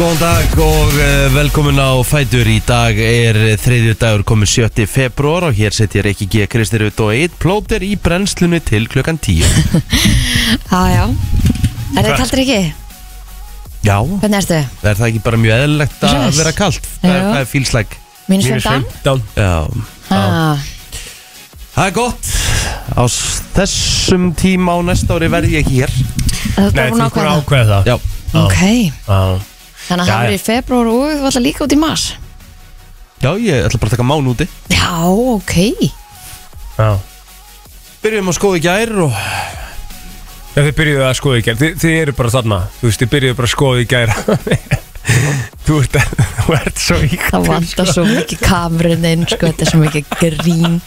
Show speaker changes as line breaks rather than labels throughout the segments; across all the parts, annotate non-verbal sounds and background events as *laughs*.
Góðan dag og eh, velkomin á Fætur Í dag er þriðju dagur komin 7. februar og hér setjir ekki G. Kristir ut og eitt plóter í brennslunni til klukkan
*laughs*
10
Já, já. Er það
Hvað?
kaldur ekki?
Já,
Hvernig ertu?
er það ekki bara mjög eðlilegt að
Yes.
vera kalt? Það er-
Já.
það er fílslæk
Mínus 15?
Já,
Ha,
það er gott Á s- þessum tíma á næsta ári verð ég hér
Þú ert
Nei,
bara búin
þú ert búin
ákvæða
að ákveða það
Já,
Já.
Ok,
Já.
þannig að það
Já, já.
verður í februar og við varum líka út í mars
já ég ætla bara að taka mán úti
Já, ok
Já.
Byrjum á skoði gær og
Já, þið byrjuðu að skoða í gær, þið, þið eru bara þarna Þú veist, þið byrjuðu bara að skoða í gær *laughs* Þú ert, *laughs* þú ert svo íkt
Það vantar svo mikið kamerun inn sko, þetta er svo mikið grín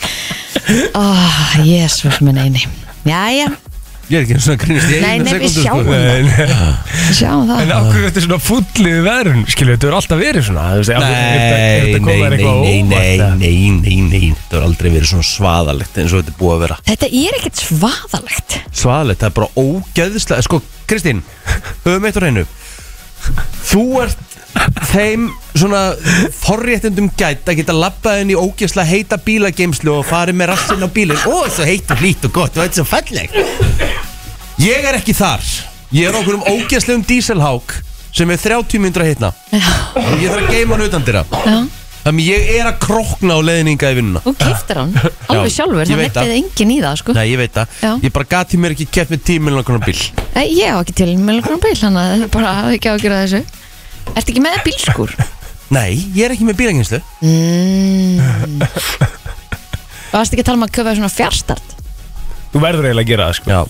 Oh, jésus minn eini Jæja,
ég er ekki eins og að grínast í
Nei,
einu sko.
nei, við
sekundu
sjáum.
Nei, nei.
við sjáum það
En af hverju þetta er svona fullið verðun Skilju, þetta er alltaf verið svona þú veist, af hverju- er þetta- er
Nei,
þetta
nei,
komið þér
nei,
eitthvað á
nei, nei,
óvart, eða?
nei, nei, nei, þetta var aldrei verið svona svaðalegt eins og þetta er búið að vera
Þetta er ekkert svaðalegt
Svaðalegt, það er bara ógeðislega Sko, Kristín, höfum eitt á reynu Þú ert þeim svona forréttundum gætt að geta labbað inn í ógeðslega heita bílageimslu og farið með rassinn á bílinn Ó, svo heitt og hlýtt og gott og þetta er svo fallegt Ég er ekki þar Ég er okkur um ógeðslegum díselhák sem er 30 myndra hitna og ég þarf að geima hann utan dyrra
Já,
Þannig ég er að krokna á leiðninga í vinnuna
þú kiftir hann alveg
Já,
sjálfur,
ég
það
veit
leggjði
það.
enginn í það sko
Nei, ég veit það
Já.
Ég bara gati mér ekki keft með 10 miljonar konar bíl
Nei, Ég á ekki til með langar bíl, hann að það er bara hafði ekki ágjörða þessu Ertu ekki með bílskur?
Nei, ég er ekki með bílaginslu
Mm. Varst ekki að tala um að köpa svona fjárstart?
Þú verður eiginlega að gera það, sko
Já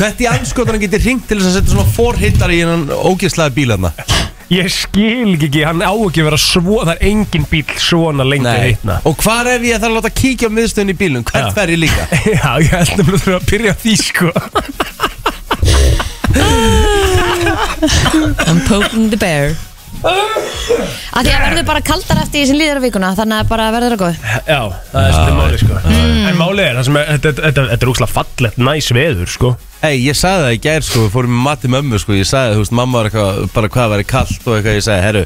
Hvert í anskotanum getur hringt til þess að setja svona forhittar í hennan ógeðslaði bílarna
Ég skil ekki, hann á ekki að vera svo Það er engin bíl svona lengi heitna *laughs*
Og hvar ef ég þarf að láta kíkja á miðstöðin í bílum? Hvert
Já.
fer ég líka? *laughs*
Já, ég held nefnilega að þú þurfir að byrja á því, sko
I'm poking the bear Af því að verður bara kaldar eftir því sem líður á vikuna Þannig að bara verður það góð
*laughs* Já, það er svolítið máli, sko En máli er, það sem er, þetta, þetta, þetta, þetta er úkslega fallegt næs veður, sko
Ei, ég sagði það í gær sko, við fórum í mati með ömmu sko Ég sagði, þú veist, mamma var eitthvað, bara hvað væri kallt og eitthvað Ég sagði, herru,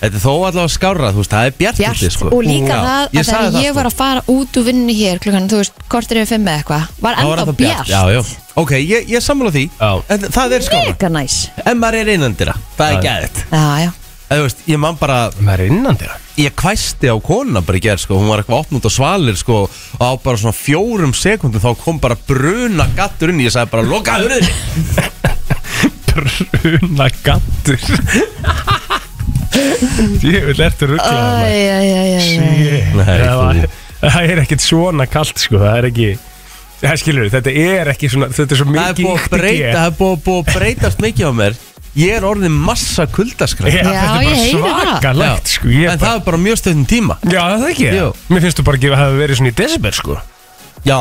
þetta er þó allavega skárra, þú veist, það er bjart úti,
Bjart
sko
og líka
Já,
það að
sagði
þegar ég
sko.
var að fara út úr vinnu hér klukkan, þú veist, kortir yfir fimm eða eitthvað Var
Það var
ennþá
ennþá
bjart
Já, já Ok, ég, sko. ég sammála því
Já.
En það er skára
Mega næs
En maður er innandira Það er
Já.
gæðið
Já, já
En þú veist, ég man bara
Það er innan þér
Ég kvæsti á konuna bara í gerð sko Hún var eitthvað opnútt á svalir sko Og á bara svona fjórum sekundum Þá kom bara bruna gattur inn Ég sagði bara, loka hurðin
Bruna *laughs* gattur Ég vil eftir ruggla
Æ, æ, æ, æ, æ.
Nei, þú-
Það er ekkit svona kalt sko Það er ekki Það skilur, þetta er ekki svona Þetta er svo
Það er
mikið
búið að
ýkt í
breyta
gé.
Það er búið, búið að breytast mikið á mér Ég er orðið massa kuldaskræð
Já,
Já,
Þetta er
ég
bara
heyri það.
svakalegt sko ég
En
bara,
það er bara mjög stöðnum tíma
Já, það er ekki
Jú.
Mér finnst þú bara að hafa verið svona í desibel sko
Já,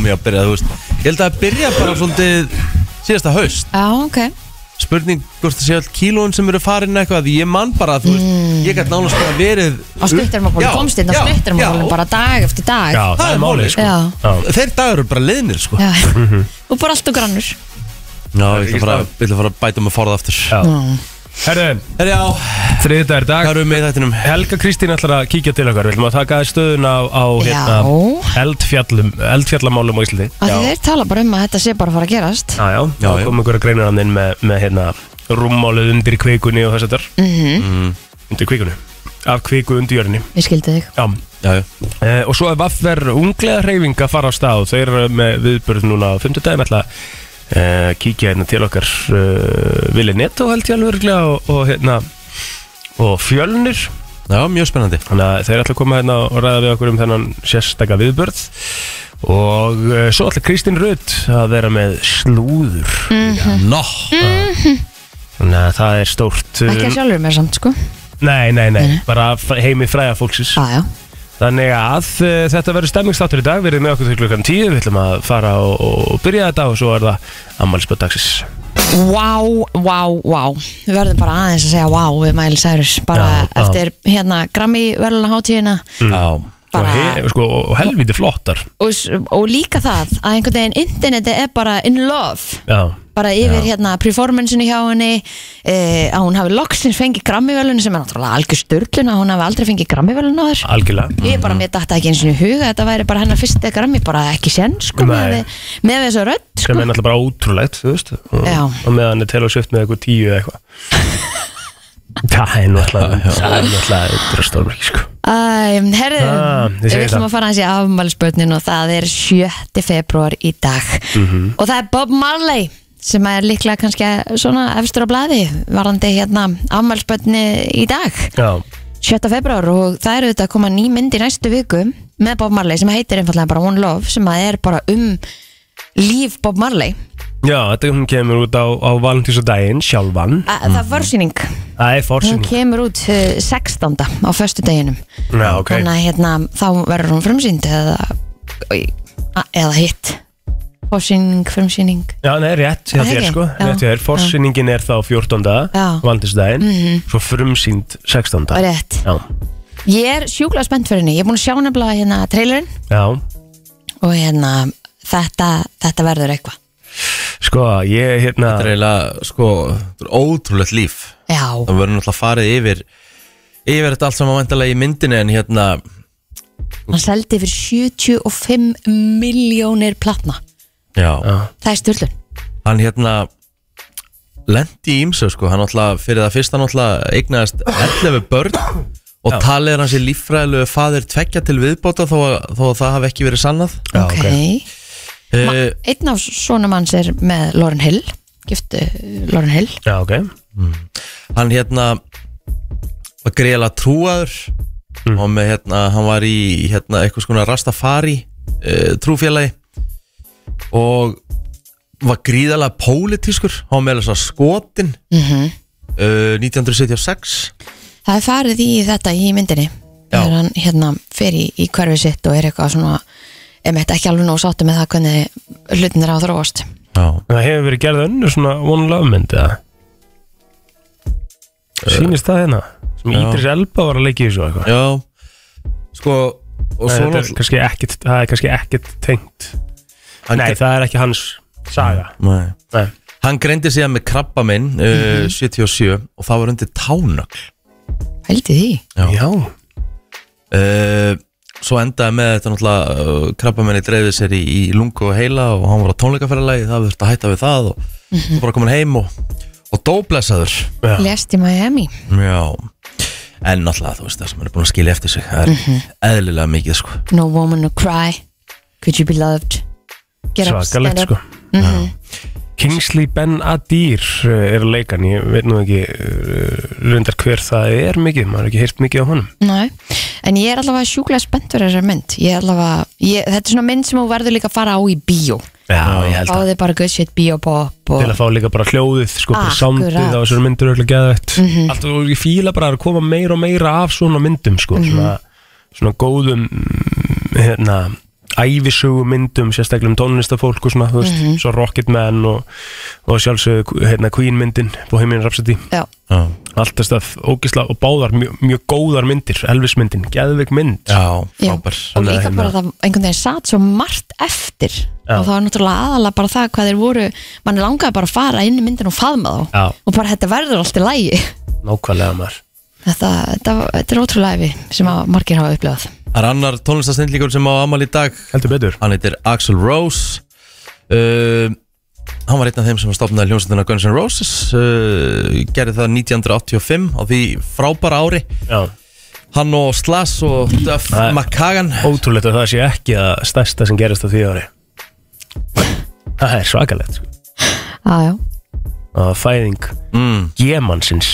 mér að byrja, þú veist Ég held að byrja bara svolítið Síðasta haust
Já, ok
spurning hvort það sé all kílóin sem eru farin eitthvað því ég man bara að þú veist ég gæti nánast bara verið
Á stuttarmabóli,
Já,
komst inn á
já,
stuttarmabóli
já.
bara dag eftir dag
Já, það er málið sko
Já,
þeir dagur eru bara leiðnir sko
já
*laughs*
Og bara allt og grannur
já ég ætla að fara, ég ætla að fara að bæta mig forða aftur
Já. Herðu,
herri já
þriðdagur í dag
hvað eru við með í þættinum
Helga Kristín ætlar að kíkja til okkar Við ætlum að taka stöðuna á, á
Já.
eldfjallum, eldfjallamálum á Íslandi
Af því þeir tala bara um að þetta sé bara að fara að gerast
Já, já,
Já,
þá
já.
kom einhver að greina hann inn með, með hérna, rúmmálið undir kvikunni og þess að þar
Mhm.
Undir kvikunni Af kviku undir jörni
Ég skildi þig
Já
já já
Eh, og svo er Vaffer unglega hreyfing að fara á stað Þeir eru með viðbörð núna á fimmtudaginn ætla að eh, kíkja hérna til okkar uh, Vili Netto held ég alveg örugglega og, og hérna og fjölnir
já mjög spennandi
Þannig að þeir ætla að koma hérna og ræða við okkur um þennan sérstaka viðbörð og uh, svo ætla Kristín Rutt að vera með slúður
no
þannig að það er stórt uh,
Ekki að sjálfur mér samt sko
nei, nei, nei, bara fr- heimi fræða fólksins
Já, já
þannig að uh, þetta verður stemmingstátur í dag verið með okkur til klukkan 10 við ætlum að fara og, og byrja þetta og svo er það ammálspöð dagsins
Vá, vá, vá Við verðum bara aðeins að segja vá við Mæli Særus Bara
Já, já.
eftir hérna Grammy verðluna hátíðina
já
og,
Bara,
he, sko, og helviti flottar
og, s- og líka það að einhvern veginn interneti er bara in love
já
bara yfir hérna performanceinu hjá henni e, að hún hafi loksins fengið grammivölun sem er náttúrulega algjör störlun að hún hafi aldrei fengið grammivölun á þess
algjörlega
ég bara, mér datta ekki eins og huga þetta væri bara hennar fyrsta grammi, bara ekki sen sko, með,
Nei.
við- með þessu rödd
sem
sko.
er náttúrulega bara ótrúlegt þú veist, og,
Já.
og meðan er Taylor Swift með eitthvað tíu eða
*laughs*
eitthvað það er náttúrulega það er náttúrulega drastórmerki sko.
Æ, um, herðu,
Ah, ég
við
segi
ætlum
það.
að fara hans í afmælisbörnin og það er 7. februar í dag
Mhm.
og það er Bob Marley sem er líklega kannski svona efstur á blaði varandi hérna afmælisbörni í dag
já,
7. februar og það eru þetta að koma ný mynd í næstu viku með Bob Marley sem heitir einfallega bara One Love sem að er bara um líf Bob Marley
já, þetta hún kemur út á, á valentísadaginn sjálfan
Æ, það er försýning,
það er
hún
fórsynning
kemur út eh, 16. á föstudeginum
já, ok,
þannig að hérna, þá verður hún frumsýnd eða, oj, a- eða hitt fórsýning, frumsýning
já, nei, rétt hjá
Það er
þér
ég.
sko
Já.
rétt hjá þér, fórsynningin er þá 14.
Já. Mhm.
valentísadaginn svo frumsýnd 16.
rétt,
já,
ég er sjúklega spennt fyrir henni ég er búin að sjá nefnilega hérna trailerinn
já
og hérna þetta, þetta verður eitthvað
sko, ég hérna
Þetta er eiginlega, sko, þetta er ótrúlegt líf
já,
Það verður náttúrulega farið yfir Yfir þetta allt saman vandalega í myndinni En hérna,
hann seldi fyrir 75 miljónir platna,
já,
það er styrlun
hann hérna Lendi í ímsu, sko Hann náttúrulega, fyrir það fyrsta náttúrulega Eignaðist 11 börn Og talið er hans í líffræðilegu faðir tvekja til viðbóta þó að, þó að það hafi ekki verið sannað
Já,
ok,
ok.
uh,
einn af svona manns er með Lauren Hill giftu Lauren Hill
já, ok,
hann hérna var greiðlega trúaður
Mm.
og með hérna, hann var í hérna, eitthvað skona Rastafari uh, trúfélagi og var gríðalega pólitískur, hann var með þess að skotin eh, mm 1976
Það er farið í þetta í myndinni
Já.
þegar hann hérna fer í, í hverfi sitt og er eitthvað svona emitt ekki alveg nóg sáttu með það hvernig hlutin er á að þróast
Já.
það hefur verið gerð önnur svona One Love mynd eða sýnist það hérna sem
Já.
Ídris Elba var að leikja í þessu og eitthvað
Já, sko og
Nei,
svo
þetta er
náttúrulega
kannski ekkit, það er kannski ekkit tengt
hann
Nei,
gre-
það er ekki hans saga
Nei.
Nei. Mhm.
hann greindi síðan með krabba minn uh, 77 og það var undir tánögl
Hældi því
Já.
Já,
Eh, Svo endaði með þetta náttúrulega uh, krabbamenni dreifði sér í, í lungu og heila og hann var á tónleikaferðalagi, það þurfti að hætta við það og mm -hmm. bara komin heim og, og dóblessaður
Já.
Lest í Miami
Já En náttúrulega þú veist það sem hann er búin að skilja eftir sig það er eðlilega mikið sko
No woman to cry Could you be loved Get up, stand
svakalegt
up.
sko Kingsley Ben-Adir eh, er leikan, ég veit nú ekki eh, reyndar hver það er mikið maður er ekki heyrt mikið á honum
Nei, en ég er allavega sjúklega spennt fyrir þessar mynd ég er allavega, ég, þetta er svona mynd sem þú verður líka að fara á í bíó
Já, ég held
Fáði bara good shit bíópop
til að
og...
fá líka bara hljóðið sko, bara
Akkurat.
soundið á þessari myndir öllu geðvægt mm -hmm. allt og ég fíla bara að koma meira og meira af svona myndum sko, svona, svona góðum mm, hérna æfisögu myndum, sérstaklega um tónlistafólk og svona, þú veist, svo Rocketman og, og sjálfsögðu, hérna, Queen myndin Bohemian Rhapsody,
Já,
Já,
allt þess að ógisla og báðar mjög, mjög góðar myndir, Elvis myndin, geðveik mynd
Já
Já,
frábær
og
Þannig að
líka
hérna-
bara það einhvern veginn satt svo margt eftir og það var náttúrulega aðalega bara það hvað þeir voru mann langaði bara að fara inn í myndin og faðma þá
Já.
og bara þetta verður allt í lægi
nákvæmlega maður
þetta, þetta, þetta er ótrúlega efi sem að margir hafa upplifað
Það er annar tónlistasendlíkur sem á amal í dag
heldur betur,
Hann heitir Axl Rose uh, Hann var einn af þeim sem stopnaði hljómsveitina Guns N' Roses uh, Gerði það 1985 á því frábæra ári
já
Hann og Slash og Duff
Nei.
McKagan
Ótrúlegt að það sé ekki að stærsta sem gerist á því ári Það er svakalegt sko.
ah, já.
að fæðing
mm.
gemansins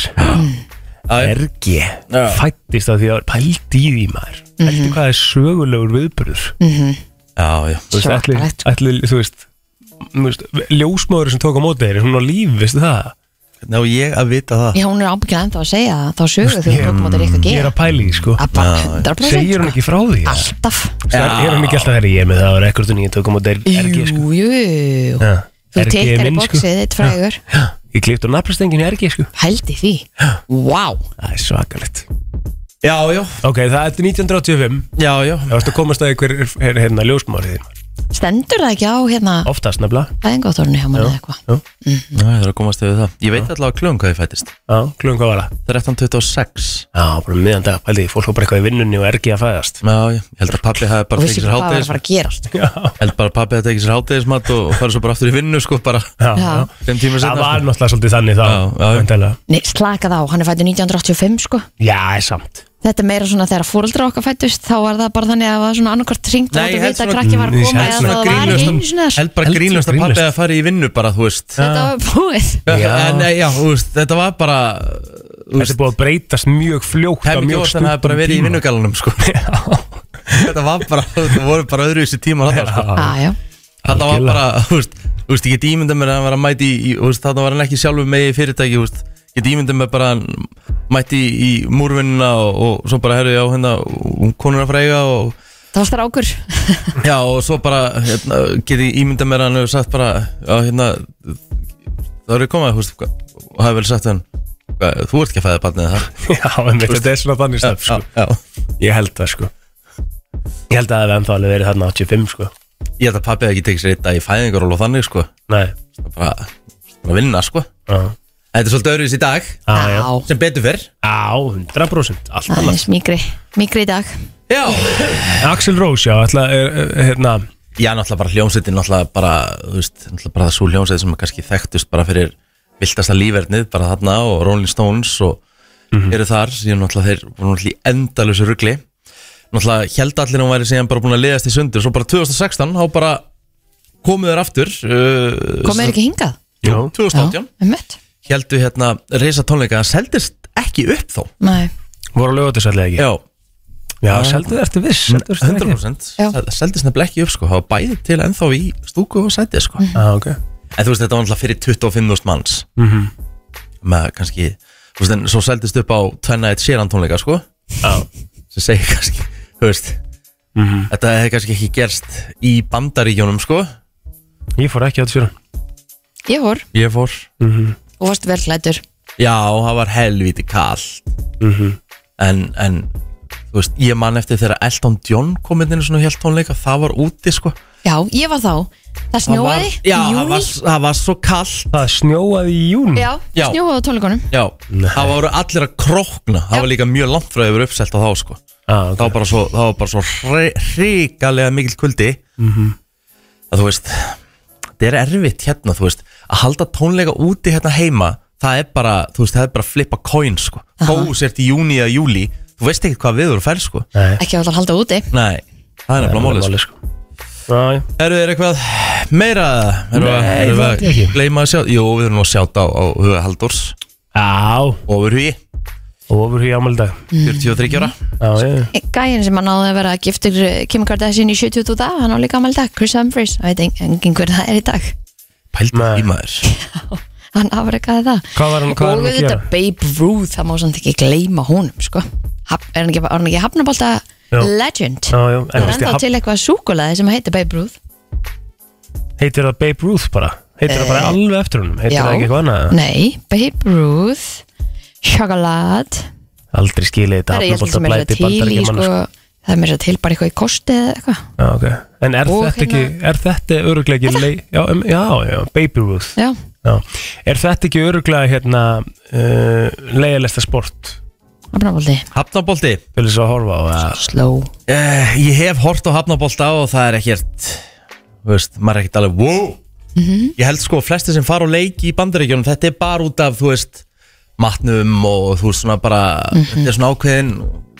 Æ,
ergi
Já.
fættist á því ári, pældi í því maður mm -hmm. hvað er sögulegur viðbörður mm.
Já, já
þú veist, ætli,
Svakalegt, sko.
ætli, þú veist, þú veist ljósmóður sem tók á móti þeir hún á líf, veistu það
Ná ég að vita það
já, hún er ábyggjað ennþá að segja það, þá sögur þú
ég-
hvað mótir eitthvað að
ég er
gera
að pæli því sko
að bara 100%
segir hún
sko.
ekki frá því ja.
alltaf
er hún ekki alltaf þegar ég er með það var ekkert og nýja tók á móti ergi sko.
jú, jú þú
Já. RG er
tekkar í
minn, sko.
bóksið þitt frægur
Já. ég klipt á nafnastengin í ergi sko.
hældi því, wow
það er svakalegt
Já, já
Ok, það er 1985
Já, já
Það varst að komast að ykkur er, er, hérna ljósmárið þín
Stendur það ekki á hérna
oftast nefnilega
Æðingóttórunni hjá manni
Jú,
eða eitthvað
jú.
Ná, ég þarf að komast yfir það Ég veit alltaf að klöðum hvað ég fættist
Já, klugum hvað var það?
13.26
Já, bara miðan dag, pældi, fólk var bara eitthvað í vinnunni og ergi að fæðast
Já, ég ég held að pappi hafi
og
bara
vissi
tekið sér
ekki hvað var að
hátegis
fara að gerast sko.
Já,
Held bara að pappi hafi tekið sér hátegismat og og farið svo bara aftur í vinnu sko bara
já,
Já.
já.
Fimm sko. tíma
Það
setna
var náttúrulega svolítið þannig þá
Já, já, já.
væntanlega.
Nei, slakað á, hann er fættur 1985 sko
Já, er samt
Þetta er meira svona þegar fóreldra okkar fættust þá var það bara þannig að það var svona annarkvart ringt
Nei,
og
ég held
vita að
svona-
krakki var að
Mm, ég
koma
held
eða
svona
það var
grínlaust
ekki
um-
einu sinni eða svo.
Held bara
Heldur
grínlöst að pappi
grínlaust.
hafi farið í vinnu bara, þú veist
Þetta var búið
Já.
En eh, já, þú veist, þetta var bara Þú
Þetta er
veist,
búið að breytast mjög fljókt á
hefði ekki
mjög
orðan að hafi bara verið í
*laughs* tíma.
vinnugalanum sko *laughs* Þetta var bara, þetta voru bara öðru þessi tíma þarna sko
Já,
Á, Ah, já.
Þetta var
Algjörlega.
bara, þú veist, þú veist, ég get ímyndað mér að hann var að mæti í, í- þú veist, þarna var hann ekki sjálfur með í fyrirtæki, þú veist, ég get ímyndað mér bara að hann mæti í, í múrvinnina og, og svo bara, herru, já, hérna, hún konur að freyga og,
Það var strákur
já, og svo bara, hérna, get ég ímyndað mér að hann hefur sagt bara, já, hérna, það eru komað, þú veist, hvað- og hafi vel sagt við hann, hvað, þú ert ekki að fæða barnið
*laughs*
það,
já einmitt, þetta er svona þannig staf
já,
sko.
já,
Ég held það sko Ég held að það hefði ennþá alveg verið þarna 85 sko
ég held að pappið ekki tekið sér eitt dag í fæðingar og þannig, sko,
Nei,
bara, bara vinna, sko,
já,
þetta er svolítið öðruvis í dag,
já,
*laughs*
já,
Á,
sem betur fyrr,
já 100% Allt
það
annað
er smíkri Míkri í dag
já,
Axel Rose, já, ætla, er, er, hérna
Já, náttúrulega bara hljómsveitin, náttúrulega bara, þú veist, náttúrulega bara það svo hljómsveit sem er kannski þekktust bara fyrir viltasta lífernið, bara þarna og Rolling Stones og eru þar, síðan náttúrulega þeir voru náttúrulega í endalösu rugli. Náttúrulega held allir að hún væri síðan bara búin að liðast í sundur, svo bara 2016, þá bara komuð þeir aftur, uh,
Komið er ekki hingað
Já,
2018,
um mitt
heldu hérna reysa tónleika, það seldist ekki upp þó.
Nei,
voru að lögðu þessu allir ekki
Já,
Já, seldu þetta viss seldu þetta ekki.
100%,
Já.
það seldist nefnilega ekki upp sko, það var bæði til ennþá í stúku og sæti sko.
Já, ok
En þú veist, þetta var náttúrulega fyrir 25.000 manns Mhm. Með kannski Þú veist, en svo seldist upp á tvenna eitt séran tónleika, sko
Já,
Sem segir kannski, þú veist Þetta hefði kannski ekki gerst í bandaríkjónum, sko
ég fór ekki á þessu
ég vor
Ég fór
og varst vel hlættur
Já, það var helvíti kall Mhm. en, en, þú veist, ég man eftir þegar Elton John kom inn svona hjálp tónleika Það var úti, sko
Já, ég var þá Það
Það var,
snjóaði
já,
í
það var,
júni
það var svo kall
Það snjóaði í jún
Já,
Já.
snjóaði á tónleikunum
Já, það voru allir að krókna Það
Já.
var líka mjög langt frá yfir uppselt á þá, sko
ok
það var bara svo, það var bara svo hre- hrikalega mikil kuldi að þú veist það er erfitt hérna, þú veist að halda tónleika úti hérna heima það er bara, þú veist, það er bara að flippa coin sko. þó sért í júni eða júli þú veist ekki hvað viður fer sko
Nei,
Ekki alltaf halda úti
nei, það er nefnilega málið sko.
sko Já, já
eru þeir eitthvað meira eru
Nei,
við að
það er ekki.
gleyma að sjá jú, við erum nú að sjáta á, á huga Halldórs
Já,
ofurhugi,
ofur hér ámæli dag
Mm.
43 ára
Já, já, já
Gæin sem hann áði að vera giftur eh, Kim Kardashian í 70 og það, hann á líka ámæli dag Chris Humphries, það veit en- engin hver það er í dag *laughs*
pældi
Nei.
í maður
Hann afrekaði það
Hvað var hann, hvað
Og
var hann að
þetta
gera?
Babe Ruth, það má samt ekki gleyma honum sko. Haf, Er hann ekki, var hann ekki hafnabólta
Já.
legend?
Já, já,
Það
en
er
veistu,
ennþá
haf-
til eitthvað súkulaði sem heitir Babe Ruth
heitir það Babe Ruth bara? Heitir það bara
Eh,
alveg eftir honum? Heitir það ekki eitthvað annað?
Nei, Babe Ruth Chocolate
Aldrei skilið þetta
Það er ég held
hafnabólt
sem er
að blæti
til í
bandaríkjamann
sko,
sko.
Það er mér að til bara eitthvað í kosti eða eitthvað
Já, ok En er
Og
þetta ekki,
hérna-
er þetta öruglega ekki lei... Já, um, já, já, Babe Ruth
Já,
Já, er þetta ekki öruglega hérna uh, leiðilegsta sport
hafnabólti
Hafnabolti
til þess að horfa á það?
Slow
Uh, ég hef hort á hafnabólta og það er ekkert þú veist, maður er ekkert alveg wow. ég held sko að flesti sem fara á leik í bandaríkjunum, þetta er bara út af þú veist, matnum og þú veist svona bara, þetta er svona ákveðin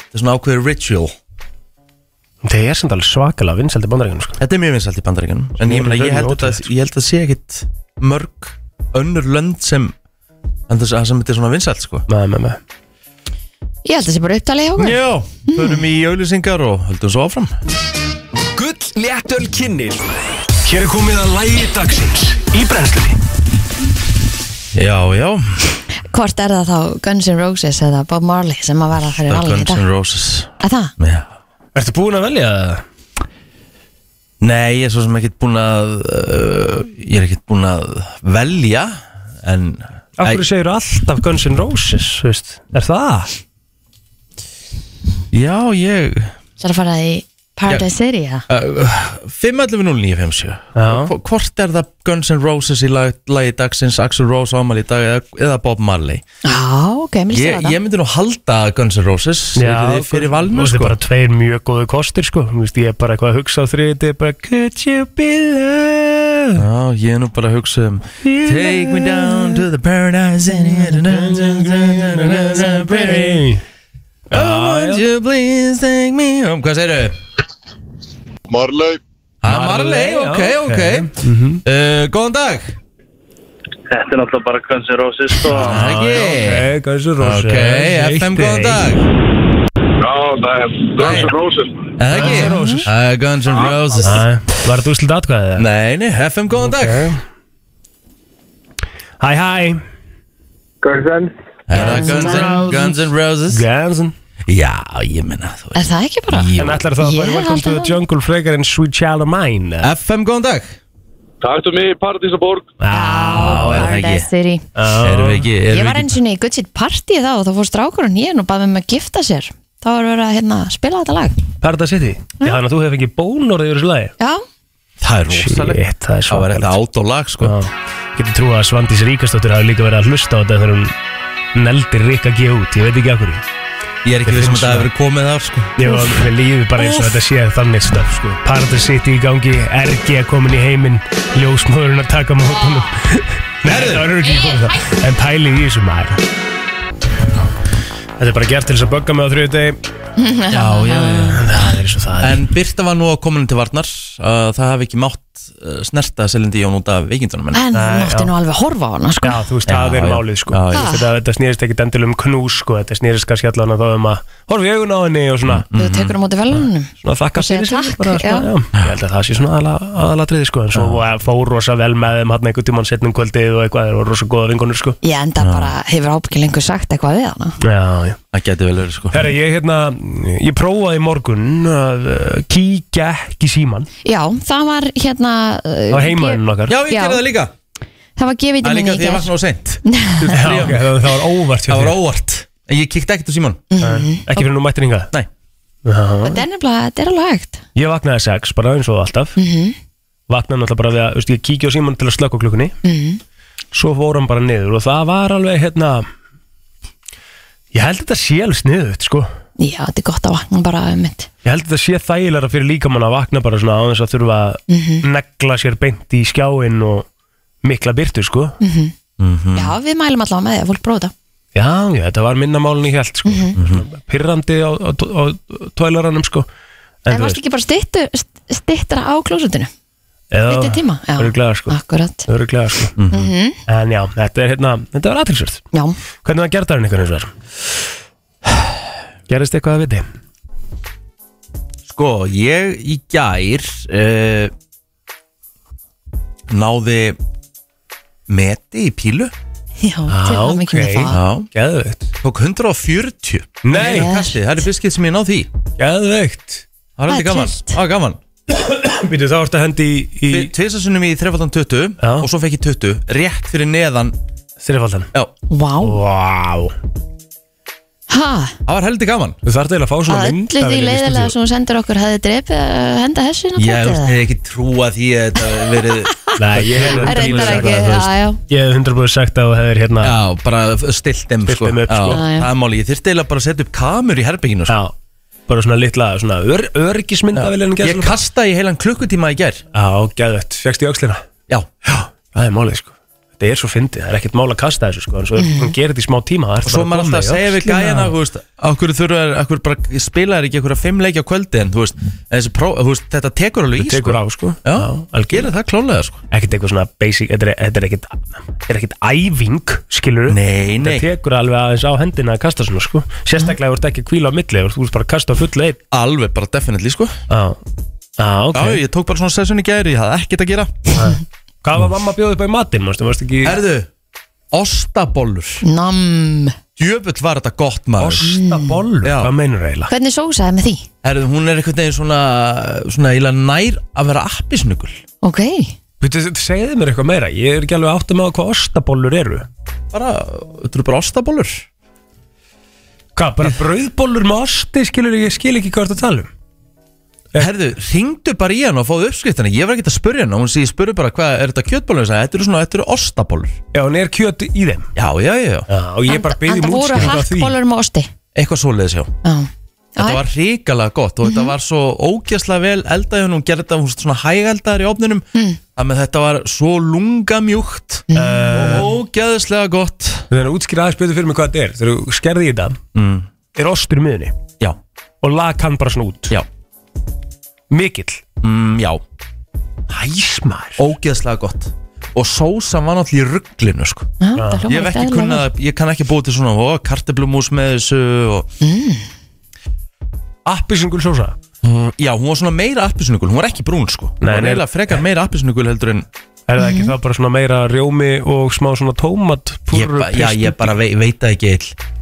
þetta er svona ákveðin ritual
Það er samt alveg svakalega vinsældi bandaríkjunum sko.
þetta er mjög vinsælt í bandaríkjunum en ég, meina, ég, held að, þetta- ég held að sé ekkert mörg önnur lönd sem en þess að sem þetta er svona vinsælt sko
Með, með, með
Ég held að það sé bara upptalið hjá okkur
Já, förum í auðlýsingar og höldum svo áfram
Gull léttöl kynnið Hér er komið að lægi dagsins Í brennslunni
Já, já,
Hvort er það þá Guns N' Roses eða Bob Marley sem að vera fyrir
Guns
alveg þetta
N' Roses
Að það?
Já
Ertu búin að velja það?
Nei, ég er svo sem ekkert búinn að uh, ég er ekkert búinn að velja en
Af hverju segir alltaf Guns N' Roses, þú veist? Er það?
Æ, Já, ég
Það er að fara í Paradise City, ja
5.11.09.57
Já.
Hvo- Hvort er það Guns N' Roses í lag- lagi dagsins Axl Rose ámali í dag eða, eða Bob Marley
Já, ok, mér
ég,
sér það
ég myndi nú halda að Guns N' Roses yrði fyrir valinu
Það er
sko
bara tveir mjög góðu kostir sko Þú veist, Ég er bara eitthvað að hugsa á þriði bara, Could you be loved
Já, ég er nú bara að hugsa um Take me down to the paradise in here Oh, would you please take me home Hvað segirðu?
Marley,
Ah, Marley,
Marley,
ok,
já,
ok
ok.
uh, Góðan dag
Þetta er náttúrulega bara Guns N' Roses sko.
Það er ekki
Ok, Guns N' Roses
Ok, FM, góðan dag
já, það er Guns N' Roses
Er Það ekki?
Guns N' Roses.
Það er Guns N' Ah. Roses
Æ, Var þetta úrslit atkvæðið? eða?
Nei, nei, FM, góðan dag
Hæ, hæ
Er það Guns N' Guns N' Roses
Guns N'
Já, ég menna þú
Er það ekki bara?
En ætlar það að
Ég
fara
hef
Welcome to
alltaf
the Jungle frekar en Sweet Child of Mine eða?
FM, góðan dag
Takk til mig í Paradísaborg
er
Já,
það ekki?
Paradise City
Erum við ekki
Ég
erum
var
við ekki-
eins og niður í Good Shit Party þá og þá fór strákurinn hér og baði mig um að gifta sér Þá var verið að hérna, spila þetta lag
Paradise City Já, þannig að þú hefði fengið bónorðið yfir þessu lagi
Já,
Það er rosalegt
Shit, það er
Það var
svakalegt.
þetta átólag sko
Já. Getur trú að Svandís Ríkastóttir hafi líka verið að hlusta á þetta þegar hún neldir Rík að gefa út, ég veit ekki af hverju
Ég er ekki
Ég
við sem
finnst
þetta
það.
hefur komið þar sko
Ég var með lífið bara eins og þetta sé þannig stöf sko. Paradise City í gangi, RG komin í heiminn Ljósmóðurinn að taka mótunum Nei, það var ekki komið það En pælið í þessu maður Þetta er bara gert til þess að bögga mig á þriðu deg
Já, já, já
Það er svo það er
En Birta var nú að kominu til varnar uh, Það hafi ekki mátt uh, snerta Selendi Jón út af veikindunum hennar.
en
Nei,
hún mátti
já.
nú alveg horfa á hana sko.
Já, þú veist, það
Já,
er
já.
málið sko
Já, já.
Þetta, þetta snýrist ekki dendil um knús sko Þetta snýrist kannski allan að þá um að Horfa í augun á henni og svona
Mhm.
Þú tekur á móti velunum
svona þakka
Og segja
fyrir sig
takk,
bara, svona, já. ég held að það sé svona aðala- aðalatriði sko, en svo var- fór rosa vel með þeim hann einhvern tímann setnum kvöldið og eitthvað þeir voru rosa góða vingunir sko
Ég enda bara, hefur ábyggjum lengur sagt eitthvað við hana
já, já.
Það geti vel verið sko
Herra, ég, hérna, ég prófaði í morgun að uh, kíkja ekki í síman
Já, það var hérna uh,
á heimaðinu okkar
Já, ég
Já.
gerði það líka
Það var
Það
gefið í
er líka
minni í
því að ég
gær
vakna á seint
Já, ok, það, það var óvart hjá
Það var
þér.
óvart En ég kíkti ekkert á síman
Nei, ekki fyrir nú mættir hingað
Nei.
Já.
Þetta er nefnilega, þetta er alveg hægt
ég vaknaði sex bara eins og alltaf mm
Mhm.
vaknaði náttúrulega bara við að þú veist, ég kíkja á síman til að slökka á klukkunni
Mhm.
svo fór hann bara niður og það var alveg hérna ég held þetta sé alveg sniðut sko
Já, þetta er gott að vakna bara um mitt
Ég held að þetta sé þægilega fyrir líkamann að vakna bara svona á þess að þurfa að
Mhm.
negla sér beint í skjáinn og mikla byrtu sko.
Mhm. Já, við mælum allavega með því að fólk bróða
Já, já, þetta var minna málun í held sko. Mm
Mhm.
Pirrandi á, á, á tóilaranum sko.
En, en varst ekki bara styttu, st- styttra á klósutinu? Styttu tíma? Já,
Öruglega sko.
akkurat
Öruglega sko. En já, þetta er hérna, þetta var aðtilsvörð.
Já,
Hvernig var gerðarinn ykkur eins og þar? Gerðist eitthvað að viti?
Sko, ég í gær uh, Náði Meti í pílu
já, til að mikið með það
Já
Geðveikt.
Tók 140
Nei,
Yes.
Kassi, það er fiskið sem ég náði því
geðveikt.
Það var
Það
aldrei
er
gaman
trillt.
Það var gaman
Býtu þá ertu að hendi í, í
Tvisasunum í 3.20
Já.
Og svo fekk ég 20 Rétt fyrir neðan
þrifaldan.
Já
Vá,
Vá.
ha,
Það var heldur gaman
Þú þarf til að fá svona
að öllu því
myndavél í
leiðilega
stúdíó.
sem hún sendur okkur hefði drepið að henda hessin á
Ég hef
tætið
ekki trúa því að þetta hafi verið
Nei, ég hef
Það *laughs* reyndar
sagt
ekki,
það,
já,
þú veist.
já
Ég hef hundra búið sagt að þú hefur hérna Já,
Já, bara stilt þeim
Stillt
sko.
þeim upp,
Já,
sko.
Já, já.
Það er máli, ég þyrfti eiginlega bara að setja upp kamur í herbygginu sko.
bara svona litla svona ör, örgismyndavilin
Ég kastaði í heilan klukkutíma í ger
Já, gæðvett, fegst í öxlina
Já,
Já, það er málið sko Þetta er svo fyndið, það er ekkert mál að kasta þessu sko En svo mm. hún gerir þetta í smá tíma það ertu
og svo
bara
maður alltaf
koma
að
í
segja við
öxlina.
gæjana Þú veist, okkur þurfa, okkur bara spila þær ekki okkur að fimm leikja á kvöldi En þú veist, þessi pró, þú veist þetta tekur alveg í
Þú tekur á sko
Já,
algjörlega
Gerir það klálega sko
Ekkert eitthvað svona basic, þetta er, þetta er ekkert Þetta er ekkert æfing, skilur
Nei, nei,
Þetta tekur alveg aðeins á hendina að kasta svona sko Sérstaklega þú ert ekki að kvíla á milli Þú ert bara að kasta á fullu einn
alveg bara definitely sko
Já, Já, ok
Já, ég tók bara svona sessun í gæri, ég hafði ekkert að gera
Hvað var mamma að bjóða upp á í matinn, mástu, mástu ekki
Herðu, ostabollur
Nam,
Djöfull var þetta gott maður
Ostabollur,
Já.
hvað meinur það eiginlega?
hvernig sósaði með því?
Herðu, hún er einhvern veginn svona Svona eiginlega nær að vera appisnugul
Ok,
Býttu, segðu mér eitthvað meira, ég er ekki alveg áttum á hvað ostabollur eru
Bara, þetta eru bara ostabollur
Hvað, bara brauðbollur með osti, skilur ég, ég skil ekki hvað þú ert að tala um
Herðu, ringdu bara í hann og fáðu uppskriftina Ég var ekki að spurja hann og hún sé, ég spurði bara hvað er þetta kjötbólur Þetta eru svona, þetta eru ostabólur
Já, hún er kjöt í þeim
Já, já, já, já,
Já, og ég bara byrði
Enda voru
múlskjöld á því
hakkbólur með osti
eitthvað svoleiðis já
Já.
Þetta
Já,
var ríkalega gott og þetta var svo ógjastlega vel eldaði hún, hún gerði þetta hún, svona hægeldaðar í ofninum mm. Þannig að þetta var svo lungamjúkt mm. og ógjastlega gott
Þannig að útskýra aðeins betur fyrir mig hvað þetta er Þegar þú skerði í þetta
Mm.
Er ostur í miðunni
Já,
Og lag hann bara svona út
já,
Mikill
mm, já,
Æsmar
ógjastlega gott Og sósan var náttúrulega í rugglinu sko
Já, það
Ég hef
hljómar
ekki
ekkert eðlilega vel.
kunnað, ég kann ekki búið til svona ó, karteblumús með þessu og,
Appisingul sósa
Já, hún var svona meira appisnugul, hún var ekki brún sko Hún
Nei,
var
nei.
eiginlega frekar meira appisnugul heldur en
Er það ekki það bara svona meira rjómi Og smá svona tómat
ég, ba- Já, ég bara vei, veit það ekki *laughs* eil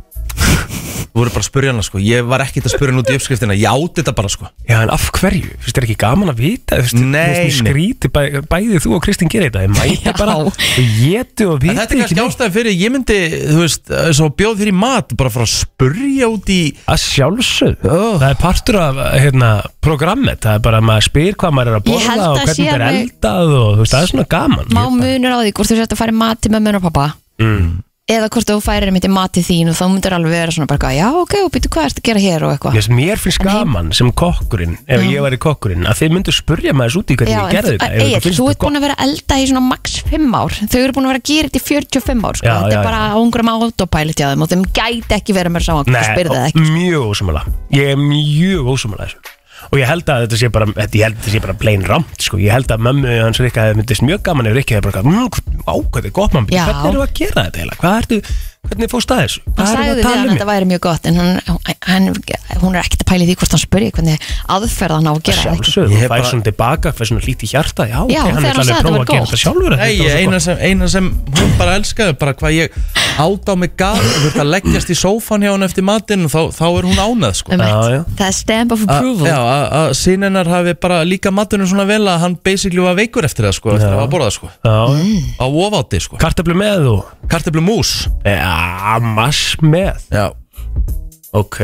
Þú voru bara að spurja hana sko Ég var ekkert að spurja hann út í uppskriftina Ég átti þetta bara sko
Já, en af hverju? Þú veist, er ekki gaman að vita? Þú veist,
Nei,
þú skríti bæ, bæði þú og Kristín gerir þetta. Ég
*laughs*
mæti
Já.
bara og getu og
En
viti
þetta er kannski
neitt.
ástæði fyrir Ég myndi, þú veist, svo bjóð fyrir mat Bara að fara að spurja út í
Að sjálfsög.
Oh.
Það er partur af hérna, programmet. Það er bara að maður spyr hvað maður er að
Ég held
borða
að
og hvernig
sé
þetta er
alveg-
eldað og þú veist, það er svona gaman.
má munur á því hvort þú sért að fara í mat til mömmun og pappa
Mm.
eða hvort þú færir mitt í mat til þín og þá myndir alveg vera svona bara eitthvað, já ok, og býtu hvað ertu að gera hér og eitthvað
Yes, mér finnst
En heim-
gaman sem kokkurinn, ef ég væri kokkurinn, að þið myndu spurja maður svo út í hvernig
Já,
ég
en
gerði
þú-
þetta. ef
Egill,
ykkur finnst
þú
þetta
ert búin að vera að elda í svona max 5 ár þau eru búin að vera að gera þetta í 45 ár sko.
Já,
þetta
já,
er bara á einhverjum autopilot hjá þeim og þeim gæti ekki verið mér saman og spyrði það
Nei,
ekki
mjög ósamala Ég er mjög ósamala þessu Og ég held að þetta sé bara, þetta, ég held að þetta sé bara plain ramt, sko. Ég held að mömmu hans Rikka hefði myndist mjög gaman ef Rikki hefði bara, mmm, ákvæði, gott mann,
Já.
hvernig eru að gera þetta heila? Hvað ertu, hvernig fórst að þessu?
hann
Hvað eruð
sagði
að
við hann að
um
þetta væri mjög gott en hann, hann, hún er ekkert að pæli því hvort hann spurði hvernig aðferð hann á að
Að
gera það ekki.
Ég
Sjálfsögðu, hún
hef
fær
bara-
svona tilbaka, fær svona lítið hjarta, já,
Já,
ok,
þegar
hann
hann
er alveg
sagði
að
þetta
prófa að
var
gera þetta sjálfur.
Nei,
þetta var svo
eina
gott.
sem, eina sem hún bara elskaði Bara hvað ég át á mig gaf Þú ert að leggjast í sófan hjá hann eftir matinn og Þá, þá er hún ánað sko
Um
Já, já.
eitt. það er stamp of
A-
approval
Já, að- að sinnenar hafi bara líka matunum svona vel að hann basically var veikur eftir það sko, eftir að hafa borðað sko,
Já,
á ofátti sko
kartablu með þú?
kartiblu mús
Já, mass með,
Já.
ok.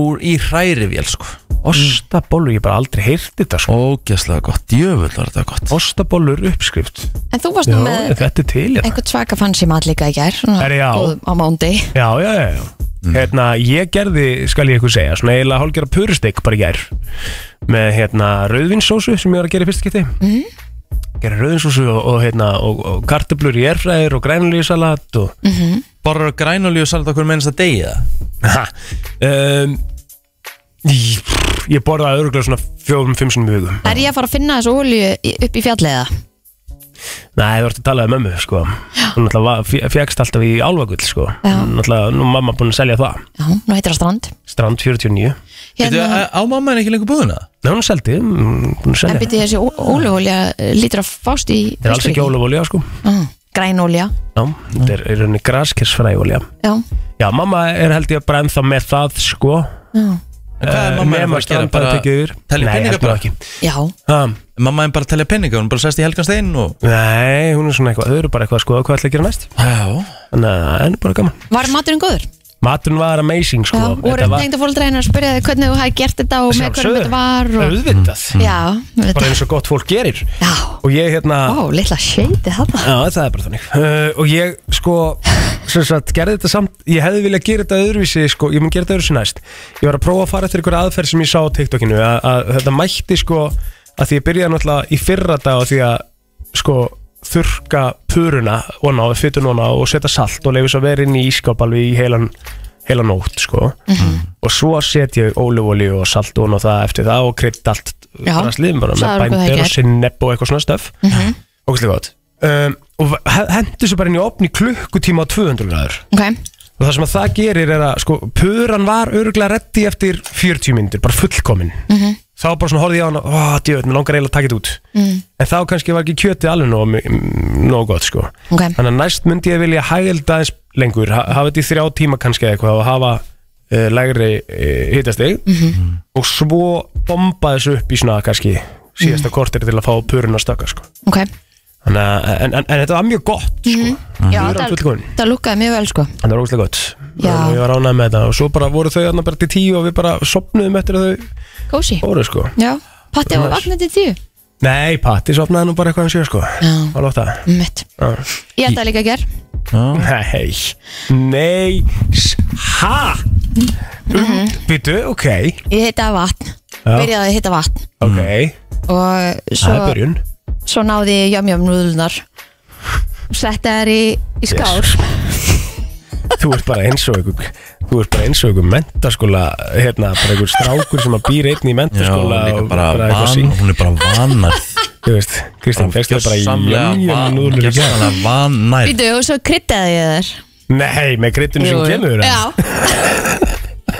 úr í hrærivél sko
Ostabólu, ég hef bara aldrei heyrt þetta, sko.
Ógæslega gott, djöfull var þetta gott
Ostabólur uppskrift
en þú varst
Já,
nú með
þetta er til hérna.
einhvern svaka fancy mat líka í gær svona
Herri, já.
góð- á mándi
Já, já, já, já.
Mm.
Hérna, ég gerði, skal ég ykkur segja, svona eiginlega hálfgerða purustek bara í gær með hérna rauðvinsósu sem ég var að gera í fyrsta geti
Mhm.
mm. Gerði rauðvinsósu og, og hérna og, og kartöblur í erfræðir og grænulísalat og
Borrar grænulíu salat okkur mennst að degi það
Ha, um, ég, ég borðaði örgulega svona fjórum, fimm sinni mjögum
er ég að fara að finna þessu olju upp í fjalliða
Nei, þú ert að talaði mömmu, sko Hún náttúrulega fjækst alltaf í álfagull, sko
Já.
Hún Náttúrulega, nú er mamma búin að selja það
já, nú heitir það strand
Strand 49
hérna,
Á mamma en ekki lengur búðuna?
Nei, hún seldi, hún hún selja
en byrju þessi ólífólja lítur að fást í Mm,
Það er alls ekki ólöfólja sko
ólífólja grænólja,
Já, þetta er í rauninni graskirsfræjólja
já,
Já, mamma er held ég bara ennþá með það sko
já,
En hvað er mamma
Nefn
að fara að gera?
að strandað Eh, tekið yfir
telja
Nei,
peninga
heldur
bara?
ekki
já.
ha,
Mamma en bara að telja peninga, hún bara sest í helgan stein og
Nei, hún er svona eitthvað, þau eru bara eitthvað að skoða hvað ætla að gera næst
Já
Þannig að það er bara gaman
var maturinn góður?
Maturinn var amazing sko
já, voru
var
tengda fólk dræðin að spyrja þig hvernig þú hafi gert þetta og með hvernig þetta var og, Mm.
Auðvitað
já, við
Bara
þetta
eins og gott fólk gerir
já,
Og ég hérna
ó, litla shady þetta
Já, það er bara þannig uh, Og ég, sko, sem sagt, gerði þetta samt Ég hefði viljað gera þetta öðruvísi, sko Ég mun gera þetta öðruvísi næst Ég var að prófa að fara eftir einhverja aðferð sem ég sá á TikTokinu að, að þetta mætti, sko að Því ég byrjaði náttúrulega í fyrra dag á Því að, sko, þurka puruna Ona og fytun ona og setja salt Og leifu svo að vera inn í ískáp alveg í heilan heila nótt sko og svo set ég ólífólíu og salt og það eftir það og krydd allt
Já,
drasliðin bara með
sagðir okkur það í
bændur og
gær. Mhm.
sinnepp og eitthvað svona stöf Ógæslega gott um, Og hendur svo bara inn í opni klukkutíma á 200 gráður
ok,
Og það sem að það gerir er að sko, Puran var örgulega reddi eftir 40 myndir Bara fullkomin Þá bara svona horfði ég á hana Ó, djöfn, mér langar eiginlega að taka þetta út En þá kannski var ekki kjötið alveg nóg, mm, nóg gott sko.
Ok.
Þannig að næst myndi ég vilja hægilda aðeins lengur ha- Hafa þetta í þrjá tíma kannski eða eitthvað Og hafa uh, lægri uh, hitastig -hmm. Og svo bomba þessu upp í svona kannski Síðasta kortir til að fá purun að stöka sko.
ok
Þannig að, en, en, en þetta var mjög gott sko.
já,
Þau eru
það-
fullkomin.
það lukkaði mjög vel sko
Þannig var ógæslega gott
Já.
og Ég var ánægð með þetta Og svo bara voru þau þarna bara til tíu og við bara sopnuðum eftir að þau
kósi,
fóru sko
já, Patti á vagnandi tíu
Nei, Patti sopnaði nú bara eitthvað um sjö sko
Já,
Var lóta
mitt Ég ætlaði líka að gera
Nei Nei s- Ha
Mhm.
um, Býtu, ok
Ég heita vatn
Já.
Byrjaði að hitta vatn
Ok,
Og
það er
Mhm. svo,
byrjun
svo náði ég jömjum núðlunar Setta þær í, í skál
Þú ert bara eins og einhver Þú ert bara eins og einhver mentaskóla Hérna, bara einhver strákur sem að býr einn í mentaskóla
líka
og
bara
eitthvað
van,
sín
hún er
*laughs*
bara vanar
Þú veist, Kristján, fegstu bara í jönjum núlur í gæð
Gjössamlega vanar
Býtu, og svo kryddaði ég þær
Nei, með kryttinu sem
Jú, jú.
kemur eða?
Já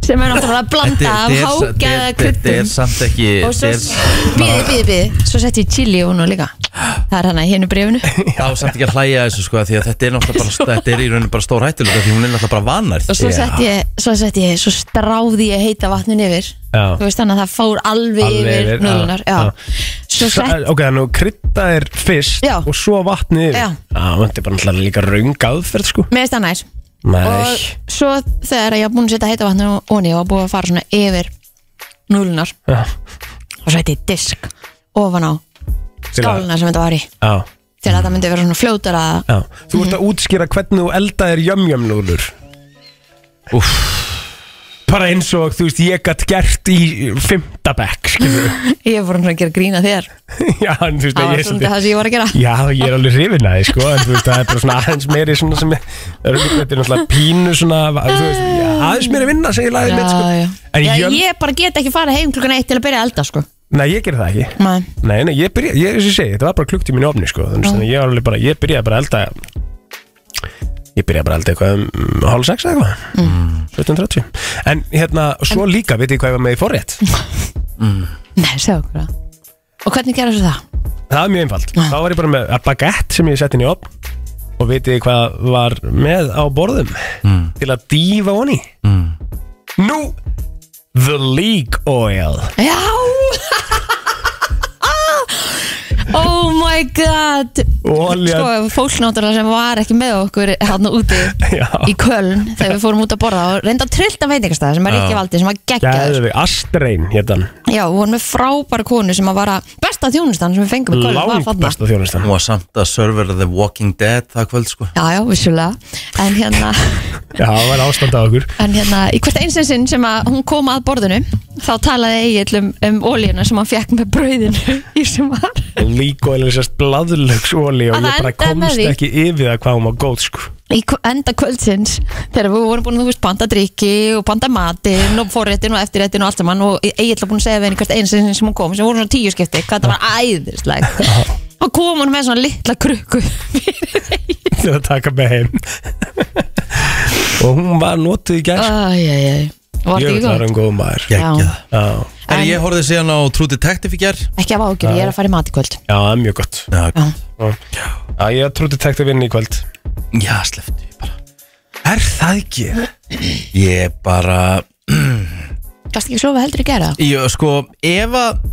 Sem er náttúrulega að blanda af hágæða
Þetta er
kryddum
samt ekki
Og svo,
þetta er-
býði, býði, býði Svo setti ég chili og hún líka Það er hana í hennu brefinu
þá er samt ekki að hlæja að þessu sko því að þetta er náttúrulega bara, þetta er í rauninu bara stór hættulega því hún er náttúrulega bara vanar
Og svo setti ég, svo setti ég, svo stráði ég heita vatnin yfir
Já.
Þú veist þannig að það fór alveg,
Alveg yfir,
yfir núðunar
já,
Já,
já.
Svo
Sa-
sett,
Ok, þannig að krytta er fyrst
Já.
og svo vatnið yfir.
Já.
Já, þetta er bara náttúrulega líka raung aðferð sko
mér veist það nær
Nei,
Og svo þegar ég var búin að setja heita vatnin onni og búið að fara svona yfir núðunar
Já.
Og setti ég disk ofan á
til að-
skáluna sem þetta var í
Já,
til að það myndi vera svona fljótara
já Þú ert að útskýra hvernig þú eldaðir jömjum núlur Úff Bara eins og, þú veist, ég gætt gert í fymta bekk, skilur
ég fór svona að gera grína þér
*laughs* Já, en þú veist,
það
að
var
ég
svona það sem ég var að
*laughs*
gera
Já, ég er alveg hrifin að þið, sko En þú veist, það er bara svona aðeins meiri svona sem er, Það eru þetta er náttúrulega pínu svona Þú veist, já, aðeins meiri vinna, segir lagið mitt, sko
já,
En
já.
jöm-
já ég bara get ekki farið heim klukkan eitt til að byrja að elda sko
Nei, ég gerði það ekki
Nei.
Nei, nei, ég byrja, ég, þess að segja, þetta var bara klukktíminn í ofni, sko Þannig að ég var alveg bara, ég byrjaði bara að elda Ég byrjaði bara að elda eitthvað um um, hálf sex eða eitthvað
Mm.
17.30 En hérna, svo líka, veit ég hvað ég var með í forrétt
nei, segja okkur það og hvernig gera svo það?
Það er mjög einfalt
Já.
Þá var ég bara með baguette sem ég sett inn í ofn Og veit ég hvað var með á borðum Til að dýfa honi mm. Nú The League Oil
já *laughs* oh my god
Olja
sko fólknátturlega sem var ekki með okkur hann úti
Já.
í Köln þegar við fórum út að borða og reynda að trillta veitingastæða sem er ekki valdi sem var geggjaður
Gæðvig, Astrein hérna
já, og vorum með frábæra konu sem að vara besta þjónustan sem við fengum í Köln var
Langt
þarna.
besta þjónustan
hún var samt að servera The Walking Dead það kvöld sko
Já, já, vissulega En hérna, *laughs*
Já, það var ástand á okkur
en hérna í hvert einsinsinn sem að hún kom að borðinu þá talaði Egil um, um ólíuna sem hann fekk með brauðinu *laughs* í sem var
Líko er sérst bladurlöksóli og
Að
ég
Ah, það endaði
bara
með
komst
því.
ekki yfir það hvað hún var góð sko *laughs*
í kv- enda kvöldsins þegar við vorum búin að þú veist panta drikki og panta matinn og forréttin og eftirréttin og allt saman og Egil var búin að segja við henni í hvert einsinsinn sem hún kom sem voru svona tíu skipti, hvað þetta var æðislegt og kom hún með svona litla krukku
til að taka með heim *laughs* og hún var notuð í gær sko.
Æjæjæj, Ah, var þetta
Ég
ekki
veit það er
góð?
hún góð maður Já,
geggjað
já,
en
En-
ég horfði síðan á True Detective í ger
Ekki af ágjör, ég er að fara í mat í kvöld
það er mjög gott
já,
Já, Já, ég trúti tekt að vinna í kvöld
já sleftu ég bara er það ekki ég bara
Gast ekki sofa heldur í gera?
ég, sko ef að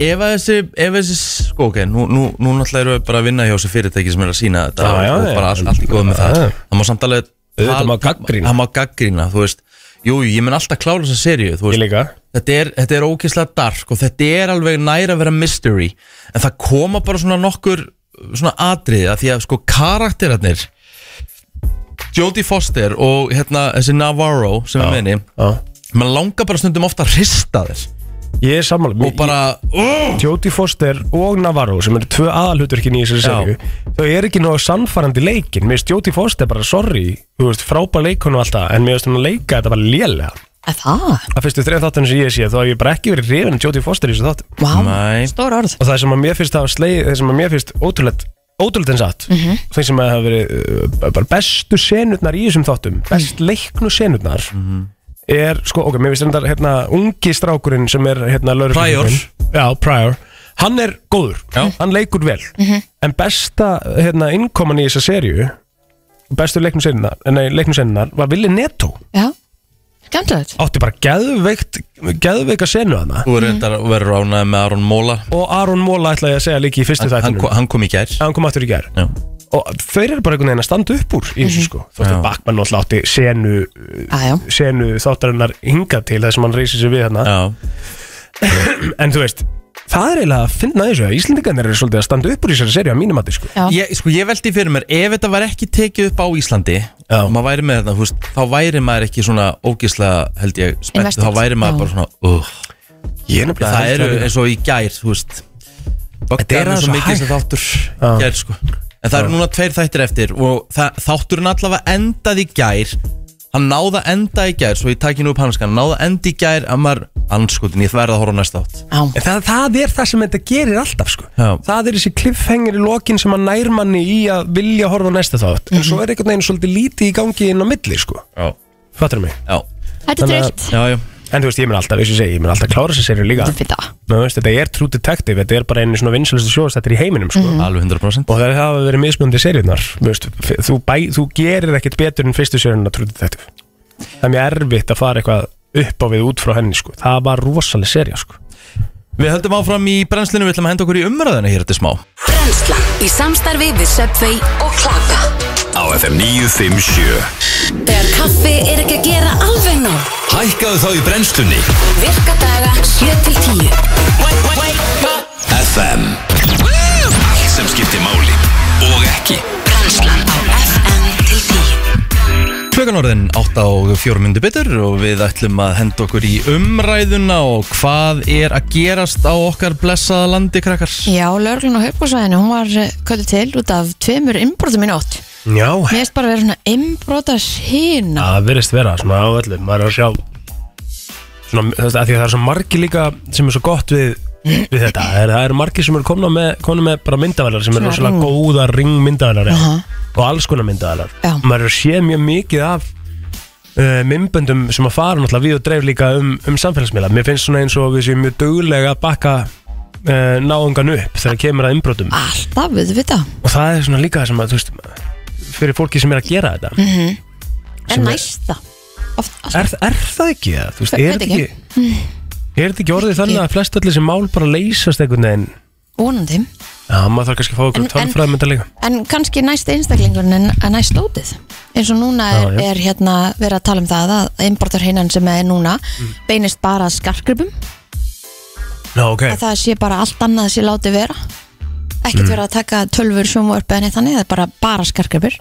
Ef að þessi, ef þessi, sko ok, nú, nú, nú náttúrulega erum við bara að vinna hjá þessu fyrirtæki sem er að sína þetta
Já, já,
og
já.
bara allt, allt í góð með það.
Já.
Það má samt alveg,
Auðvitað
tal-
má gagnrýna.
Það má gaggrína, þú veist, jú, jú, ég mun alltaf klála þessa seríu, þú veist,
Ég líka
þetta er, þetta er ókýrslega dark og þetta er alveg nær að vera mystery en það koma bara svona nokkur svona atriða því að sko karakterarnir Jodie Foster og hérna þessi Navarro sem við meðni
Já.
mann langar bara stundum ofta að hrista þér
Ég er sammála
og bara oh!
Jóti Foster og Navarro sem eru tvö aðalhuturkin í þessari
Já.
seríu þau eru ekki náðu sannfarandi leikin mér finnst Jóti Foster bara sorry þú veist frábær leikon og alltaf en mér finnst hún að leika þetta bara lélega
Er það?
að fyrstu þrejum þáttunum sem ég sé þá hef ég bara ekki verið reyðin Jóti Foster í þessu þáttum
Vá,
Nei.
stór orð
og það sem að mér finnst hafa sleið það sem að mér finnst ótrúlegt ótrúlegt en satt það sem að hafa verið uh, bara bestu senurnar í þessum þáttum best leiknu senurnar
Mhm.
er sko ok, mér finnst þetta hérna ungi strákurinn sem er hérna lögreglustjórinn. já, Prior hann er góður,
Já.
hann leikur vel en besta hérna innkoman í þessa serju bestu leiknu senurnar, nei, leiknu senurnar var Willi Neto,
Já, skemmtilegt
átti bara geðveikt geðveika senu að
þú verður reyndar
Mhm.
að vera ránaði með Aron Móla
og Aron Móla ætla ég að segja líka í fyrstu
hann,
þættinum
hann, kom- hann kom í gær
hann kom aftur í gær
Já.
og þeir eru bara einhvern veginn að standa upp úr í
Mhm.
þessu sko, þú veist að Bakman náttúrulega átti senu,
Aðjá,
senu þáttarinnar hingað til þess að hann reysir sig við hérna
Já,
en þú veist, það er eiginlega að finna þessu að Íslandingarnir eru svolítið að standa upp úr í þessari serið að mínum að sko
já,
ég, sko, ég veldi fyrir mér ef þetta var ekki tekið upp á Íslandi
Já.
og maður væri með þetta, þú veist, þá væri maður ekki svona ógislega, held ég, spennt
Invested.
þá væri
Já.
maður bara svona, uh,
ég er nefnilega
það
held
eru
að-
eins og í gær, þú veist
Þetta er
Böggar er
aðeins
svo
svo
mikið
hægt.
sem þáttur
Já.
gær, sko. en það eru núna tveir þættir eftir og það, þátturinn allavega endaði í gær hann náða enda í gær, svo ég taki nú upp hanskan náða enda í gær að maður anskutin, ég verða að horfa á næsta átt
já
En Það, það er það sem þetta gerir alltaf sko.
Já.
Það er þessi kliffhengir í lokin sem að nær manni í að vilja horfa á næsta þátt En
Mhm.
svo er einhvern veginn svolítið lítið í gangi inn á milli sko.
Já,
Fattur mig
já,
Þetta er
Þannig að-
trillt
já, já.
En þú veist, ég mun alltaf, eins og ég segi, ég mun alltaf klára þessa serið líka
Þetta er fyrir það
Nú, veist, Þetta er True Detective, þetta er bara einu svona vinsælustu sjóðastættir í heiminum sko.
Mm. alveg 100%
Og það hafa verið mismunandi seriðnar þú, bæ- þú gerir ekkert betur en fyrstu seriðna True Detective Það er mjög erfitt að fara eitthvað upp á við út frá henni sko. Það var rosaleg serið sko.
Við höldum áfram í brennslinu, við ætlum að henda okkur í umræðina hér eftir smá
Brennslan í samstarfi við Subway og Klaka
Á FM 957
Þegar kaffi er ekki að gera alveg nóg
Hækkaðu þá í brennslunni
Virka daga 7 til 10
FM Allt sem skiptir máli Og ekki
Brennslan á FM til 10
Klukkan orðin 8 og 4 myndu betur og við ætlum að henda okkur í umræðuna og hvað er að gerast á okkar blessaða landi krakkar
Já, lögreglun á höfbúsvæðinu, hún var köllu til út af tveimur innbrotum í nótt
Já,
Mér erst bara að vera svona innbrota sína
Það verðist vera svona á öllu maður er að sjá svona, þú veist, að því að það er svo margi líka sem er svo gott við, við þetta það er, það er margi sem eru komna með, komna með bara myndavælar sem eru
Svona
rosalega
ring.
góða ring myndavælar já,
Aha.
og alls konar myndavælar
Já.
maður er að sé mjög mikið af uh, mymböndum sem að fara náttúrulega við og dreif líka um, um samfélagsmiðla mér finnst svona eins og við séum mjög duglega að bakka uh, náungan upp þegar kemur að umbrotum
Ah. Alltaf, við við það
og það er svona líka það sem að þú veist, fyrir fólki sem er að gera þetta
En
Sem er-
næsta Oft, oft,
er, er það ekki það? Þú veist,
Ve-
er
veit
þetta ekki Er þetta ekki orðið
Veit ekki.
þannig að flest allir sem mál bara leysast einhvern veginn
vonandi
Já, maður þarf kannski að fá okkur
En- en-
tölfræðmynda líka
En kannski næst einstaklingurinn en að næst lótið eins og núna er,
Já, já.
er hérna verið að tala um það að innbrotur hinnan sem er núna
Mm.
beinist bara að skarkripum
Já, ok
að það sé bara allt annað sé látið vera ekkert
Mm.
verið að taka tölfur sjómvörp eða neitt þannig, það er bara, bara skarkripur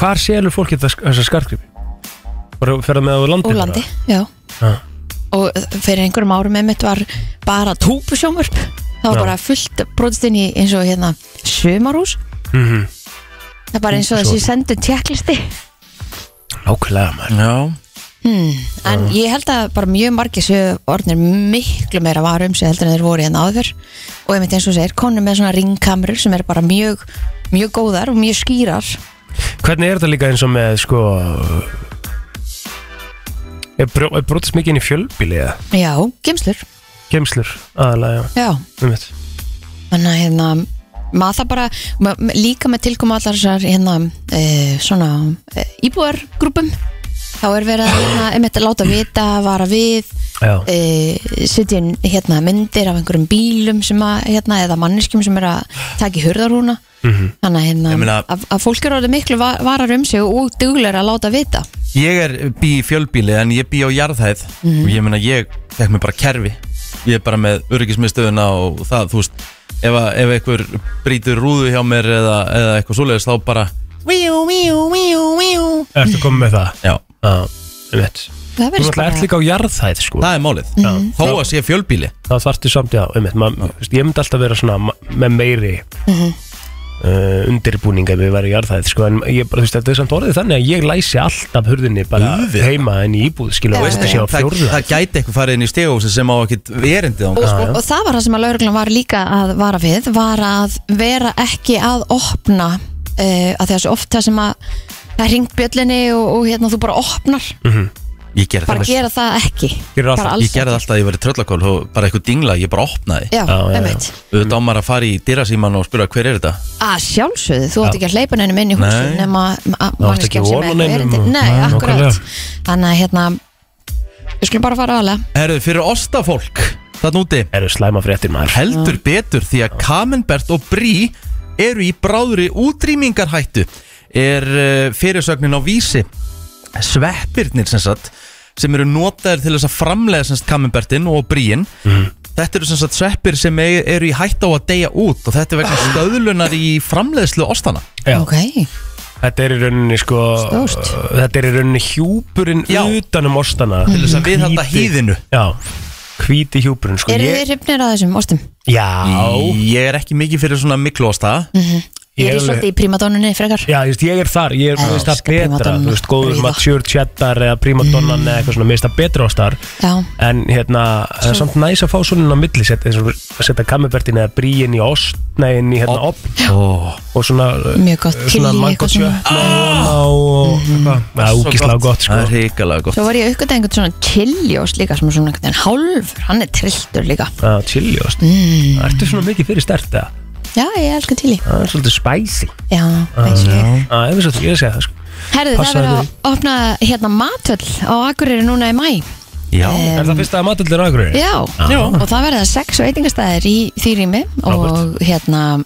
Hvar selur fólk þetta þessar skartgripi? Bara ferða með á landi?
úr landi, já
Já.
og eh, fyrir einhverjum árum einmitt var bara túpusjómvörp það var
Já.
bara fullt brotist inn í eins og hérna sömarhús
Mhm.
það er bara eins og þessi sendu tjekklisti
Nákvæmlega maður
Já,
en ég held að bara mjög margir séu orðnir miklu meira varum sem heldur en þeir voru hérna áður og einmitt eins og segir konum með svona ringkamrur sem er bara mjög mjög góðar og mjög skýrar
Hvernig er þetta líka eins og með sko Er, brjó, er brotist mikið inn í fjölbíli eða?
já, gemslur,
Gemslur, aðalega,
já
já, um veit
þannig að hérna maður það bara, ma- ma- líka með tilkomu allar þessar hérna e, svona e, íbúargrúpum þá er verið að hérna, einmitt að láta vita vara við
Já,
e, setja inn, hérna myndir af einhverjum bílum sem að, hérna, eða manneskjum sem er að taka í hurðarhúna
Mhm.
þannig að, hérna,
Ég meina-
að, að fólk eru orðið miklu va- varar um sig og duglega að láta vita
ég er bí í fjölbíli en ég bí á jarðhæð og ég meina ég fekk mér bara kerfi ég er bara með öryggismiðstöðuna og það, þú veist ef, að- ef einhver brýtur rúðu hjá mér eða, eða eitthvað svoleiðis þá bara
ertu komið með það?
já,
Já, um veit
það
Þú
verður
náttúrulega ert líka á jarðhæð sko
það er málið þó að sé fjölbíli
þá þarftu samt, já, einmitt maður, þú veist, ég myndi alltaf vera svona ma- með meiri
Mhm.
uh, undirbúning ef ég væri í jarðhæð, sko, en ég bara, þú veist, þetta er samt orðið þannig að ég læsi alltaf hurðinni bara
Auðvitað.
heima en í íbúð, skilu,
Já,
og veist
já,
að sé á
það,
fjórðu
það gæti eitthvað farið inn í stegósi sem á ekkit verindi þá
og, og, og það var það sem að lauruglan var líka að vara við var að vera ekki að opna uh, að þessu oft það sem að það er hringt bjöllinni og, og hérna þú bara opnar
Mhm.
ég gerði það
bara
veist.
gera það ekki
Gerir
bara
alltaf-
alls
ég gerði það alltaf að ég verið tröllakól og bara eitthvað dingla, ég bara opnaði
Já,
Já, já, já.
einmitt.
auðvitað á maður að fara í dyrasíman og spyrja hver er þetta
að sjálfsögðu, þú átt ekki að hleypa neinum inn í húsin
Nei.
nema
átt ekki
manneskjan sem
von á
er
neinum
erindi
og-
Nei,
Nei, nákvæmlega.
akkurat Þannig að hérna við skulum bara fara aðlega
Herðu, fyrir ostafólk, þann úti
eru slæma fréttir maður
heldur betur því að Kamenbert og Brí eru í bráðri útrýmingarhættu er eh, fyrirsögnin á vísi sveppirnir sem sagt sem eru notaðir til þess að framlega sem sagt kamembertin og bríin
Mhm.
þetta eru sem sagt sveppir sem e- eru í hætt á að deyja út og þetta er vegna stöðlunar í framleiðslu ostana
Já. Sko,
Ok,
Þetta er í rauninni sko
Stórt.
Þetta er í rauninni hjúpurinn
Já.
utanum ostana Til
þess að viðhalda hýðinu.
Já, hvíti hjúpurinn sko
eru
Ég-
þið hrifnir að þessum ostum?
Já,
ég er ekki mikið fyrir svona miklu osta
Mhm.
Ég er
alveg-
svolítið í primadónunni frekar
Já, ég veist, ég er þar, ég er, mér finnst það
Elska
betra
primadonna.
Þú veist, góður
Ríða.
mature cheddar eða primadonnan eða eitthvað svona, mér finnst það betra ástar
Já.
En hérna, það er samt næs að fá svona á milli, setja, eins og að setja kammerbertin eða bríin í ost, nei, inn í hérna opn
oh.
og svona eh,
Mjög gott,
svona
chili,
mango
eitthvað svona.
tjötna
Ah!
og eitthvað það er úkislega gott sko
það er hikalega gott
Svo var ég að uppgöta einhvern svona chiljós líka sem er svona einhvern veginn hálfur, hann er trilltur líka
að chili ost
Mm.
það ertu svona mikið fyrir stert eða?
Já, ég elska chili
það er svolítið spicy
Já, eins og ég
að ef þess að ég segja það sko
Herðu, það
Ah, Passaðu
verður að
þig.
opna hérna matöll á Akureyri núna í mæ
Já.
er það fyrsta að matöldur á Akureyri?
Já, og það verða sex veitingastæðir í því rými og hérna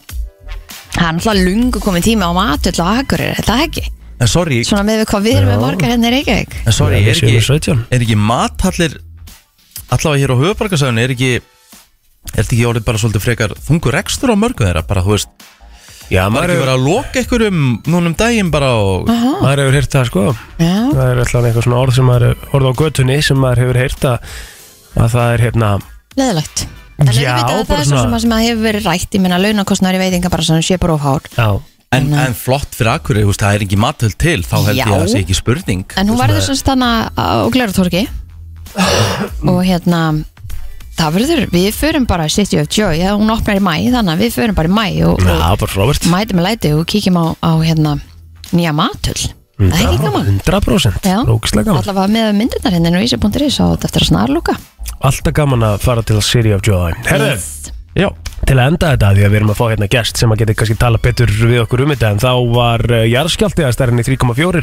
það er náttúrulega lungu komið tími á matöll á Akureyri, er það ekki?
en sorry,
Svona með við hvað við erum með morgar hérna í Reykjavík
en sorry
Já,
er,
við séum
ekki,
17.
er ekki mathallir allavega hér á höfubarkasöðun er ekki er þetta ekki orðið bara svolítið frekar þungur rekstur á mörgu þeirra bara þú veist
já,
var
maður
ekki
hefur
verið að loka ykkur um núnum daginn bara og
maður hefur heyrt það sko
Já,
það er alltaf eitthvað svona orð sem maður orð á götunni sem maður hefur heyrt að að það er hérna
leðilegt En
Já,
auðvitað að það
bara
er svo
svona-
sem að- sem að hefur verið rætt, ég menna launakostnar í veitinga bara svona sé bara of hár
já
en, en flott fyrir akkur veist, það er ekki mathöld til þá held ég
Já.
að það sé ekki spurning
En hún verður sem sagt hana á
*clears throat*
Glerutorki og hérna það verður, við förum bara City of Joy, ja, hún opnar í mæ þannig að við förum bara í mæ og,
já, bara Robert
og mætum í læti og kíkjum á, á hérna nýja matöll það er ekki gaman
100%
Já.
Ógeðslega gaman
allavega með myndirnar hérna á ísi.is á þetta eftir að snarluka
Alltaf gaman að fara til City of Joy Herðu
já,
Til að enda þetta því að við erum að fá hérna gest sem að geti kannski tala betur við okkur um þetta en þá var uh, jarðskjálti að stærðinni 3,4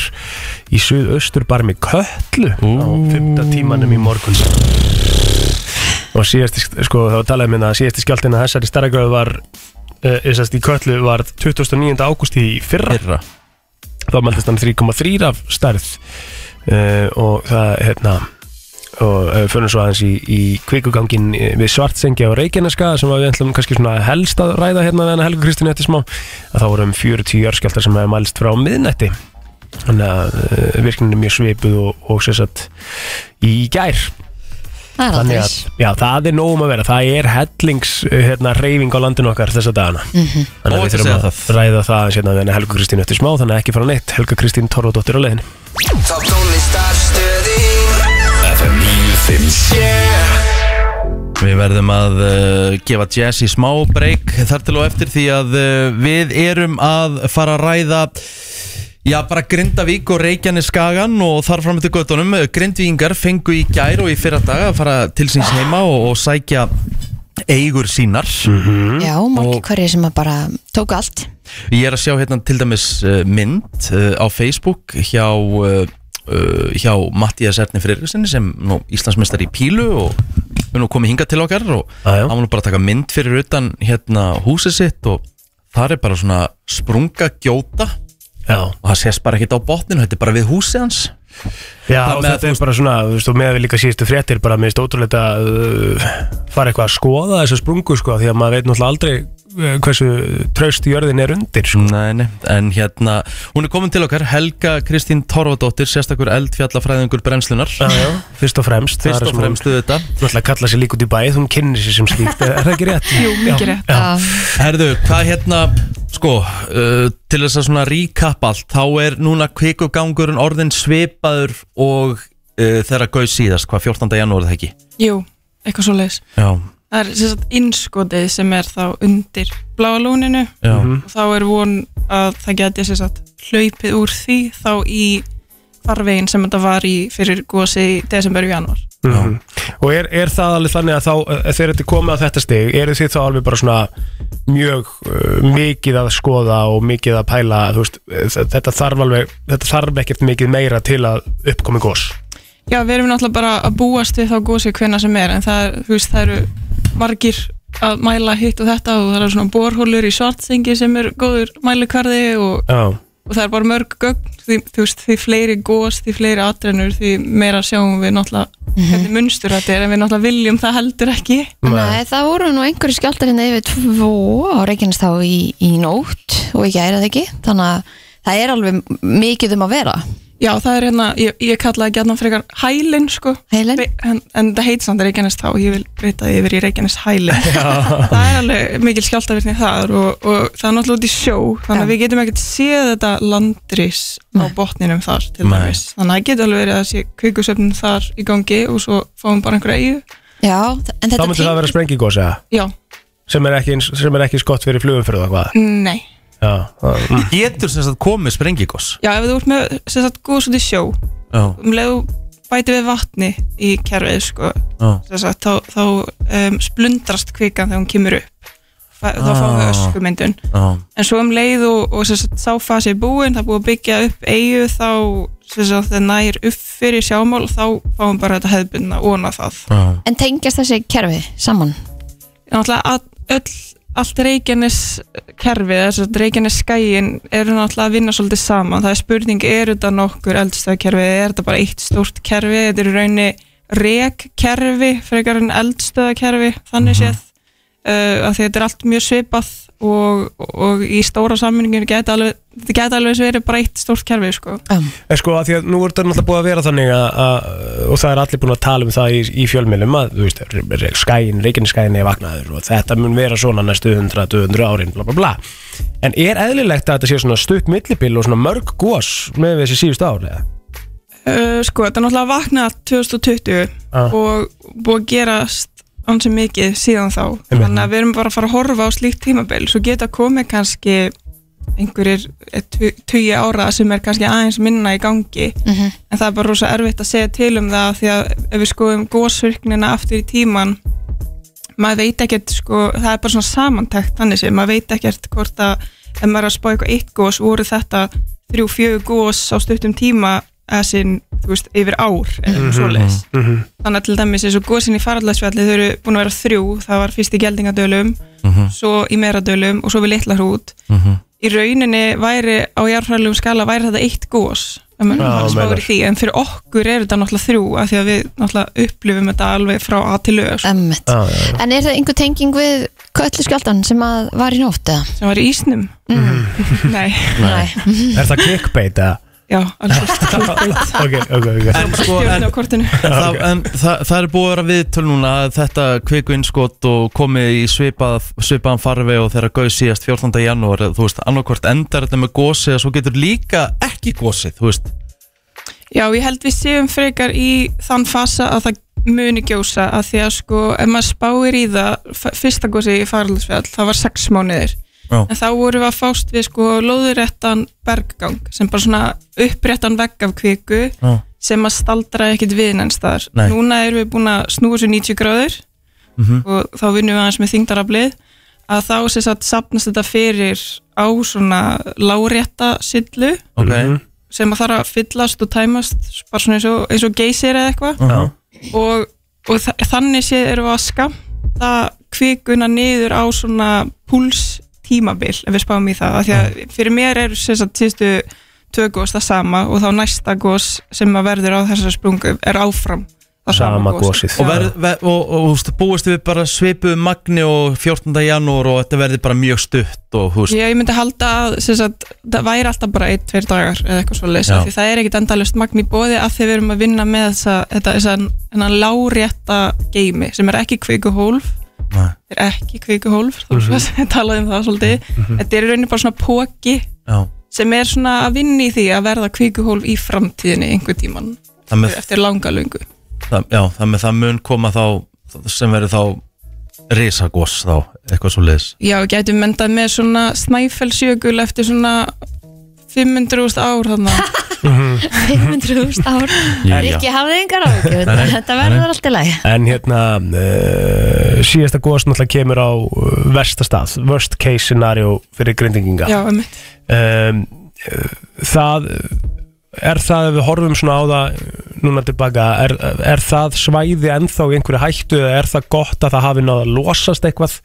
í suðaustur bara með köllu á fymta tímanum í morgun og síðasti, sko þá talaði minna að síðasti skjáltin að þessari stærðagröð var uh, sest, í köllu var 29. ágúst í fyrra
fyrra
þá meldist hann 3,3 af stærð uh, og það hérna og uh, fyrir svo aðeins í, í kvikugangin eh, við Svartsengja og Reykjaneska sem að við ætlum kannski svona helst að ræða hérna við hann Helgu Kristínu eftir smá að þá voru um 40 jörskjaldar sem hefði mælst frá miðnætti þannig að uh, virknin er mjög svipuð og, og sérsagt í gær
það er
Þannig
aldrei
að, já, það er nóg um að vera Það er hellings uh, hérna, reyfing á landinu okkar þessa dagana
Mhm.
Þannig að
Óhætt
við
að
þurfum að
segja
ræða það hérna, við Helga Kristín eftir smá, þannig að ekki fara neitt Helga Kristín Torfadóttir á leiðin
Top tónlistarstöðin FM 957
Við verðum að uh, gefa Jazzy smá break þar til og eftir því að uh, við erum að fara að ræða Já, bara Grindavík og Reykjanes Skagan og þar fram eftir göttunum Grindvíingar fengu í gær og í fyrra dag að fara til síns heima og, og sækja eigur sínar
Mm.
að já, margir hverjir sem að bara tók allt
Ég er að sjá hérna til dæmis uh, mynd uh, á Facebook hjá uh, uh, hjá Mattias Erni Freyriksinni sem nú Íslandsmeistar í Pílu og við nú komið hingað til okkar og
Já, já.
hann var nú bara að taka mynd fyrir utan hérna húsið sitt og þar er bara svona sprunga gjóta
Já,
og það sést bara ekkert á botninu, þetta er bara við húsið hans
já
Það
og
með að
þetta er bara svona þú veist, og með að við líka síðustu fréttir bara með stótrúleita uh, fara eitthvað að skoða þessa sprungu sko, því að maður veit náttúrulega aldrei uh, hversu traust jörðin er undir sko.
Nei, nei, en hérna hún er komin til okkar, Helga Kristín Torfadóttir sérstakur eldfjallafræðingur brennslunar
já, já, Fyrst og fremst það er
fyrst og
sem hún-
fremstu þetta
Þú ætla að kalla sér lík út í bæð, hún kynir sér sem slíkt, er það ekki rétt? *laughs* Jú, mikið rétt. Já,
að
Herðu, hvað hérna sko, uh, til þess að svona recap allt, þá er núna kvikugangurinn orðin svipaður og uh, þeirra gauð síðast, hvað 14. janúar er það ekki?
Jú, eitthvað svo leiðis.
Já,
Það er sem sagt innskotið sem er þá undir bláa lóninu
já,
og þá er von að það geti sem sagt hlaupið úr því þá í farvegin sem þetta var í fyrir gósi í desember og januar.
Mhm. Og er, er það alveg þannig að þá að þegar þetta er komið að þetta stig eru þið þá alveg bara svona mjög uh, mikið að skoða og mikið að pæla þú veist, eh, þetta þarf alveg þetta þarf ekkert mikið meira til að uppkomi gós
Já, við erum náttúrulega bara að búast við þá gósi hvena sem er en það, er, þú veist, það eru margir að mæla hitt og þetta og það eru svona borhólur í svartsengi sem er góður mælikvarði og,
Já,
og það er bara mörg gögn því, þú veist, því fleiri gós, því fleiri atrennur því meira sjáum við náttúrulega
Mhm.
hvernig munstur þetta er en við náttúrulega viljum það heldur ekki
Nei, það voru nú einhverju skjáltar hérna yfir tvo á Reykjanes þá í, í nótt og ekki ærað ekki þannig að það er alveg mikið um að vera
Já, það er hérna, ég, ég kallaði gætna frekar hælinn sko
Hælinn?
Ve- En, en það heit samt Reykjanes þá, ég vil breyta því yfir í Reykjanes hælinn Það er alveg mikil skjáltavirni þar og, og það er náttúrulega út í sjó Þannig að
Já.
við getum ekkert séð þetta landris á botninum þar til dæmis Þannig að það getur alveg verið að sé kvikusöfnum þar í gangi og svo fáum bara einhverja eigu
Já, en
þá
þetta
myndi það
tengist-
vera sprengigós eða
Já,
sem er ekki, eins- sem er ekki skott fyrir flugum fyrir það hvað
nei
Já, það- mm.
Getur sem sagt komið sprengigos
Já, ef þú ert með sem sagt góðs út í sjó
Já.
um leiðu bæti við vatni í kerfið sko
Já.
Sem sagt, þá, þá um, splundrast kvikan þegar hún kemur upp Fæ, þá
Ah.
fáum við öskumyndun
Já.
en svo um leið og, og sem sagt, sá fasi er búin það er búið að byggja upp eigu þá sem sagt, það nær upp fyrir sjámál þá fáum við bara þetta hefðbundna óna það
En tengjast þessi kerfi saman
en náttúrulega að, öll allt reykjanes kerfið þess að reykjanes skæin eru náttúrulega að vinna svolítið saman, það er spurning er þetta nokkur eldstöðkerfi, er þetta bara eitt stórt kerfi, þetta er í raunni rekkerfi frekar en eldstöðkerfi, þannig séð uh, að því þetta er allt mjög svipað og, og í stóra sammenningin geta alveg, þetta geta alveg eins verið bara eitt stórt kerfi, sko.
En sko að því að nú er þetta náttúrulega búið að vera þannig að, að og það er allir búin að tala um það í, í fjölmiðlum að, þú veist, re- re- skæin, reikinskæin er vaknaður og þetta mun vera svona næstu 100-200 árin, bla bla bla En er eðlilegt að þetta sé svona stutt millibil og svona mörg gos með þessi síðust árlega?
Uh, sko, þetta er náttúrulega vaknað 2020
Ah.
og búið að gerast ansi mikið síðan þá
Einmitt.
þannig að við erum bara að fara að horfa á slíkt tímabil svo geta komið kannski einhverjir eh, tu- tugi ára sem er kannski aðeins minna í gangi
Mhm.
en það er bara rosa erfitt að segja til um það því að ef við skoðum gósvirknina aftur í tíman maður veit ekkert sko, það er bara svona samantækt þannig sem maður veit ekkert hvort að ef maður er að spá eitthvað eitt gós voru þetta þrjú, fjögur gós á stuttum tíma eða sinn, þú veist, yfir ár eða
Mhm.
mm svoleiðis þannig að til dæmis eins og gósin í faraldagsfjalli þau eru búin að vera þrjú, það var fyrst í geldingadölum
Mhm.
svo í meradölum og svo við litla hrút
mhm.
í rauninni væri á jarðfræðilegum skala væri þetta eitt gós ef maður-
Já,
maður spáir í
meinar.
því, en fyrir okkur er þetta náttúrulega þrjú af því að við náttúrulega upplifum þetta alveg frá að til lög sko,
Ömmit
Já, já, já.
En er það einhver tenging við köllu skjáltan sem að var í nótt eða?
sem var í ísnum
Mm.
*laughs* nei,
Nei.
Er það clickbait eða?
já, alveg
ok, ok, ok
En sko, en,
stjórn á kortinu
en, það, en það, það er búið að vera viðtöl núna að þetta kvikuinskot og komið í svipað, svipaðan farfi og þeirra gauð síðast 14. janúar þú veist, annarkvort endar þetta með gósið og svo getur líka ekki gósið, þú veist
Já, ég held við séum frekar í þann fasa að það muni gjósa að því að sko, ef maður spáir í það f- fyrsta gósi í faraldsfjall, það var sex mánuðir,
Já.
en þá vorum við að fást við sko lóðuréttan berggang sem bara svona uppréttan vegg af kviku
Já.
sem að staldra ekkit við neins þar.
Nei.
Núna erum við búin að snúa þessu 90 gráður og þá vinnum við aðeins með þingdaraflið að þá sem sagt sapnast þetta fyrir á svona lárétta sillu
ok,
sem að þarf að fyllast og tæmast bara svona eins og, eins og geysir eða eitthvað
Já.
og, og þa þannig séð erum við að skamta kvikuna niður á svona púls tímabil ef við spáum í það af því að fyrir mér er sem sagt síðustu tvö gos það sama og þá næsta gos sem að verður á þessar sprungu er áfram það
Sama
gos.
gosið.
og,
Já.
ver, ver, og, og, og þú veist, búist við bara svipuð magni og 14. janúar og þetta verði bara mjög stutt og þú veist
Já, ég myndi halda að sem sagt, það væri alltaf bara einn, tveir dagar eða eitthvað svo
Já.
því það er ekkit endalust magn í bóði af því við erum að vinna með þessa, þetta, þessa hennan lárétta geimi sem er ekki kvikuhólf
Nei.
er ekki kvikuhólf þú veist *laughs* -hmm. talaði um það svolítið þetta er í rauninni bara svona póki
Já.
sem er svona að vinna í því að verða kvikuhólf í framtíðinni einhver tíman
það með,
eftir langa lungu
það, já, það með það mun koma þá sem verður þá risagós þá, eitthvað svo liðs
Já, gætum myndað með svona snæfellsjökul eftir svona 500.000 ár þannig
500.000 ár Rikki hafði engar áhugjur Þetta verður allt í lagi
En hérna, uh, síðasta gos náttúrulega kemur á eh, versta stað Worst case scenario fyrir eh, grindinginga
Já, um
eh, um, það er það ef við horfum svona á það núna tilbaka er, er það svæði ennþá í einhverju hættu eða er það gott að það hafi náða að losast eitthvað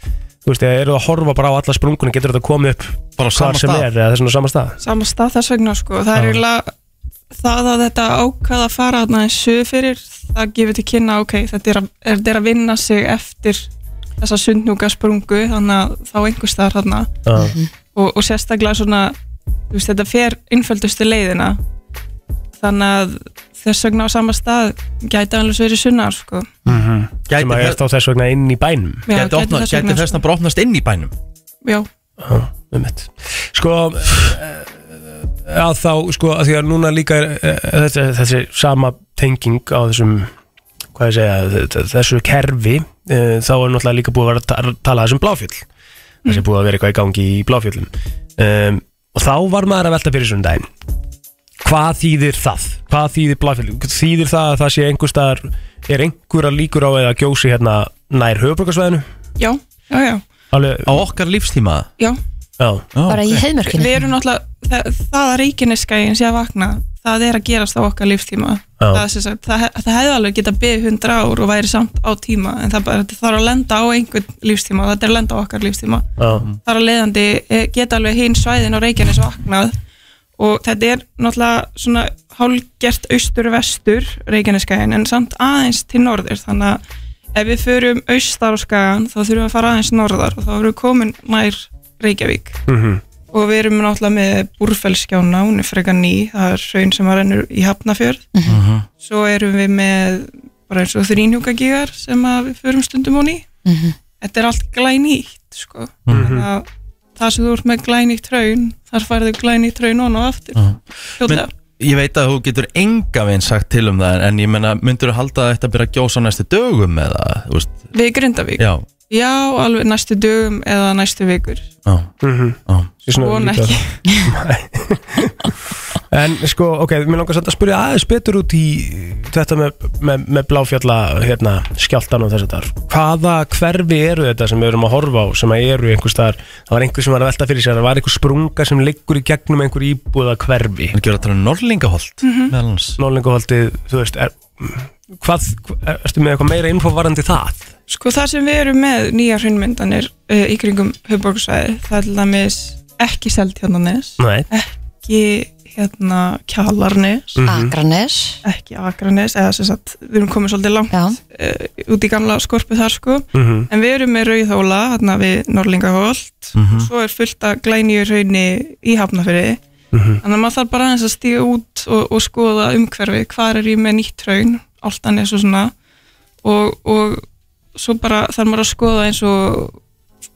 þú veist, eða eru það að horfa bara á alla sprungunni getur þetta komið upp
Bara á sama
hvar sem
stað.
er eða þessum á sama stað
sama stað þess vegna sko. það er eiginlega það að þetta ákvað að fara þarna í sögur fyrir það gefur til kynna ok, þetta er að, er, þetta er að vinna sig eftir þessa sundnúka sprungu þannig að þá einhvers staðar þarna
Já.
og, og sérstaklega svona þú veist, þetta fer innföldustu leiðina þannig að þess vegna á sama stað gæti alveg verið sunnar sko.
sem
Gæti
að er þá þess vegna inn í bænum
Já,
Gæti, opna,
þess
gæti
vegna,
þessna bara opnast inn í bænum
sko. já,
um mitt sko eh, að þá sko að því að núna líka er, eh, þessi, þessi sama tenging á þessum hvað ég segja, þ- þessu kerfi eh, þá er náttúrulega líka búið að vera að ta- tala þessum bláfjöll það sem búið að vera eitthvað í gangi í bláfjöllum um, og þá var maður að velta fyrir svona daginn hvað þýðir það? Hvað þýðir bláfjöll? Þýðir það að það sé einhver staðar er einhverja líkur á eða gjósi hérna nær höfuborgarsvæðinu?
já, já, já,
Alveg,
Á okkar lífstíma
já.
já,
bara í heiðmörkinu
við erum náttúrulega það, það að reikinniskæin sé að vakna það er að gerast á okkar lífstíma
Já.
það, er sem sagt, það, það hefði alveg getað beðið hundra ár og væri samt á tíma en það bara, þetta þarf að lenda á einhvern lífstíma og þetta er að lenda á okkar lífstíma
já,
þar að leiðandi eh, geta alveg hinn svæðin á reikinnis vaknað og þetta er náttúrulega svona hálgert austur-vestur reikinniskæin en samt aðeins til norður þannig að ef við förum austar á skæan þá þurfum við að fara aðeins norðar og þá erum við komin nær Reykjavík
mhm,
og við erum náttúrulega með Búrfellskjána, hún er frekar ný það er hraun sem að rennur í Hafnafjörð
Mhm.
svo erum við með bara eins og þrínhjúkagígar sem að við förum stundum á ný
Mhm.
þetta er allt glænýtt sko. þannig að það sem þú ert með glænýtt hraun þar færðu glænýtt hraun on og aftur fljótlega,
Ég veit að þú getur enga veginn sagt til um það En ég menna, myndur þú halda að þetta byrja að gjósa á næstu dögum eða, þú veist,
við Grindavík já.
já,
alveg næstu dögum eða næstu vikur
já,
mhm
já
Svona ekki.
En sko, ok, mér langar samt að spyrja aðeins betur út í þetta með, með, með bláfjalla hérna, skjáltan og þess að þar Hvaða hverfi eru þetta sem við erum að horfa á sem að eru einhvers staðar Það var einhver sem var að velta fyrir sér, það var einhver sprunga sem liggur í gegnum einhver íbúða hverfi
En gjör að tala um Norlingaholt
Mhm.
meðal hans
Nólinguholdið, þú veist, er, hvað, er, erstu með eitthvað meira info varandi það?
Sko það sem við erum með nýja hrunmyndanir uh, í kringum höfborgsvæði, það er til dæmis ekki hérna Seltjarnanes,
Nei,
ekki hérna Kjalarnes,
Mhm.
Akranes
ekki Akranes, eða sem sagt við erum komið svolítið langt
já,
uh, út í gamla skorpu þar sko,
mhm,
en við erum með Rauðhóla, hérna við Norlingaholt, mm
Mhm.
svo er fullt af glænýjur hraunni í Hafnafyrði,
mhm,
þannig að maður þarf bara aðeins að stíga út og, og skoða umhverfi, hvað er ég með nýtt hraun, áltanis og svona, og, og svo bara þarf maður að skoða eins og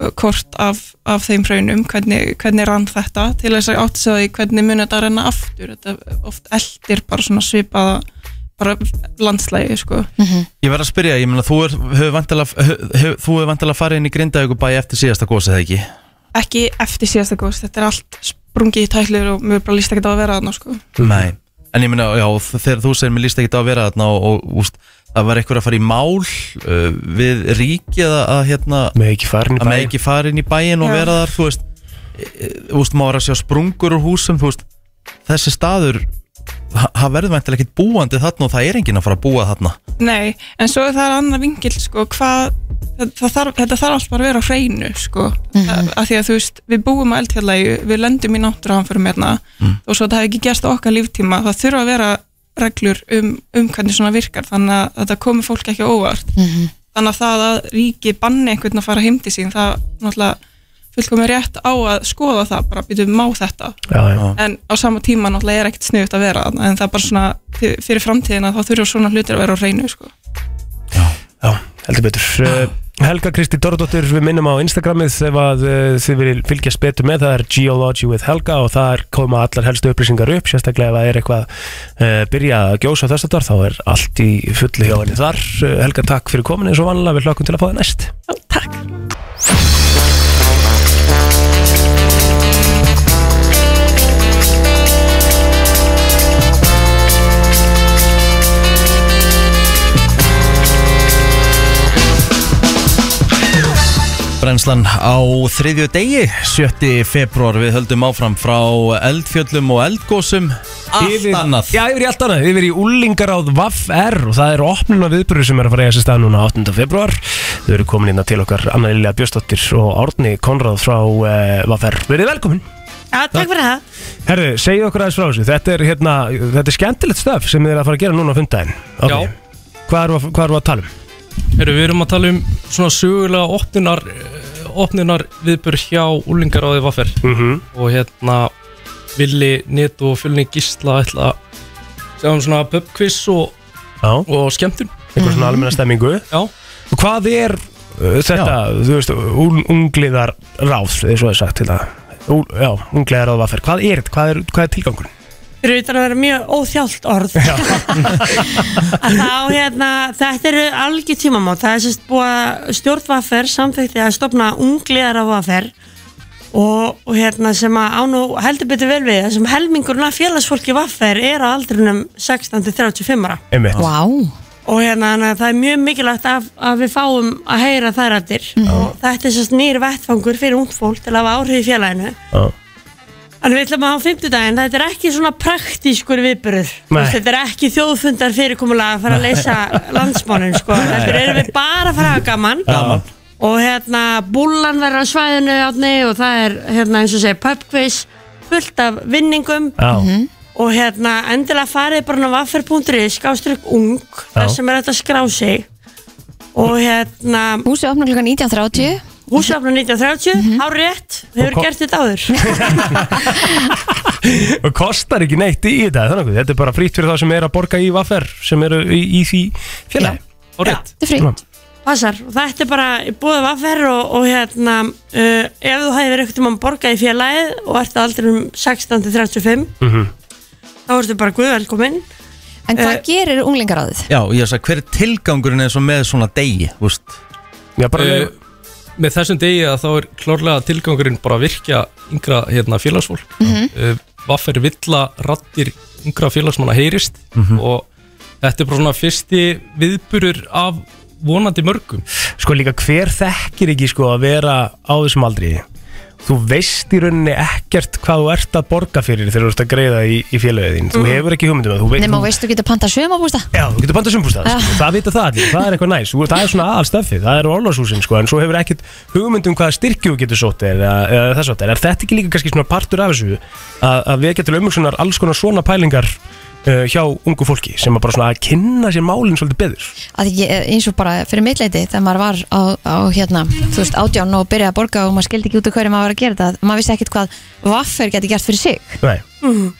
uh, kort af, af þeim hraunum, hvernig, hvernig rann þetta, til þess að átt sig á því hvernig mun þetta renna aftur, þetta oft eldir bara svona svipaða bara landslægi, sko.
Ég verð að spyrja, ég meina, þú er- hefur vantilega hef, Þú hefur vantilega farið inn í Grindavíkubæ eftir síðasta gósið, eða ekki?
ekki eftir síðasta góðs, þetta er allt sprungið í tætlur og mér bara líst ekki á að vera þarna sko.
mhm.
Nei En ég meina, já, þegar þú segir mér líst ekkert á að vera þarna og, og úst, það var eitthvað að fara í mál uh, við ríkið að, að hérna,
með ekki farin í
að maður
bæ
ekki fara inn í bæin og
Já.
vera þar, þú veist e, e, Þú veist, maður er að sjá sprungur úr húsum, þú veist Þessi staður, þa- það verður væntilega ekkert búandi þarna og það er enginn að fara að búa þarna
Nei, en svo er það er annar vingil sko, hvað, það, það þarf, þetta þarf allt bara að vera á hreinu sko, mm að því að þú veist, við búum að eldfjallægu, við lendum í náttúruhamförum hérna og svo þetta hefði ekki gerst á okkar líftíma, það þurfa að vera reglur um, um hvernig svona virkar þannig að þetta komi fólk ekki á óvart þannig að það að ríki banni einhvern að fara heimdi sín, það náttúrulega fullkomur rétt á að skoða það bara býtum má þetta
Já, já,
en á sama tíma náttúrulega er ekkert sniðut að vera þarna, en það er bara svona til- fyrir framtíðina þá þurfa svona hlutir að vera á reynu sko.
Já, heldur betur Eh, Helga Kristi Dóradóttir, við minnum á Instagramið ef að eh, þið viljið fylgjast betur með það er Geology with Helga og þar koma allar helstu upplýsingar upp, sérstaklega ef það er eitthvað uh, byrja að gjósa þess að þar þá er allt í fullu hjá henni þar Eh, Helga, takk fyrir komin eins og vanlega við hlökkum til að fá það næst
Já, takk
Brennslan á þriðju degi, 7. februar Við höldum áfram frá eldfjöllum og eldgósum Allt annað
Já, yfir í allt annað, yfir í Ullingaráð VFR og það er opnuna viðbyrður sem er að fara að eiga sér stað núna 8. februar Þau eru komin inn til okkar Anna Lilja Björnsdóttir og Árni Konráð frá uh, VFR Verið velkomin
Já, takk fyrir það
Herru, segja okkur aðeins frá þessu Þetta er, hérna, þetta er skemmtilegt stöf sem þið er að fara að gera núna á fundaginn okay. Hvað eru að, hvað erum við að tala um?
Heru, við erum að tala um svona sögulega opnunar, eh, opnunar viðbur hjá úlingaráði vaffer
Mhm.
og hérna Villi, Neto og Fjölni Gísla ætla að sjá um svona pubquiz og, og skemmtun
Eitthvað svona almenna stemmingu
Já
Og hvað er uh, þetta, þú veist, ung- ungliðar ráð, eins og það er sagt til það Úl, Já, ungliðar ráð VFR, hvað er þetta, hvað er, hvað er tilgangur?
Fyrir utan að vera mjög óþjált orð *laughs* Að Þá hérna Þetta eru algjör tímamót Það er sérst búið að stjórnvaffer samþykti að stopna ungliðar á vaffer og, og hérna sem að ánú heldur betur vel við það sem helmingurinn af félagsfólki vaffer er á aldrinum 16-35 ára
Einmitt. Vá.
og hérna þannig að það er mjög mikilvægt að, að við fáum að heyra þær allir
Mhm.
og þetta er sérst nýr vettfangur fyrir ungt fólk til að hafa áhrif í félaginu
Já.
Þannig við ætlum að hafa á fimmtudaginn, þetta er ekki svona praktískur viðbörður
Nei.
Þetta er ekki þjóðfundar fyrirkomulega að fara að leysa landsmánum sko.
Nei.
Þetta erum við bara að fara að hafa gaman
Gaman.
Og hérna, búlan verður á svæðinu átni og það er, hérna, eins og segja, pubquiz fullt af vinningum
Já. Mhm.
Og hérna, endilega farið bara á vaffer.is, skástrykk ung,
Já.
þar sem er þetta að skrá sig Og hérna
Húsið opnar klukkan 19.30
Húsið opnar 19.30, mm -hmm. hárétt, hefur
kom-
gert þetta áður
og kostar ekki neitt í þetta það er nokkuð. þetta er bara frítt fyrir það sem er að borga í vaffer sem eru í, í því félagi og rétt
þetta er frítt. Passar, og þetta er bara búið vaffer og, og hérna uh, ef þú hæfir einhvern tímann borgað í félagið og ert að aldrei um 16-35 þá ertu bara guðvelkominn
En hvað
Eh.
gerir unglingaráðið?
Já, ég sagði, hver er tilgangurinn eins og með svona degi, þú veist
Já,
Eh, með þessum degi að þá er klárlega tilgangurinn bara að virkja yngra hérna, félagsfólk
Mhm.
uh, Vaffer villa rattir yngra félagsmanna heyrist
Mhm.
og þetta er bara svona fyrsti viðburur af vonandi mörgum
sko líka hver þekkir ekki sko að vera á þessum aldri þú veist í rauninni ekkert hvað þú ert að borga fyrir þegar þú ert að greiða í, í félagið þín þú
Mhm.
hefur ekki hugmyndum að þú veit
Nefn
þú-
að veist, þú getur pantað sömabústa
Já, þú getur bandað sumbústað,
Já.
sko. það vita það allir, það er eitthvað næs, Þú- það er svona aðalstöfið, það er orlásúsin, sko, en svo hefur ekkert hugmynd um hvaða styrki þú getur sótt er, eða, eða þess að er þetta ekki líka kannski svona partur af þessu, að, að við getum umhugsunar alls konar svona pælingar uh, hjá ungu fólki, sem að bara svona að kynna sér málinn svolítið beður.
að ég, eh, eins og bara fyrir mittleiti þegar maður var á, á hérna þú veist átján og byrjaði að borga og maður skildi ekki út af hverju maður var að gera þetta, maður vissi ekkit hvað vaffer geti gert fyrir sig
Nei.
mm.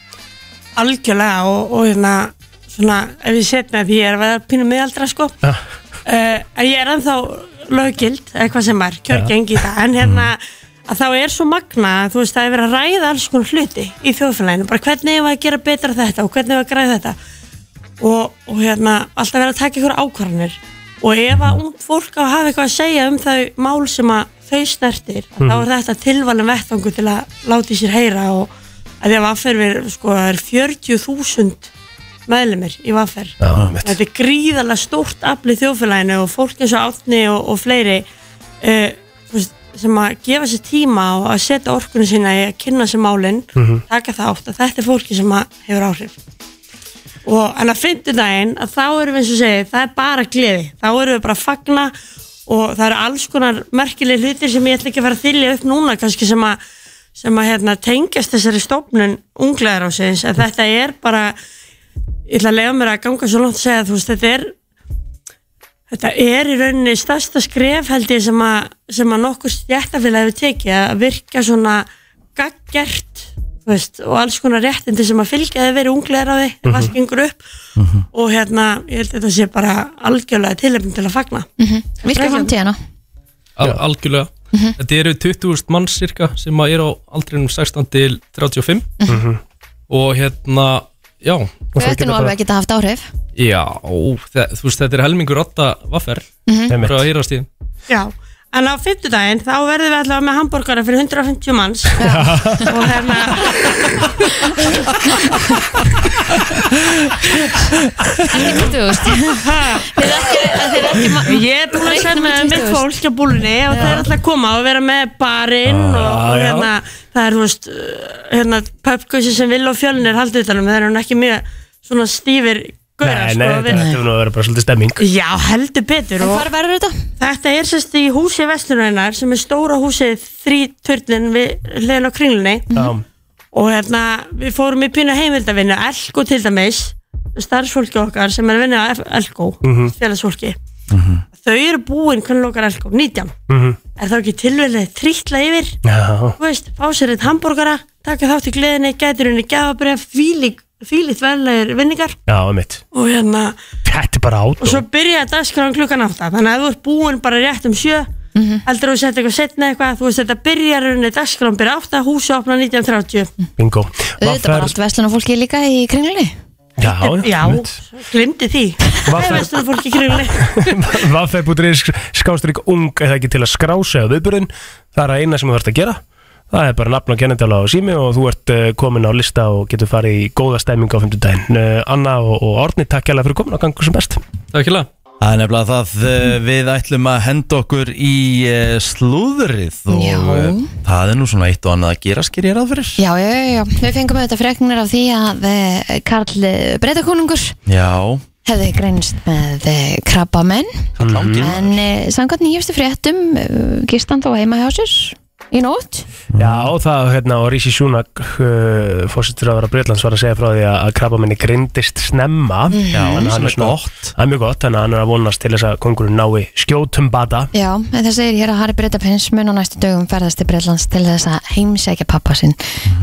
algjörlega og, og hérna svona, ef ég set með því ég er að vera pínu miðaldra sko
Já.
uh, en ég er ennþá löggild eitthvað sem er kjörgengi í það en hérna að þá er svo magna þú veist það er verið að ræða alls konar hluti í þjóðfélaginu, bara hvernig ég var að gera betra þetta og hvernig ég var að græða þetta og, og hérna alltaf verið að taka ykkur ákvarðanir og ef að ungd fólk á að hafa eitthvað að segja um þau mál sem að þau snertir
Mhm.
þá er þetta tilvalin vettvangu til að láta í sér heyra og að því að Vaffer er, sko, það er 40.000 meðlumir í Vaffer
Já, einmitt.
þetta er gríðarlega stórt afli þjóðfélaginu og fólk eins og Átni og, og fleiri uh, veist, sem að gefa sér tíma og að setja orkunum sína í að kynna sér málinn
Mhm.
taka það átt að þetta er fólki sem að hefur áhrif og en að fimmtudaginn að þá erum við eins og segið það er bara gleði, þá erum við bara að fagna og það eru alls konar merkileg hlutir sem ég ætla ekki að fara að þylja upp núna kannski sem að, sem að hérna, tengjast þessari stofnun unglegar ásins en þetta er bara ég ætla að lega mér að ganga svo langt að segja þú veist þetta er þetta er í rauninni stærsta skref held ég sem að, sem að nokkur stjættafélag hefur tekið að virka svona gaggjert þú veist, og alls konar réttindi sem að fylgja þeir verið unglegar á því ef allt
Mhm.
gengur upp og hérna ég held að þetta sé bara algjörlega tilefni til að fagna
virka framtíðina
Al algjörlega
Mhm.
þetta eru 20.000 manns cirka sem að eru á aldrinum 16 til 35
Mhm.
og hérna já
þau ættu nú alveg að geta haft áhrif
já, þe- þú veist þetta er helmingur ratta vaffer
Mhm.
frá að heyrast í
Já, en á fimmtudaginn þá verðum við allavega með hambúrgara fyrir 150 manns og hérna
Ekki 20.000 Við erum ekki
Ég er búin að segja með mitt fólk á búlunni og það er alltaf að koma og vera með barinn og,
Ah,
og
já.
hérna, það er, þú veist, uh, hérna, pöpkvössi sem vil og fjölnir haldið utanum, það er hann ekki mjög svona stífir gauðar,
Nei, nei,
sko,
þetta
við-
þetta hefur nú að vera bara svolítið stemming
Já, heldur betur
En hvar verður þetta?
Þetta er sérst í húsi Vesturnarinnar sem er stóra húsið þrítörnin við hliðin á kringlunni
Já.
og hérna við fórum í pínu heimildavinnu Elko til dæmis starfsfólki okkar sem er að vinna á F- Elko
Mhm.
félagsfólki þau eru búin hvernig lokar Elko, 19
Mhm.
er þá ekki tilvelið trýtla yfir
Já.
þú veist, fá sér eitt hambúrgara taka þátt í gleðinni, gætir henni gafabref þvílíkt verðlegir vinningar
Já, mitt
og hérna
Þetta er bara át
og svo byrjaði dagskráin klukkan átta þannig að ef þú ert búinn bara rétt um sjö
Mhm.
heldur þú sett eitthvað setna eitthvað þú veist þetta byrjar rauninni dagskráin byrja átta húsi opna 19.30
Bingo
Þetta var allt veslunar fólki líka í kringlunni
Já,
já, glimti því það er vestur fólki í kringli
*laughs* Vaffeb.is skástrík ung eða ekki til að skrása á viðburðin Það er að eina sem þú þarfst að gera Það er bara nafn og kennendala á sími og þú ert eh, komin á lista og getur farið í góða stemming á 50 daginn Anna og, og Orni, takk hérlega fyrir komin og gangu sem best
Takk hérlega
Það er nefnilega það eh, við ætlum að henda okkur í eh, slúðrið og
Já.
eh, það er nú svona eitt og annað að gera sker ég ráð fyrir
Já, já, já, já, við fengum auðvitað freknir af því að eh, Karl Breitakonungur
Já,
hefði greinst með eh, krabbamenn
Mhm.
en eh, samkvæmt nýjustu fréttum eh, gist hann þó heima hjá sér í nótt
Já, það, hérna, og Rísi Sjúnak uh, fórsittur að vera Breitlands var að segja frá því að, að krabba minni grindist snemma
Mhm.
Já,
Þannig að hann
sem er
svona- Það er mjög gott, þannig að hann er að vonast til þess að kongurinn nái skjótum bata
Já, en það segir hér að Harry Breitapins mun á næstu dögum ferðast til Breitlands til þess að heimsækja pappa sinn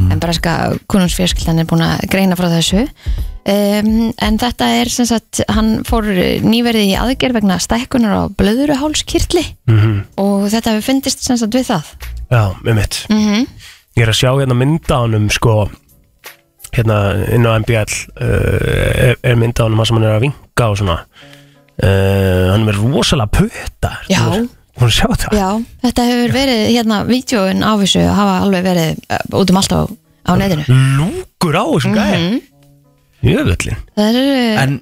en bara ska kunungsfjörskildan er búin að greina frá þessu um, en þetta er sem sagt hann fór nýverið í aðgerð vegna stækkunar á blöðuruhálskirtli
mm
Mhm.
-hmm.
og þetta hefur fundist sem sagt við það
Já, með mitt
mm
Ég er að sjá hérna mynda honum sko hérna inn á MBL uh, er, er mynda honum hann sem hann er að vinka og svona uh, hann er með rosalega putta
Já.
Hún sjá þetta
Já, þetta hefur verið hérna, vídjóin á þessu hafa alveg verið uh, út um allt á, á netinu
Lúkur á þessum
Mhm.
gæði Jöfullin
Það eru,
en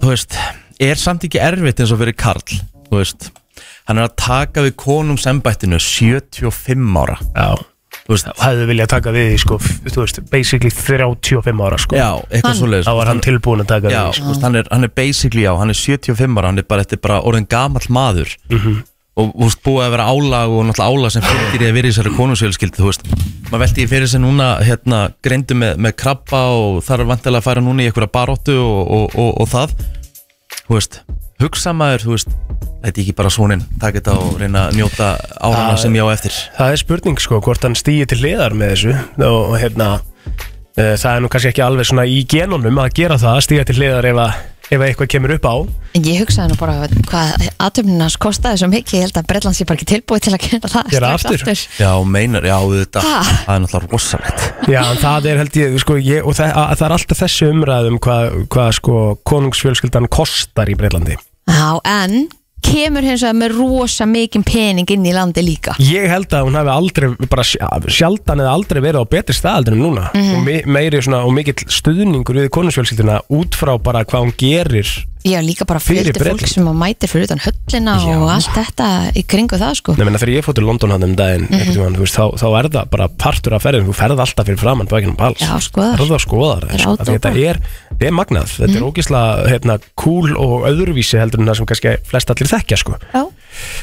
þú veist, er samt ekki erfitt eins og fyrir Karl, þú veist hann er að taka við konungsembættinu 75 ára
Já,
þú veist,
hefðu viljað taka við því sko, f- þú veist, basically 35 ára sko.
Já, eitthvað svo leiðis
Þá var hann tilbúin að taka
Já,
við því sko.
þú veist, hann er, hann er basically, já, hann er 75 ára hann er bara, þetta er bara orðin gamall maður
Mhm.
og þú veist, búið að vera álag og náttúrulega álag sem fyrir því að vera í þessari konungsfjölskyldi þú veist, maður veldi ég fyrir sig núna hérna, greindu með, með krabba og þar er vantilega að fara núna í einhverja baróttu og, og, og, og það þú veist, hugsa maður, þú veist þetta er ekki bara svonin, taka þetta og reyna að njóta áhana
Það-
sem ég á eftir
Það er spurning sko, hvort hann stýi til hliðar með þessu og hérna e, það er nú kannski ekki alveg svona í genunum að gera það, stýja til hliðar ef, að, ef að eitthvað kemur upp á
en ég hugsaði nú bara hvað aðtöfnin hans kostaði svo mikið, ég held að Breitlands ég bara ekki tilbúið til að gera það strax
Já, meinar, já, þetta
Ha?
það er náttúrulega rosalegt
Já, en það er held ég, sko, ég og það, að, það er alltaf þessi umræðum hvað, hvað sko, konungsfjölskyldan kostar í Breitlandi
Já, en kemur hins vegar með rosa mikið pening inn í landi líka
Ég held að hún hefði aldrei, bara sj- sjaldan eða aldrei verið á betri staðaldur en núna
Mhm.
og me meiri svona, og mikill stuðningur við konungsfjölskyldina út frá bara hvað hún gerir
Já, líka bara
Fyrir
fjöldi fólk
Bretland.
sem að mætir fyrir utan höllina og allt þetta í kringu það sko
Nei, menna, þegar ég fótt til London hann um daginn mm
Mhm.
tímann, veist, þá, þá er það bara partur af ferðin þú ferð alltaf fyrir framann bækinum pals
Já, sko. skoðar.
það skoðar
Það er Mhm.
sko, af því
átópa.
þetta er, þetta er magnað þetta er ógislega hérna, cool og öðruvísi heldur en það sem kannski flest allir þekkja sko.
Já.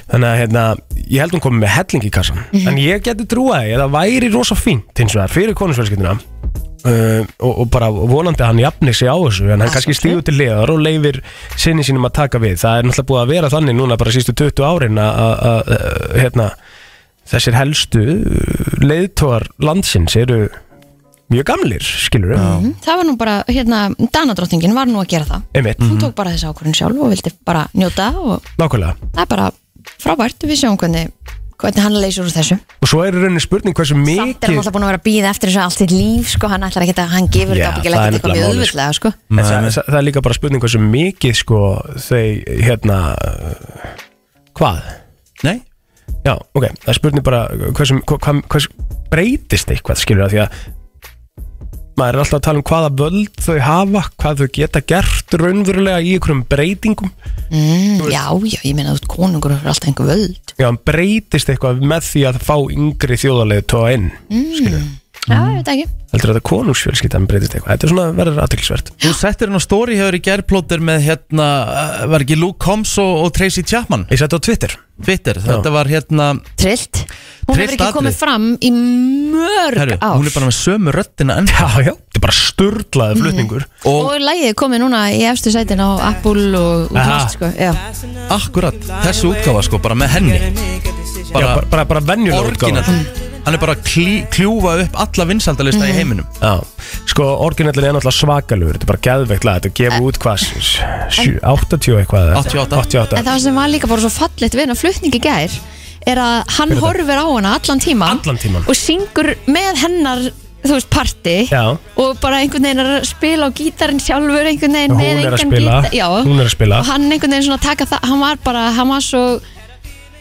þannig að hérna, ég held hún komið með helling í kassan
Mhm.
en ég geti trúaði að það væri rosa fínt hins vegar fyrir konusvelskiptina Uh, og, og bara vonandi að hann jafni sig á þessu en hann kannski stígur til liðar og leifir sinni sínum að taka við það er náttúrulega búið að vera þannig núna bara sístu 20 árin að- að að, uh, hérna, þessir helstu uh, leiðtogar landsins eru mjög gamlir skilur við
Það var nú bara, hérna, Danadróttingin var nú að gera það
einmitt
Hún tók bara þessi ákvörðin sjálf og vildi bara njóta og
nákvæmlega
það er bara frábært við sjáum hvernig, hvernig hann leysur úr þessu
og svo er í rauninni spurning hversu
Samt er hann
mikið
alltaf búin að vera að býða eftir þessu allt sitt líf sko, hann ætlar ekki að hann gefur
Já,
þetta ekki
það er
ekkert eitthvað mjög
nefnilega málið,
auðvöldlega sko.
En það, það, það er líka bara spurning hversu mikið sko þau hérna uh, hvað?
Nei
Já, ok, það er spurning bara hversu, hva, hva, hversu breytist eitthvað skilur það því að maður er alltaf að tala um hvaða völd þau hafa, hvað þau geta gert raunverulega í einhverjum breytingum
mm, Já, já, ég meina þú ert konungur og hefur alltaf einhver völd
já, hann breytist eitthvað með því að fá yngri þjóðarlegu tóa inn
mm. Já, ég veit ekki
heldur þetta konungsfjölskyldan breytist eitthvað þetta er svona verður aðtilsvert
Þú settir hérna stóri hefur í gærplóter með hérna, eh, var ekki Luke Combs og, og Tracy Chapman
Ég setti á Twitter
Twitter, þetta var hérna
Trillt Hún hefur
Trillt
ekki komið
atrið.
fram í mörg
Herru,
ár
hún er bara með sömu röddina enn
Já, já, þetta er bara sturlaði flutningur
Og, og lægið komið núna í efstu sætin á Apple og, og
Aha.
plast, sko Já,
Akkurat, þessu útgáfa sko, bara með henni Bara,
Já, bara- bara, bara venjulega útgáfa.
Hann er bara að klí, kljúfa upp alla vinsaldalista
Mhm.
í heiminum
Já, sko orginallin er náttúrulega svakalugur Þetta er bara geðveikt lag, þetta gefur út hvað s- sjö- 80 eitthvað eða-
88.
88
En það sem var líka bara svo fallegt við hennar flutningi gær er að hann
Hver er það?
horfir á hana allan tíman
Allan tímann.
og syngur með hennar þú veist, party
Já.
og bara einhvern veginn er að spila á gítarinn sjálfur einhvern veginn
Hún
með
er að
engan
spila,
gítar Já.
hún er að spila.
og hann einhvern veginn svona að taka það hann var bara, hann var svo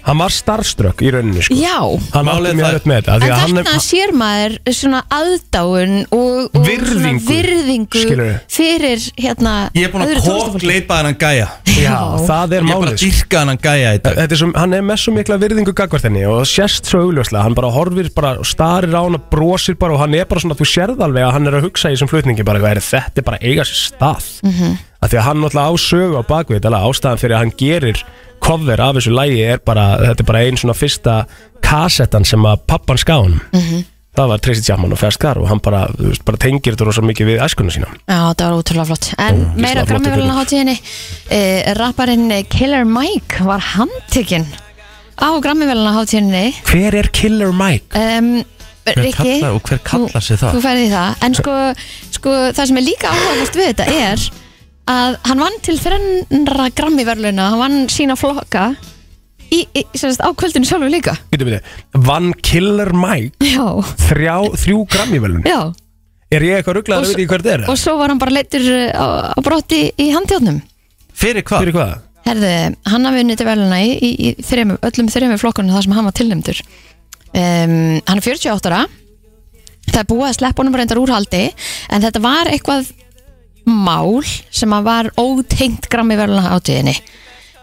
Hann var starstruck í rauninni sko.
Já.
Hann átti mjög öll með þetta af
en
því að hann
þarna
er-
sér maður svona aðdáun og, og svona
Virðingu,
virðingu
skilurðu.
fyrir hérna
Ég er búin að
öðru tónlistarfólki.
kokleipa hennan gæja
Já, það er
Ég er bara
málið sko.
að dýrka hennan gæja í dag
Þetta er sem, hann er með svo mikla virðingu gagvart henni og sérst svo augljóslega, hann bara horfir bara og starir á hann og brosir bara og hann er bara svona, þú sérð alveg að hann er að hugsa í þessum flutningi bara, hvað er þetta er bara að eiga sér stað
Mhm.
af því að hann náttúrulega á sögu á bakvið þetta lag, ástæðan fyrir að hann gerir cover af þessu lagi er bara, þetta er bara einn svona fyrsta kasettan sem að pappan skáðum mm
Mhm.
það var Tracy Chapman og Ferskar og hann bara, þú veist, bara tengir þetta rosa mikið við æskuna sína
Já, það var ótrúlega flott En
Ó, gísla
meira
flottur
grammiðvelina hátíðinni uh, Rapparinn Killer Mike var handtekinn á grammiðvelina hátíðinni
Hver er Killer Mike?
um, Rikki,
kallar- og hver kallar sig það?
Þú færði það En sko, sko, það sem er líka áhugavert við þetta er að hann vann til þrennra grammiðvelina hann vann sína flokka í, í, sem sagt, á kvöldinu
*laughs*
sjálfu líka
Býtu, býtu, vann Killer Mike
Já,
þrjá, þrjú grammi velun
já
Er ég eitthvað
Og
rugglaður
s-
að veit í hvert er?
Og svo var hann bara leittur eh, á, á brotti í handjárnum
Fyrir hvað?
Fyrir hvað?
Herði, hann hafði unnið til veluna í, í, í þrem, öllum þrejum flokkunum þar sem hann var tilnæmdur. Um, hann er 48 ára, það er búið að sleppa honum reyndar úrhaldi, en þetta var eitthvað mál sem að var ótengt grammi veluna átíðinni.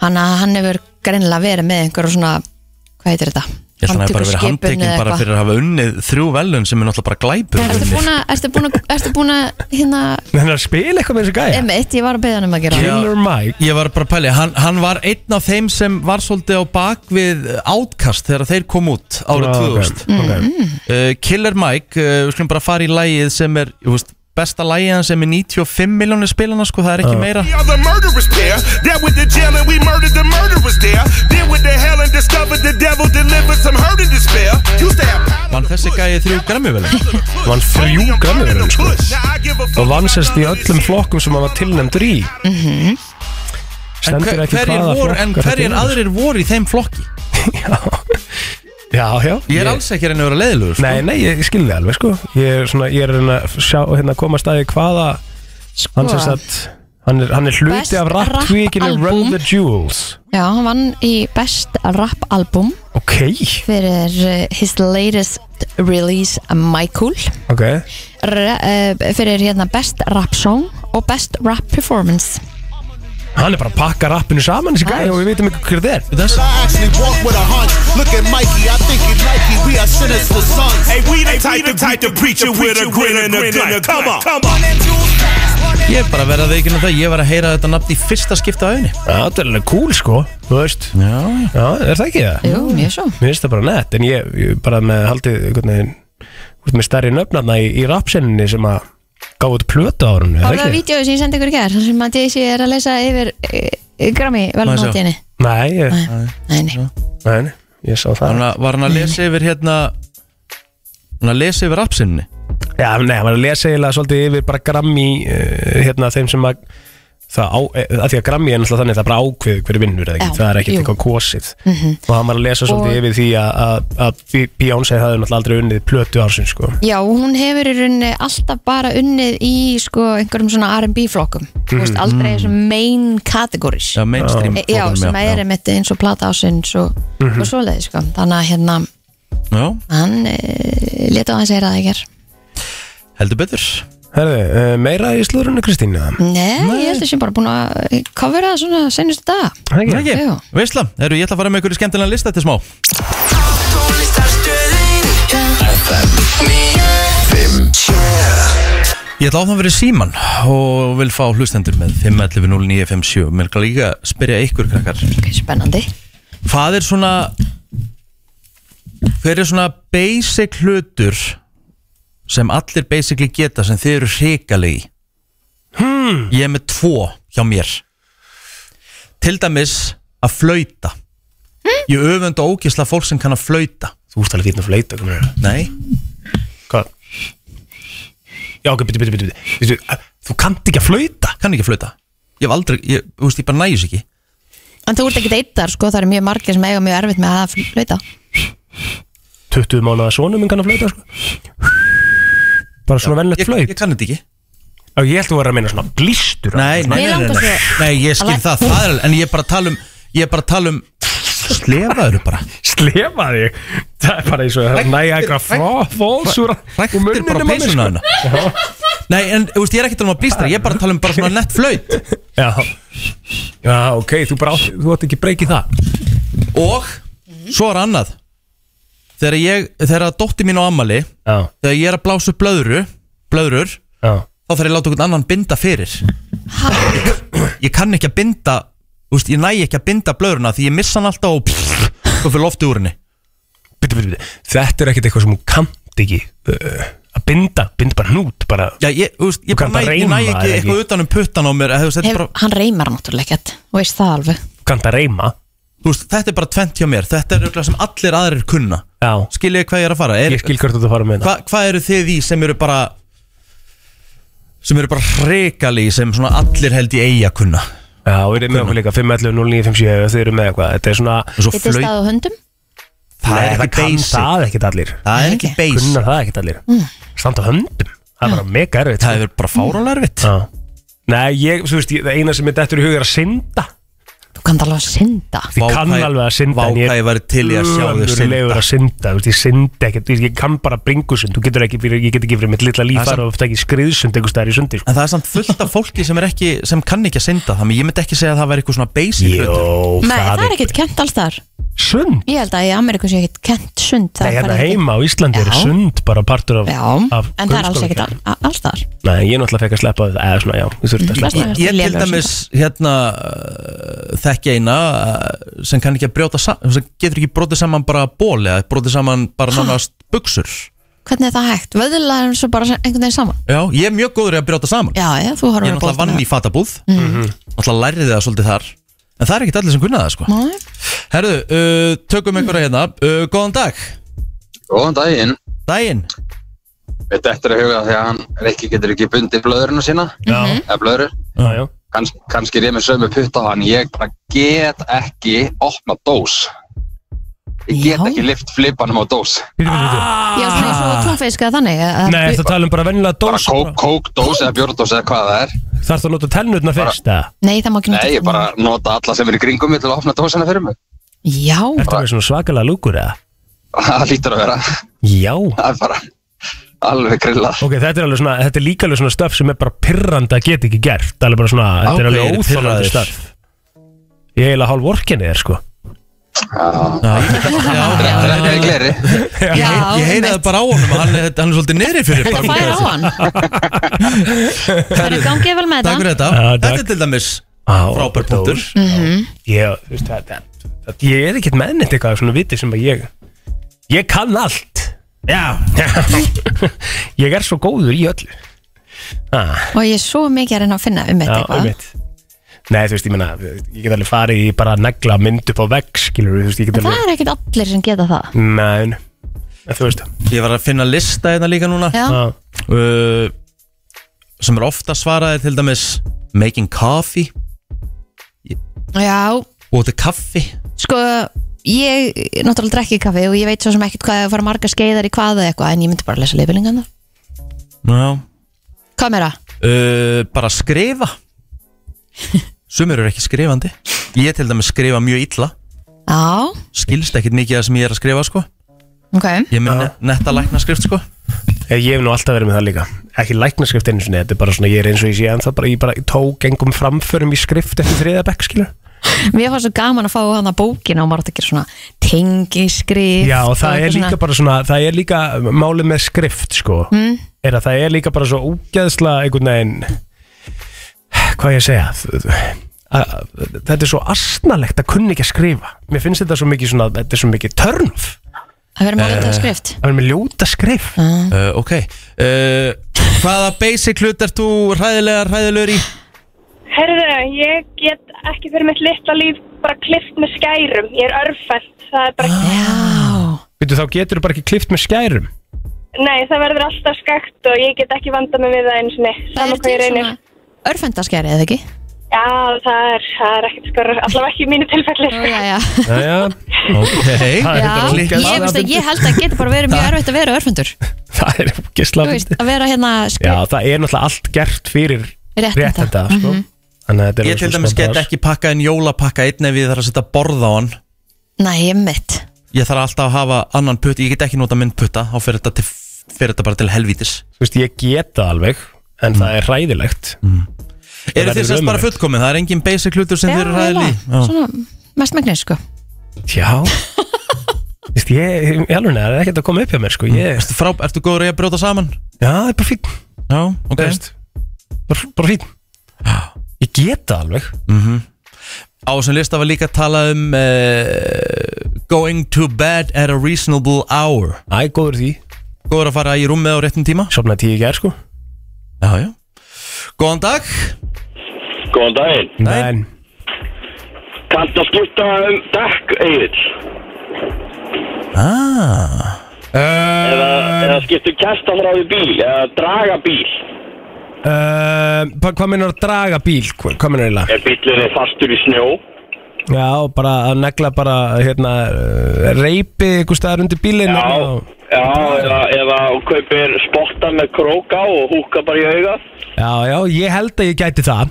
Hann, hann hefur greinilega verið með einhverju svona, hvað heitir þetta?
Ég ætla að hann hafi bara verið
Handtökuskipun
handtekinn
eða
bara
eitthvað.
fyrir að hafa unnið þrjú velun sem er náttúrulega bara glæpur
Ertu búin að, ertu búin að, ertu búin að, hérna,
Hann er að spila eitthvað með þessu gæja
emitt, ég var að beða hann um að gera það.
Mike
Ég var bara að pæli, hann, hann var einn af þeim sem var svolítið á bak við Outcast þegar þeir kom út árið
Ah, ok,
2000
Mm,
uh, Killer Mike, uh, við skulum bara fara í lægið sem er, þú veist, besta lægið hans sem er 95 miljónir spilana sko, það er
Ah.
ekki meira
The other murderers there. That with the jail and we murdered the murderers there. Then with the hell and discovered the devil delivered some hurt and despair. Used to have
Vann þessi gæði þrjú grammi vel
Vann þrjú grammi vel sko. Og vann sérst í öllum flokkum sem hann var tilnæmdur í
Mhm.
En
Stendur
hver-
ekki
hverjir
hvaða
voru- en
flokkar
hverjir
þetta eru.
aðrir voru í þeim flokki?
Já, já
Ég er alls ekki að reyna að vera leiðilugur sko.
Nei, nei, ég skilði alveg sko Ég er svona, ég er að reyna að sjá hérna að koma að staði hvaða Hann sérst að Hann er, hann er
Best
hluti af
rap
rapptvíkinu
album.
Run the Jewels
Já, hann vann í best rap album
Ok,
fyrir uh, his latest release eh, Michael
ok
Re, uh, fyrir hérna best rap song og best rap performance
Hann er bara að pakka rappinu saman þessi gæja og við veitum ekki hver þetta er
I actually walk with a hunch. Look at Mikey, I think he Nike. We are sinners for sons.
Hey, we the type, the type to preach you with a grin and a gun. Come on, come on.
Ég er bara að vera að veikina það, ég var að heyra þetta nafn í fyrsta skipta á auðinni
Það er alveg cool sko, þú veist
Já,
já er það ekki það?
Jú, mjög svo
Mér finnst það bara nett, en ég, ég bara með haldið einhvern veginn Þú veist, með stærri nöfnarna í, í rapsenninni sem að gáði út plötu á
Það
hann,
var
er
það
það ekki?
vídeo sem ég sendi ykkur í gær þar sem að Daisy er að lesa yfir uh, Grammy velumáttinni
Nei, ég,
Nei, nei
nei, nei, ég sá það
Var hann að- var hann að lesa yfir hérna Hann að lesa yfir rapsinni
Já, nei, hann var að lesa eiginlega svolítið yfir bara Grammy uh, hérna þeim sem að það á, eh, að því að Grammy er náttúrulega þannig að það er bara ákveð hver vinnur eða ekki,
Já,
það er ekkert
jú.
eitthvað kosið
Mhm.
og hann var að lesa svolítið
Og-
yfir því að- að að Beyoncé hafði náttúrulega aldrei unnið plötu ársins sko
Já, hún hefur í rauninni alltaf bara unnið í sko einhverjum svona R&B flokkum Þú veist,
Mhm.
aldrei þessum main categories
Já, mainstream
Eh, Já,
flokkunum,
sem
já,
er
já.
einmitt eins og plata ásins og,
Mhm.
og svoleiði sko Þannig að hérna, eh,
Já,
hann uh, leta á hans að heyra það ekki er
heldur betur
Herði, uh, meira í slúrunni Kristín eða?
Nei, ég held að sé bara búin að eh, covera það svona senustu dag
Það ekki,
Jú.
veistla, eru ég ætla að fara með ykkur í skemmtilegan lista til smá Ég ætla áfram verið síman og vil fá hlustendur með 511957 Mér kan líka spyrja ykkur krakkar
Spennandi
Hvað er svona Hver er svona basic hlutur sem allir basically geta sem þið eru hrikalegi hmm. Ég er með tvo hjá mér Til dæmis að flauta Ég öfunda ógisla fólk sem kann að flauta
Þú úrst alveg fítið að flauta komur.
Nei
Hvað? Já, ok, byrju, byrju, byrju, byrju. Veistu, Þú kannt ekki að flauta
Kann ekki að flauta Ég hef aldrei, ég, þú veist, ég bara nægjus ekki
En þú ert ekki deittar, sko, það eru mjög margir sem eiga mjög erfitt með að flöita
20 mánuða sonum minn kann að flauta sko. Bara svona vennlegt flaut Ég,
ég kann þetta ekki
Ég held þú verður að meina svona glýstur
Nei, nei, nei, nei, nei. nei ég skil það, það er, En ég er bara að tala um Ég er bara að tala um Slefaður bara
Slefa þig Það er bara eins og það næja eitthvað frá fólsúra
Ræktir bara peysuna hana Nei, en þú veist, ég er ekki að tala um að blístra Ég er bara að tala um bara svona nett flaut
Já, já ok, þú, bara, átt- þú átt ekki breykið það
Og svo er annað Þegar ég, þegar að dótti mín á ammali
Já.
Þegar ég er að blása upp blöðru Blöðrur
Já.
Þá þarf ég að láta einhvern annan binda fyrir Ég kann ekki að binda Þú veist, ég næ ekki að binda blöðruna Því ég missa hann alltaf og pff, Svo fyrir lofti úr henni
Bittu, bittu, bittu Þetta er ekkert eitthvað sem hún kamt ekki uh, Að binda, binda bara hnút bara.
Já, ég, þú veist, ég bara næ- ég næ ekki eitthvað utan um puttan á mér eða þú veist, þetta er
Hef,
bara-
Hann reymar náttúrulega ekkert, þú veist það alveg
Kannt að reyma
Þú veist, þetta er bara tvent hjá mér Þetta er auðvitað sem allir aðrir kunna
Já.
Skiljið hvað ég er að fara er,
Ég skil hvert þú ert að fara með
hva, Hvað eru þið í sem eru bara sem eru bara hrekali sem svona allir held í eiga kunna
Já, við erum með okkur líka 511 0957 ef Þið eru með eitthvað Þetta er svona
Þetta er stað á höndum
Það
Nei,
er
það
ekki
kann
basic Það er ekki allir
Það er ekki basic
Kunna það ekki allir
Mm.
Standa á höndum Það er bara mega erfitt sko.
Það er bara fáránlega erfitt
Nei, ég, þú veist, ég- það eina sem er dettur í hug er að synda
Þú kannt alveg að synda
Ég kann alveg að synda en
Vákæði væri til í að sjá þau
ömurlegur
synda
að synda, þú veist, ég syndi ekkert þú veist, Ég kann bara bringusund, þú getur ekki fyrir, Ég get ekki fyrir mitt
Það
litla
er
lífar
samt-
og ofta ekki skriðsund einhvers staðar í sundi sko.
En það er samt fullt af fólki sem er ekki sem kann ekki að synda þannig ég myndi ekki segja að það væri eitthvað svona basic Jó,
Nei, það er ekkert kent alls þar
Sund?
Ég held að í Ameríku sé ekkert kent sund það
Nei,
er
hérna
bara
heima á Íslandi er
Já.
sund bara partur af, af
En það er alls
grunnskóla-
ekkert al- a- alls þar
Nei, ég náttúrulega fekk að sleppa við það eða svona, já, þú þurfti að sleppa
Ég, ég til dæmis hérna uh, þekki eina uh, sem kann ekki að brjóta saman sem getur ekki brotið saman bara ból eða brotið saman bara nánast buksur
Hvernig er það hægt? Vöðlar er svo bara sem- einhvern veginn saman
Já, ég er mjög góður í að brjóta saman
Já, já, Mhm. þú horfir
Ég er
á
náttúrulega
boltann
vann í fatabúð Náttúrulega læriði það svolítið þar En það er ekkert allir sem kunna það sko
Nei. Mhm.
Herðu, uh, tökum einhverja hérna uh, Góðan dag
Góðan daginn
Daginn
Við dettur að huga því að hann Rikki getur ekki bundið blöðurina sína
Já
Eða blöður
Já, já
Kans, Kannski er ég með sömu putta á hann Ég bara get ekki opna dós Ég get ekki lift flipanum á dós
Já, svona eins
Ah.
og túnfisk eða þannig að-
Nei, ertu að tala um bara venjulega dós
Bara kók, kók dós eða bjórdós eða hvað það er
Þarf það að nota tennutna fyrst, eða?
Nei, það má ekki nota
Nei, ég bara nota alla sem er í kringum mig til að opna dósina fyrir mig *laughs*
Já
Ertu með svona svakalega lúkur, eða?
Það lítur að vera
Já
Það er bara alveg grillað
Ok, þetta er alveg svona, þetta er líka alveg svona stöf sem er bara pirrandi að geta ekki gert Það er bara svona, þetta er alveg
Ákveðir pirraðir.
óþólandi stöf Ég er eiginlega hálf vorkinni þér, sko
Þetta er gleri
Ég, hei- ég heyri það bara á honum að hann, er- hann er svolítið niðri fyrir
Þetta
bara-
fær á hann Það er gangið vel með
Takk fyrir
þetta
þetta Þetta er til dæmis frábær punktur
Mhm.
Ég, þú veist, það, það, það, ég er ekkert meðnitt eitthvað svona viti sem að ég Ég kann allt Já *laughs* Ég er svo góður í öllu ah.
Og ég er svo mikið að reyna að finna um þetta
Já,
eitthvað
einmitt. Nei, þú veist, ég meina, ég get alveg farið í bara að negla mynd upp á vegg, skilur þú veist, ég get
En það
alveg...
er ekkert allir sem geta það
Nei, en þú veist, ah,
Ég var að finna lista hérna líka núna
Já. Já.
uh, Sem er ofta svaraði til dæmis Making coffee
Já,
Búið til kaffi
sko ég náttúrulega drekki kaffi og ég veit svo sem ekkert hvað að fara marga skeiðar í hvað eða eitthvað en ég myndi bara að lesa leifilingan það
Já.
Hvað meira?
uh, Bara skrifa
*laughs*
Sumir eru ekki skrifandi Ég til dæmis skrifa mjög illa
Já,
Skilst ekkit mikið að sem ég er að skrifa sko
ok
Ég er með ne netta lækna skrift sko
Ég hef nú alltaf verið með það líka Ekki læknaskrift einu sinni, þetta er bara svona Ég er eins og ég sé ennþá bara, ég bara tók engum framförum í skrift eftir þriða bekk, skilur
Mér var svo gaman að fá hana bókina og maður átti að gera svona tengiskrift
Já, og það er
eitthvað
líka
svona-
bara svona Það er líka málið með skrift, sko
Mm.
Er að það er líka bara svo úgeðsla einhvern veginn Hvað á ég að segja Þ- þ- að- að- Þetta er svo asnalegt að kunni ekki að skrifa Mér finnst þetta svo mikið svona Þetta er svo mikið törnf
Að vera með
Eh,
lítið skrift
Að vera með ljóta skrif
uh, Ok uh, Hvaða basic hlut ert þú ræðilega ræðilegur í?
Herðu, ég get ekki fyrir mitt litla líf bara klift með skærum. Ég er örfænt. Það er bara
Veitu, þá getur þú bara ekki klift með skærum
Nei, það verður alltaf skakt og ég get ekki vanda mig við það eins og neitt.
Það er til svona örfendaskæri eða ekki?
Já, Ah, það er, það er ekkert skor, allavega ekki í mínu tilfelli.
Já, já. *laughs*
Jæja Ok
Já, ég, veist að, ég held að það getur bara verið mjög erfitt að vera örfendur
Það er
Þú
úgeðsla
veist, að vera hérna
Já, það er náttúrulega allt gert fyrir
Réttenda.
réttenda, sko
Mhm.
Þannig að þetta er
Ég til
svona
dæmis get
smábras.
ekki pakkað en jólapakka einn ef ég þarf að setja borð á hann
Nei, mitt
Ég þarf alltaf að hafa annan putt Ég get ekki nota minn putta Þá fyrir þetta, til, fyrir þetta bara til helvítis
Þú veist, ég get það alveg En það er ræðilegt mm.
Eru þið sérst bara fullkomið? Það er engin basic hlutur sem þið eru ræðilega í Já.
Svona mest megnir sko
Já Þú veist, ég, ég alveg neða, það er ekkert að koma upp hjá mér, sko ég...
Ertu, frá, ertu góður í að brjóta saman?
Já, það er bara fín
Já, ok
veist, bara, bara fín Ég get það alveg
mm Á þessum lista var líka talað um uh, Going to bed at a reasonable hour
Æ, góður því
Góður að fara í rúmið á réttum tíma
Sopnaði tíu í gær sko
Já, já Góðan dag
Góðan daginn
Nein.
Kannst að skipta um dekk, Egil
ah.
eða,
Ehm,
eða skipta um kestafráði bíl Eða draga bíl
uh, hva- Hvað meinar að draga bíl? Hva- Hvað meinar eiginlega?
Ef bílinn er fastur í snjó
Já, bara að negla bara hérna, eh, reipi einhver staðar undir bílinn
Já,
og-
já eða, eða hún kaupir spotta með króka og húka bara í auga
já, já, ég held að ég gæti það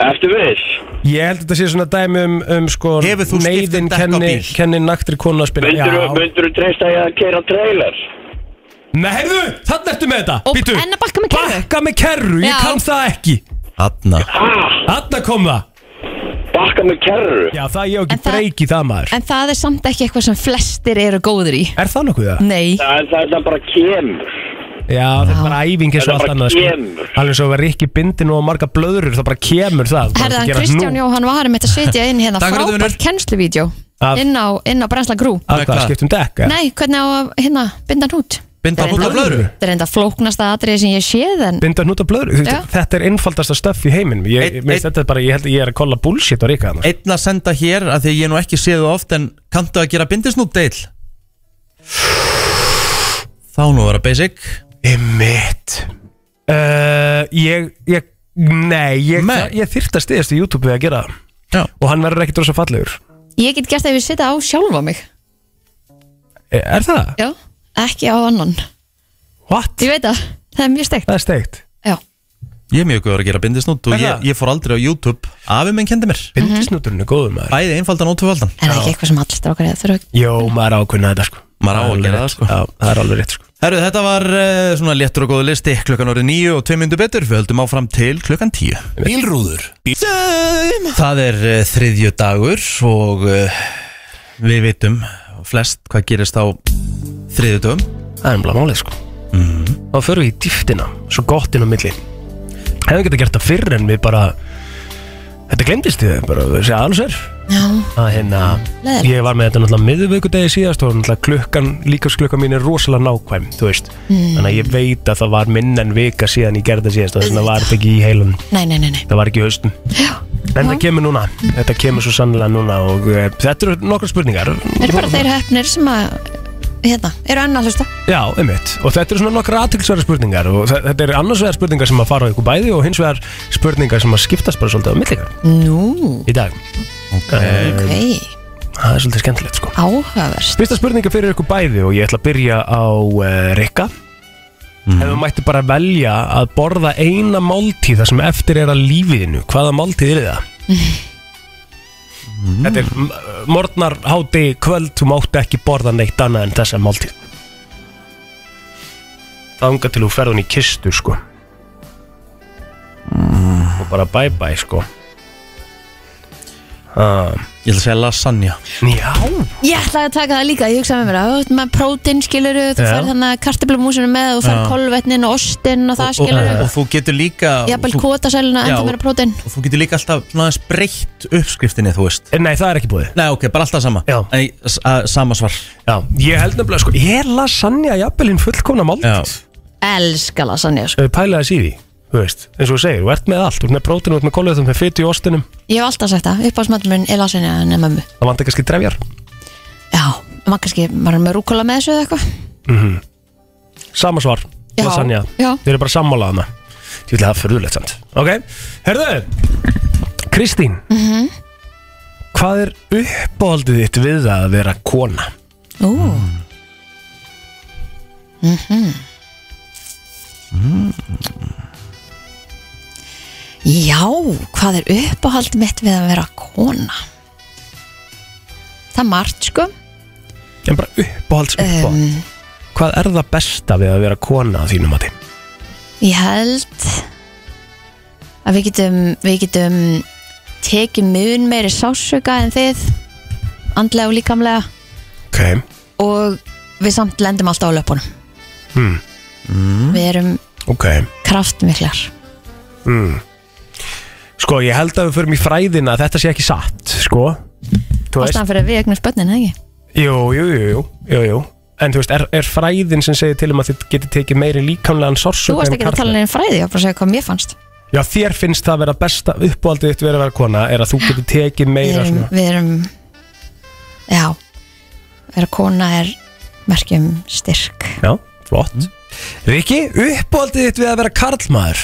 Ertu viss?
Ég held að þetta sé svona dæmi um, um sko
Hefur þú skipt um
neyðin
dekk á
kenni,
bíl?
kenni naktri konu að spila
Myndur
Já.
þú treysta ég að keira trailer?
Nei, heyrðu, þannig ertu með þetta Býtu,
En að bakka með kerru
Bakka með kerru, ég
Já.
kann það ekki
Hanna
Hanna kom það
Bakka með kerru?
Já, það ég á ekki
það-
breyki það maður
En það er samt ekki eitthvað sem flestir eru góðir í
Er það nokkuð það?
Nei
Það, það er bara kemur
Já, þetta er bara æfing eins og
Þetta
allt
bara
annað sko.
kemur.
Alveg svo verður ekki bindin og marga blöðurur Það bara kemur það bara
Herðan
að gera
Kristján
nú.
Jóhann var um þetta setja inn hérna
Takk fyrir þetta,
frábært kennsluvídjó
Af-
inn á, inn á Brensla Grú
Að um hvað, skiptum dekka?
Nei, hvernig á að hérna binda nút
Binda
Það er
hnút á
reyndar-
blöðru?
Það er enda flóknasta atrið sem ég séð en
Binda hnút af blöðru Þú veist,
Já.
Þetta er einfaldasta stöff í heiminum Ég, ég, minnst þetta er bara, ég held að ég er að kolla bullshit á sko. Ríka annars.
Einn að senda hér að því að ég hef nú ekki séð þú oft En kanntu að gera bindisnútt deil Þá nú vera basic
Emmitt uh, Ég, ég, nei Ég, það- ég þyrta stiðast í YouTube við að gera það
Já.
Og hann verður ekkit rosa fallegur
ég get gert það ef ég setja á sjálfa mig
E- Er það?
Já, ekki á annan
What?
Ég veit það, það er mjög steikt
Það er steikt
Já,
Ég er mjög góður að gera bindisnútt Og
Er
ég,
það?
ég fór aldrei á YouTube Afi minn kendi mér
Bindisnúturinn er góður maður
Bæði einfaldan og tvöfaldan
en ekki eitthvað sem allir strákar eða þurfa ekki
Jó, maður ákveðna þetta sko
Maður á að
alveg
gera
rétt,
það, sko.
Já, það er alveg rétt sko
Herru, þetta var uh, svona léttur og góðu listi Klukkan orðið níu og tvei myndu betur Við höldum áfram til klukkan tíu Bílrúður Það er uh, þriðju dagur Og uh, við vitum flest hvað gerist á þriðju dögum
Það er umlað málið sko
mm.
Þá förum við í dýftina, svo gott inn á milli Hefðum getað gert það fyrr en við bara Þetta glemdist við bara, við segja alls er
Já,
að hérna
Leðilegt.
Ég var með þetta náttúrulega miðvíkudegi síðast og náttúrulega klukkan, líkasklukkan mín er rosalega nákvæm, þú veist
Mm.
Þannig að ég veit að það var minn en vika síðan ég gerði það síðast og þannig að það var þetta ekki í heilun
nei, nei, nei, nei.
Það var ekki í haustum En það kemur núna, þetta kemur svo sannlega núna og uh, þetta eru nokkra spurningar
Það eru bara þeir hefnir sem að hérna, eru enn að hlusta
Já, einmitt, og þetta eru svona nokkra aðtilsverðar spurningar og þe- þetta eru annars vegar spurningar sem að fara á ykkur bæði og hins vegar spurningar sem að skiptast bara svolítið á millikar
Nú,
í dag okay.
ok,
Það er svolítið skemmtilegt sko
áhugaverst
Fyrsta spurninga fyrir ykkur bæði og ég ætla að byrja á uh, Rikka Ef þú mætti bara velja að borða eina máltíð þar sem eftir er að lífiðinu hvaða máltíð er það? Þetta er m- morgnar, háti, kvöld þú mátt ekki borða neitt annað en þessa máltíð þanga til þú ferð hún í kistu sko og bara bye bye sko uh,
Ég ætla að segja lasagna
Já
Ég ætlaði að taka það líka, ég hugsaði með mér að þú ert með prótin skiluru, þú
Já.
fær þannig kartiblumúsinu með þú fær
Já.
kolvetnin og ostin og það
og,
skiluru
og þú getur líka
Jafnvel
þú-
kvotasæluna
Já,
enda meira prótin
og þú getur líka alltaf svona aðeins breytt uppskriftinni þú veist
Eh, Nei, það er ekki búið
Nei, ok, bara alltaf sama
Já
Nei, s- að- sama svar
Já, ég held nefnilega sko Ég er lasagna jafnvel hinn fullkona máltíð
Elska lasagna sko.
Ef við pæla þess í því Þú veist, eins og þú segir, þú ert með allt Þú ert með prótinu, þú ert með kóluðum, með fytu í ostinum
Ég hef alltaf sagt það, upp á smattmun er lasagna en er mömmu
Það vant kannski drefjar
Já, maður kannski, maður er með rúkola með þessu eða eitthvað
mm Sama svar,
Já,
lasagna
já.
Þið eru bara sammála hana Ég vil það er furðulegt samt Ok, herðu Kristín,
Mhm.
hvað er uppáhaldið þitt við það að vera kona?
Ú Mhm. Já, hvað er uppáhald mitt við að vera kona? Það er margt sko
En bara uppáhalds uppáhald Hvað er það besta við að vera kona á þínum mati?
Ég held að við getum, við getum tekið mun meiri sásöka en þið andlega og líkamlega
Ok
og við samt lendum alltaf á löpunum
hmm. mm.
Við erum
Ok
kraftmiklar
mm. Sko, ég held að við förum í fræðina að Þetta sé ekki satt, sko Þú veist,
ástæðan fyrir að við egnum spönnin, ekki?
jú, jú, jú, jú, jú, jú. En þú veist, er, er fræðin sem segir til um að þið getið tekið meiri líkamlegan
Þú
sorsuga
varst ekki að tala neina um fræði, ég var bara að segja hvað mér fannst
Já, þér finnst það að vera besta uppáhaldið þitt verið að vera kona er að þú getur tekið
Við
meira
erum,
svona
við erum já, vera kona er merkjum styrk
Já, flott
Mm.
Riki, uppáhaldið þitt við að vera karlmaður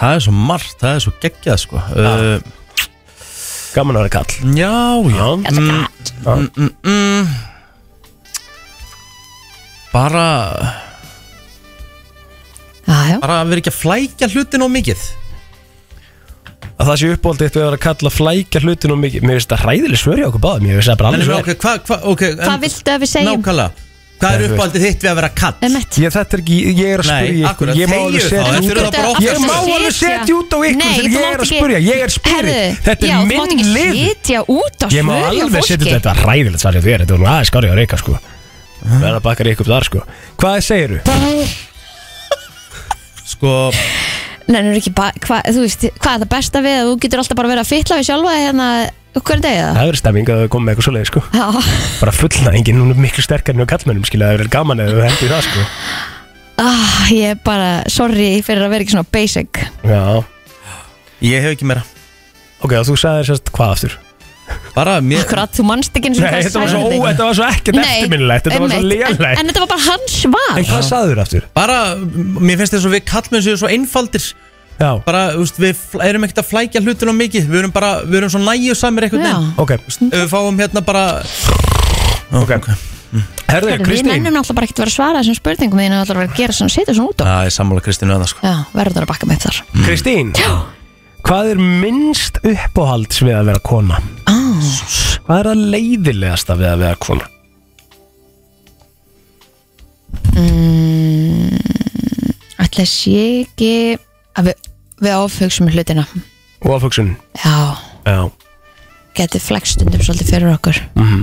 Það er svo margt, það er svo geggjað sko uh,
Gaman að vera kall
Já, já mm, mm, mm, mm. Bara
já, já.
Bara að vera ekki að flækja hlutin og mikið
að það sé uppáhaldið þitt við að vera kall að flækja hlutin og mikið Mér finnst það hræðileg svör hjá okkur báðum Ég finnst það bara
En
alveg
ok, hvað hva, okay, en-
Hvað viltu að við segjum?
Nákvæmlega Hvað er uppáhaldið þitt við að vera kall?
Um
Ég, þetta er ekki, ég er að
Nei,
spyrja
akkurat,
ég má
þegiðu
alveg
þá, þetta
setja
eru það bara
út á
okkar
ég má
sem
alveg setja út á ykkur
Nei,
sem
þú
ég
mátt
er að
ekki-
spyrja, ég er spyrri
Herðu,
þetta
já,
er
þú mátt
minn
ekki
lið
sitja út á
ég má
svör hjá
alveg
fólki.
setja út- þetta er ræðilegt svar hjá þér þetta er nú aðeins skári á reyka sko verða að bakka reyka upp þar sko hvað segiru?
Sko
Nei, nú er ekki bara, hva, þú veist, hvað er það besta við að þú getur alltaf bara verið að fytla við sjálfa þig hérna hverju degi það?
það er stemming að þau komið með eitthvað svoleiði sko
Já,
bara fullnæðingin, hún er miklu sterkar en á kallmennum skilja það er gaman eða þau hendur það sko
ah, ég er bara sorry fyrir að vera ekki svona basic
já
ég hef ekki meira
ok, og þú sagði sérst hvað aftur?
bara mér
Akkurat, þú manst ekki eins og
Nei,
hvað
þetta var svo
sagði.
ó- þetta var svo ekkert
Nei,
eftirminnilegt, þetta var svo
einmitt. En-
lélegt.
En þetta var bara hans svar
sagður aftur?
Bara, m- mér finnst þess að við kallmenn séu svo einfaldir
Já
Bara, þú veist, við fl- erum ekkert að flækja hlutin á mikið Við erum bara, við erum svo næju samir eitthvað
Já.
Ok
Við fáum hérna bara
Ok, Herðu,
Herðu, Við mennum náttúrulega bara ekkert að vera að svara þessum spurningum þínu og alltaf vera að gera svona, setja svona út á
Það er sammála Kristínu að það sko
Já, verður það að bakka mig upp þar
Mm. Kristín Hvað er minnst uppáhalds við að vera kona?
ah.
Hvað er það leiðilegasta við að vera kona?
mm, Ætla sé ekki að við, við áfugsum hlutina
Og aðfugsun
Já,
Já
getið flexstundum svolítið fyrir okkur Eh,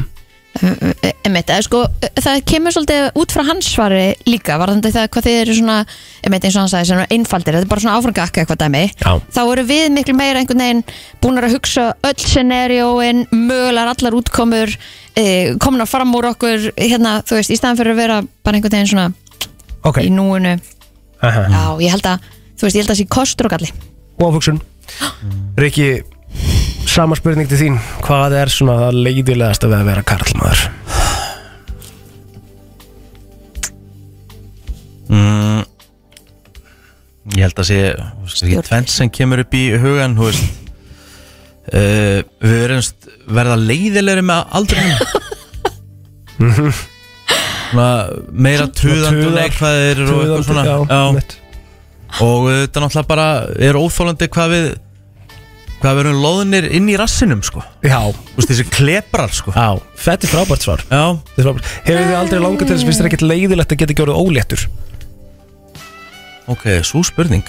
Mhm.
Einmitt, eða sko, það kemur svolítið út frá hans svari líka varðandi það hvað þið eru svona einmitt eins og hann sagði, sem er einfaldir, þetta er bara svona áframgakka eitthvað dæmi,
Já.
þá eru við miklu meira einhvern veginn búin að hugsa öll scenarióin, mögulegar allar útkomur e, komin að fram úr okkur hérna, þú veist, í staðan fyrir að vera bara einhvern veginn svona
okay.
í núinu
Aha.
Já, ég held að, þú veist, ég held að það sé kostur og galli
Og *gasps* aðfugsun Riki, sama spurning til þín Hvað er svona það leiðilegasta við að vera karlmaður?
mm, Ég held að sé þú veist, ekki Tvent sem kemur upp í hugan Þú veist uh, Við verðumst verða leiðilegri með aldrinum Svona meira tuðandi og
tuðar-
neikvæðir og eitthvað
tuðandi,
svona
já,
Og þetta náttúrulega bara er óþólandi hvað við hvað við erum loðnir inn í rassinum sko
Já
Þú veist þessi kleprar sko
Já, þetta er frábært svar
Já
Hefur þið aldrei langað til þess að finnst þér ekkert leiðilegt að geta gjörðu óléttur?
Ok, svo spurning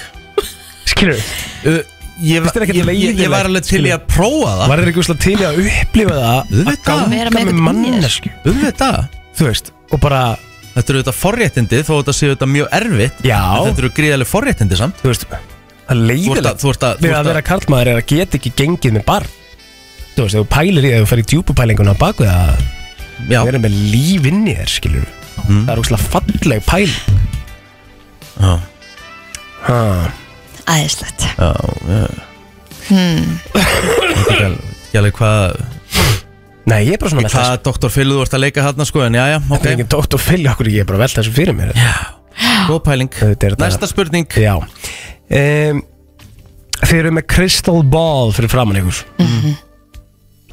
Skilur
uh, Ég,
Finnst þér
ég, ég,
ekkert
ég var
leiðinlegt,
alveg til í
skilur?
að prófa það
Var þér ekki úrslega til í að upplifa það Að
Auðvitað. Vera með
ganga með
einhvern
mannesku
Auðvitað
Þú veist, og bara
Þetta eru auðvitað forréttindi þó þetta séu þetta mjög erfitt Já Þetta eru gríðarlega forréttindi samt
Þú veist, það leiðilegt
Þú ert að
Við að vera karlmaður er að geta ekki gengið með barn Þú veist, ef þú pælir í það, ef þú fer í djúpupælinguna á bakvið að
Já. Mhm.
vera með líf inn í þér, skilur Það er úrslega falleg pæl
Já
Ha,
Æðislegt
Já, já
hmm.
Ég alveg hvað
Nei, ég er bara svona
með Hvað doktor Phil þú ert að leika hann sko en já, já, ok
Þetta er ekki doktor Phil, okkur ég er bara að velta þessu fyrir mér Já,
góð pæling Næsta spurning
Já um, Þeir eru með Crystal Ball fyrir framann ykkur
Mhm.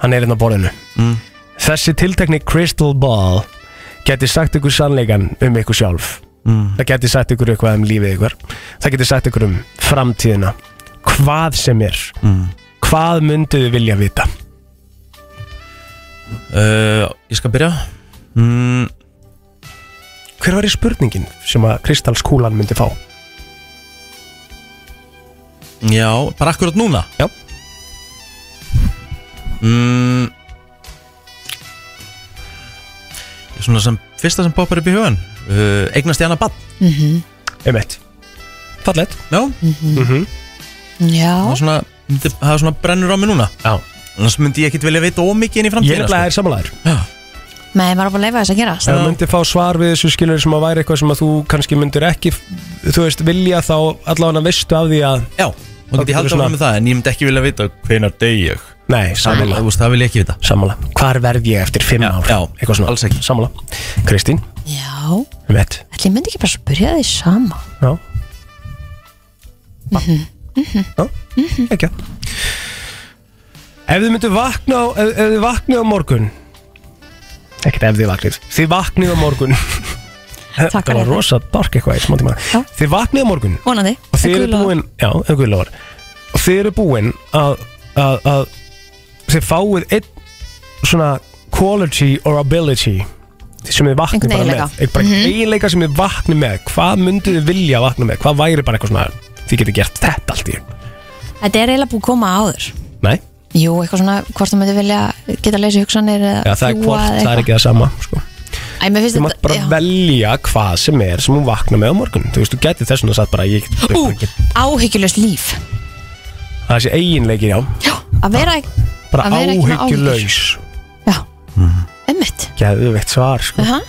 Hann er hérna á borðinu
Mm.
Þessi tiltekni Crystal Ball geti sagt ykkur sannleikan um ykkur sjálf
Mm.
Það geti sagt ykkur eitthvað um lífið ykkur Það geti sagt ykkur um framtíðina Hvað sem er
Mm.
Hvað mynduðu vilja vita?
uh, Ég skal byrja mm.
Hver var í spurningin sem að Kristalskúlan myndi fá?
Já, bara akkurat núna
Já
mm. Svona sem Fyrsta sem poppar upp í hugan uh, Eignast í hana bann
Mhm.
Einmitt Fallett
Já
Mhm.
Það
Já
er svona, það er svona brennur á mig núna
Já
Annars myndi ég ekkit velja vita ómikið inn í
Ég er
framtíðina sko.
nefnilega er samanlæður
Nei, maður er bara að leifa þess að gera
Ef þú myndir fá svar við þessu skilur sem að væri eitthvað sem að þú kannski myndir ekki þú veist, vilja þá allavega veistu af því að
Já, og myndi ég halda áfram með það En ég myndi ekki vilja vita hvenar deg ég
Nei, sammála.
Það, það vil ég ekki vita
Sammála Hvar verð ég eftir fimm ár? Já, eitthvað svona Alls ekki Sammála Kristín
Já
Vett
Ætli ég myndi ekki bara spyrja því sama
Já
Mhm.
Mhm. Ekki Ef þið myndir vakna á, ef, ef þið vaknið á morgun Ekkert ef þið vaknið Þið vaknið á morgun Takk Það var rosa dark eitthvað í smá tíma Þið vaknið á morgun
Vonandi
og þið eru
Gula-
búin já, það guðla var og þið eru búin að, að, að þið fáið einn svona quality or ability sem þið vaknið
Einhvern
bara
eiginleika.
með eitthvað mm
Mhm.
eiginleika sem þið vaknið með hvað mynduð þið vilja að vakna með hvað væri bara eitthvað svona þið getið gert þetta allt í einu.
Þetta er eiginlega búið að koma áður
nei,
Jú, eitthvað svona, hvort þú myndi vilja geta að leysa hugsanir eða
já, það er
fljúga eða
hvort það er
eitthvað.
ekki það sama sko.
Æ, mér finnst
þú mátt
þetta
bara
já.
velja hvað sem er sem hún vakna með á morgun þú veist, þú getið þess vegna satt bara ég get,
Ú,
get,
áhyggjulöst líf
það sé eiginleikin já,
Að vera,
bara
að vera ekki með
áhyggjulaus Mhm.
áhyggjur. Einmitt
geðveikt svar sko.
Aha.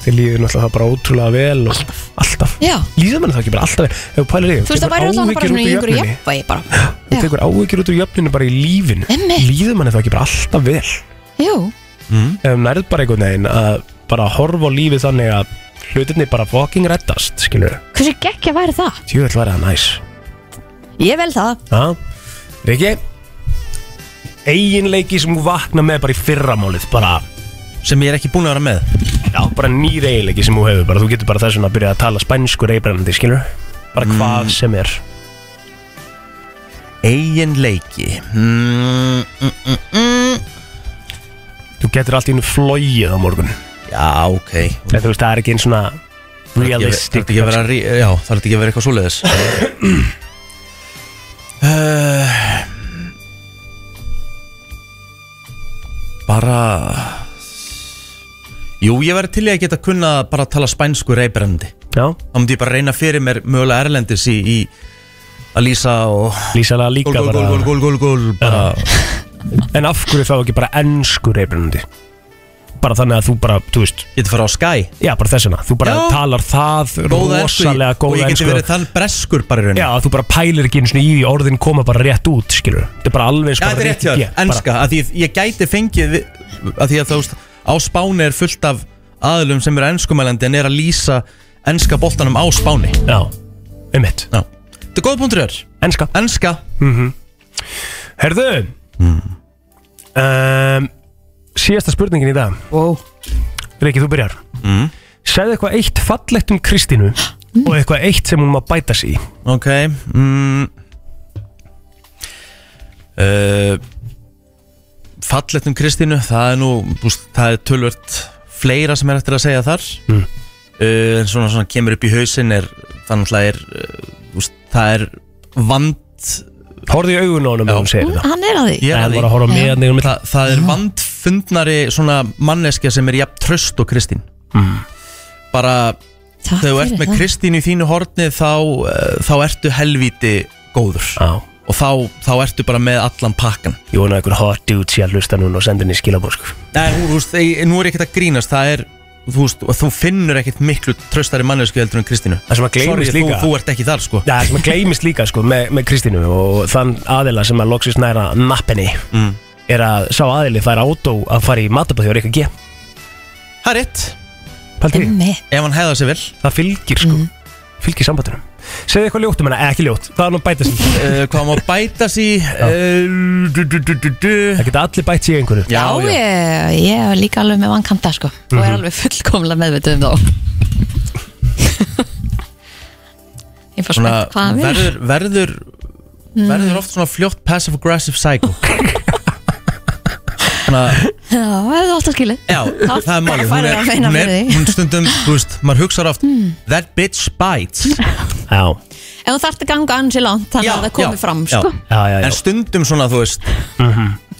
þið líður náttúrulega það bara ótrúlega vel og alltaf,
Já.
líður mann það ekki bara alltaf vel ef þú pælir í því,
Þú veist, það væri alltaf bara svona í ykkur
jöfnunni
jafnvægi bara
þú tekur áhyggjur út úr jöfnunni bara í lífinu
Einmitt.
líður mann það ekki bara alltaf vel
Jú,
mm. ef þú nærð bara einhvern veginn að bara horfa á lífið þannig að hlutinni bara fucking reddast skilur
hversu geggja væri það?
tjóðvill væri það næs
Ég vel það
Já, Riki Eginleiki sem þú vakna með bara í fyrramálið bara
Sem ég er ekki búin að vera með
Já, bara nýr eiginleiki sem þú hefur bara, Þú getur bara þess vegna að byrja að tala spænsku reybrennandi skilur Bara hvað sem er
Eginleiki mm, mm, mm, mm.
Þú getur allt í hennu flóið á morgun
Já, ok
Eða, Þú veist, það er ekki einn svona
Realistic
realistic
ekki að vera, rí- Já, það er ekki að vera eitthvað svoleiðis uh, Bara Jú, ég væri til í að geta kunna bara að tala spænsku reybrandi
Já
Þá myndi ég bara reyna fyrir mér mögulega erlendis í, í að lýsa og
Lýsa það líka
gól,
bara-
gól, gól, gól, gól, gól, bara
En af hverju þá ekki bara ennsku reybrennandi Bara þannig að þú bara, þú veist
Getur fara á Sky
Já, bara þess vegna, þú bara
Já.
talar það
Góða ensku í-
rosalega
og
góða
ég geti
ensku.
verið þann breskur bara í rauninni.
Já, þú bara pælir ekki eins og í því orðin koma bara rétt út, skilur Þetta er bara alveg eins
Já, þetta er rétt hjá þér, enska að því ég gæti fengið við- að því að þú veist, á Spáni er fullt af aðlum sem eru enskumælandi en er að lýsa enska boltanum á Spáni
Já, um mitt
Já, þetta er góð punktur þér
Enska
Enska
mm Herðu Hmm. um, Síðasta spurningin í dag
wow.
Riki, þú byrjar
mm.
Segðu eitthvað eitt fallegt um Kristínu Og eitthvað eitt sem hún má bæta sig í
Ok mm. uh, Fallegt um Kristínu Það er nú, búst, það er tölvört fleira sem er eftir að segja þar Eh,
Mm.
uh, En svona, svona kemur upp í hausinn er þannig að er, uh, þú veist, það er vand
Horfðu í augun á honum og hún segir
þetta Hann er að því
Ég
Nei,
að
hann
því.
var að horfa á mig
Já.
þarna í honum.
það, það er vandfundnari svona manneskja sem er jafn tröst og Kristín mm. Bara þegar
Takk
þú
fyrir
ert með
það.
Kristín í þínu horni þá, eh, þá ertu helvíti góður
Já.
Og þá, þá ertu bara með allan pakkan
Ég vona að einhver hot dude sé að hlusta núna og senda henni skilabóð sko.
Nei, þú veist, ég- nú er ég ekkert að grínast Það er, þú veist, og þú finnur ekkert miklu tröstari mannesku heldur en Kristínu
Það sem að gleymist
Sorry,
líka
þú, þú ert ekki þar sko
Já, það sem að gleymist líka sko með, með Kristínu og þann aðila sem að loksist næra nappinni mm. er að sá aðili fær átó að fara í matabæði og reyka G
Það er rétt
Paldi
Ef
hann hefða sig vel
Það fylgir sko
Mm.
Fylgir sambandunum Segðu eitthvað ljótt um hana, eh, ekki ljótt Það er nú bæta sig
uh, Hvað má bæta sig uh, du, du, du, du, du.
Það geta allir bætt sig í einhverju
Já, ég, ég er líka alveg með vankanta sko og er
Mhm.
alveg fullkomlega meðvitið um þá *laughs* Ég fór
svona,
spennt hvað hann vil
verður, verður,
Mm.
verður oft svona fljótt passive aggressive psycho svona,
Já, hefðu átt að skilja
já, það er málið hún
Hún
er, hún er hún stundum, þú veist, maður hugsar oft
Mm.
that bitch bites
já,
En þú þarft að ganga ansi langt þannig að það komi fram
já,
sko
já, já.
en stundum svona, þú veist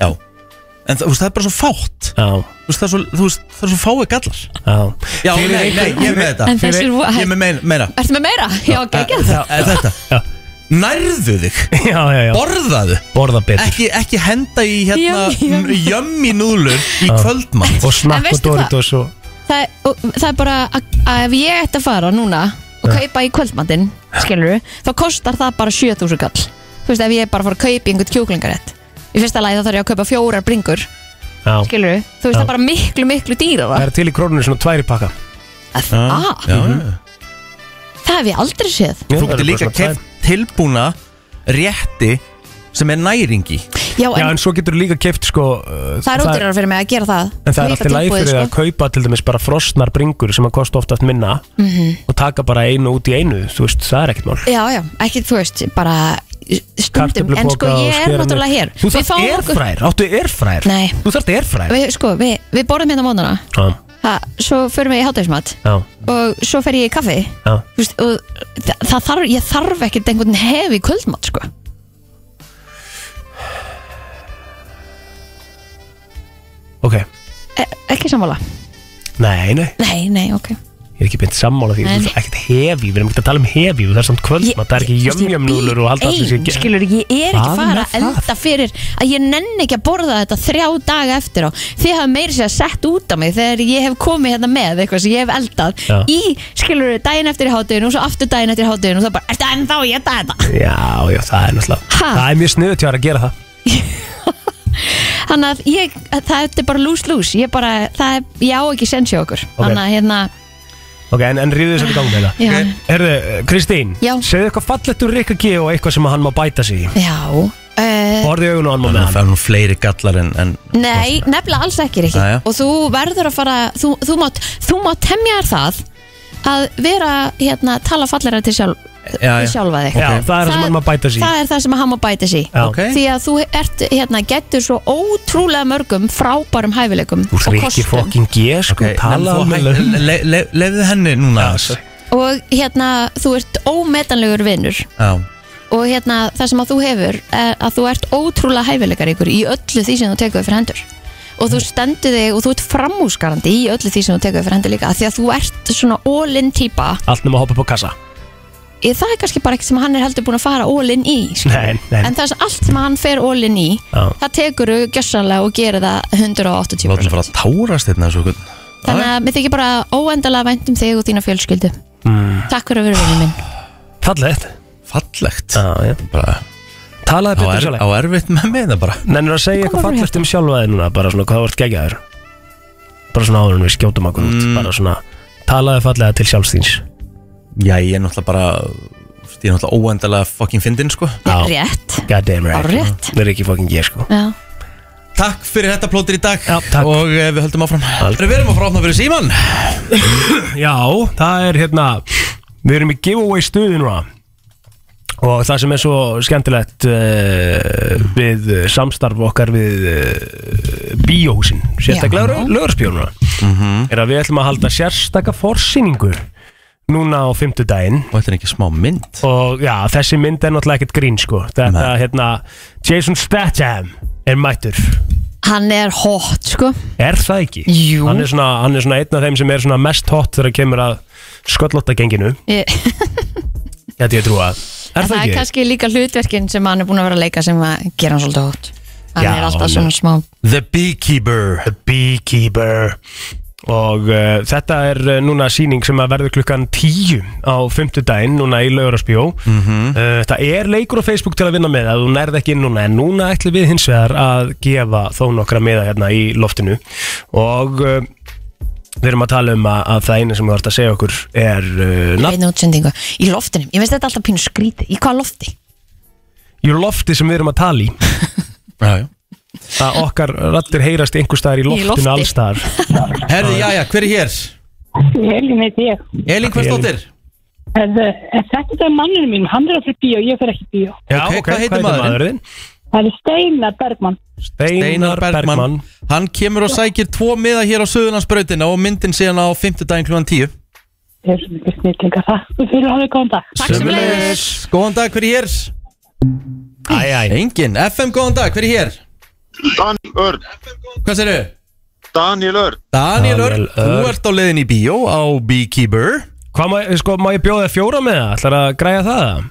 já, en það, þú veist, það er bara svo fátt
já.
þú veist, það er svo, þú veist, það er svo fáið gallar
já,
já, nei, nei, ég er með þetta
En þessir
Fyrir-
voru-
ég er með meina, meina.
Ertu með meira? Já, geggjað
Eh, þetta nærðu þig
já, já, já.
borðaðu
borða betur
ekki, ekki henda í hérna
Yum, yum.
jömmi núðlur í
Já.
kvöldmann
Og
En
snakk og
veistu
Doritos og
það, er- og, það er bara að, að ef ég ætti að fara núna og
Eh.
kaupa í kvöldmandinn, skilur þá kostar það bara 7000 kall þú veist ef ég bara fór að kaupa í einhvern kjúklingarétt í fyrsta lagi þá þarf ég að kaupa fjórar bringur
Já.
skilur þú veist það er
Já.
bara miklu miklu
Það
dýrara
er til í krónunni svona tværi pakka
ah. Já,
já.
það hef ég aldrei séð
þú getur líka keft tilbúna rétti sem er næringi
já en,
Já, en svo getur líka keft sko uh,
það er ódýrara fyrir mig að gera það sko.
En það er alltaf læg fyrir að
það
kaupa til dæmis bara frosnar bringur sem að kosta oftast minna
Mhm.
og taka bara einu út í einu, þú veist, það er ekkert mál
já já ekki þú veist bara stundum en sko
Kartöflupoka og
ég
skera
er
niður.
náttúrulega hér
Þú
Við
þarft
fáum okkur-
erfræðir, áttu erfræðir
Nei.
Þú þarft erfræðir
við, sko við, við borðum hérna mótana
Já,
það, svo förum við í hátagismat
já,
og svo fer ég í kaffi
já
Þú veist, og það, það þarf, ég þarf ekkert einhvern hefi kvöldmátt sko.
Ok,
e ekki sammála
nei, nei,
nei, nei, ok
ég er ekki beint sammála því
Nei,
Þú þarft ekkert hefi, við erum ekkert að tala um hefi Þú þarft samt kvöldmatt, það er ekki jömjömnúlur og halda allir sér
ein, skilur, ég er ekki
Hvað
fara
með
að elda fyrir að ég nenni ekki að borða þetta þrjá daga eftir á þið hafa meiri sér sett út á mig þegar ég hef komið hérna með eitthvað sem ég hef eldað
Já.
í, skilur, daginn eftir í hátuðinu og svo aftur daginn eftir í hátuðinu og það bara, ertu ennþá að geta þetta
Já, já, það er náttúrulega
Ha?
Það er mjög sniðut hjá þér að gera það
þannig að ég, það er bara lús-lús ég bara, það er, ég á ekki sens hjá okkur
Ok.
þannig að hérna,
Ok, en, en ríðu þess að gang með það
Já.
Herðu, eh, Kristín,
Já.
segðu eitthvað fallegt um Rikka G og eitthvað sem hann má bæta sig í
já uh,
Horfðu í augun og hann má með hann
það er nú fleiri gallar en, en
Nei, nefnilega alls ekki Rikki
Jæja.
Og þú verður að fara Þú, þú, mátt, þú mátt temja þér það Að vera, hérna, tala fallera til sjálf
Já, já.
til sjálfa þig
Já, það er það sem hann má bæta sig í.
Það er það sem hann má bæta sig í.
Já. Ok.
Því að þú ert, hérna, getur svo ótrúlega mörgum frábærum hæfileikum
Þú ert
og
Rikki
kostum.
fokkin G, sko,
Ok,
tala
nefnum
um
þú að hæ- le- le- le- Lefðu henni núna Já,
Og hérna, þú ert ómetanlegur vinnur Og hérna, það sem að þú hefur er Að þú ert ótrúlega hæfileikar ykkur Í öllu því sem þú tekur fyrir hendur og þú stendur þig og þú ert framúskarandi í öllu því sem þú tekur fyrir hendur líka af því að þú ert svona all-in típa
Allt nema að hoppa upp á kassa
Ég- það er kannski bara ekkert sem hann er heldur búin að fara all-in í skilur.
Nei, nei.
en það er sem allt sem hann fer all-in í
Já.
það tekur þú gjössanlega og gerir það 180
Látum fara að tárast hérna þessu okkur
þannig að mér þykir bara óendalega vænt um þig og þína fjölskyldu
mm.
takk fyrir að vera vinnu minn
Fallegt
Fallegt
Já, já
Bara Á,
Talaði betur
er,
sjálf
á erfitt með mig það bara
Nennir að segja eitthvað fallegt um sjálfa þig núna Bara svona hvað þú ert geggjaður Bara svona áður en við skjótum okkur út Bara svona Talaði fallega til sjálfstíns
Já, ég er náttúrulega bara Ég er náttúrulega óendalega fucking fyndin sko
rétt
God damn right
Árrétt.
Það er ekki fokkin ég sko
Já.
Takk fyrir þetta plótir í dag
Já, takk
Og eh, við höldum áfram Aldrei Við erum að fara áfna fyrir síman
Já, það er hérna Við erum í giveaway stuði núna Og það sem er svo skemmtilegt uh, við eh, samstarf okkar við uh, bíóhúsin, sérstaklega
Já.
Mhm. lögurspjónuna, er að við ætlum að halda sérstaka forsýningu núna á fimmtudaginn
Og þetta er ekki smá mynd
Og já, þessi mynd er náttúrulega ekkert grín sko Þetta, hérna, Jason Statham er mættur
Hann er hot, sko
Er það ekki?
Jú
Hann er svona, hann er svona einn af þeim sem er svona mest hot þegar kemur að sköllóttagenginu
Ég-
Þetta ég trúa Er
En
það,
það er
ekki?
kannski líka hlutverkin sem hann er búin að vera að leika sem að gera hann svolítið hot Hann
Já,
er alltaf
hann
svona
er-
smá
The Beekeeper The Beekeeper Og uh, þetta er uh, núna síning sem að verður klukkan 10 á fimmtudaginn, núna í Laugararsbjó
Mhm.
uh, Það er leikur á Facebook til að vinna með að þú nærð ekki inn núna en núna ætlum við hins vegar að gefa þó nokkra meða hérna í loftinu og uh, við erum að tala um að, að það eina sem þú ert að segja okkur er uh, nafn,
beinu útsendingu Í loftinu, ég veist þetta alltaf pínu skríti Í hvaða lofti?
í lofti sem við erum að tala í Já, já að okkar rattir heyrast einhver staðar í
Í
loftinu
lofti.
allstaðar
Herði, já, já, hver er hér?
Elin heit ég.
Elín, hvers dóttir?
En, eh, en þetta er manninu mín, hann er að fyrir bíó, ég fyrir ekki í bíó.
Já, ok,
hvað heitir maðurinn?
Það er Steinar Bergmann.
Steinar Bergmann Hann kemur og sækir tvo miða hér á Suðurlandsbrautina og myndin síðan á 5. daginn klúan 10
Ég er svo mikið snillinga það. Þú fyrir að hafa góðan dag.
Sömulegis Góðan dag, hver er hér? Æ, æ Engin, FM, góðan dag, hver er hér?
Daniel Örn
Hvað segirðu?
Daniel Örn
Daniel
Daniel
Örn, þú
Örn.
ert á leiðin í bíó á Beekeeper
Hvað má, sko, má ég bjóða þér fjóra með það? Ætlar að græja það?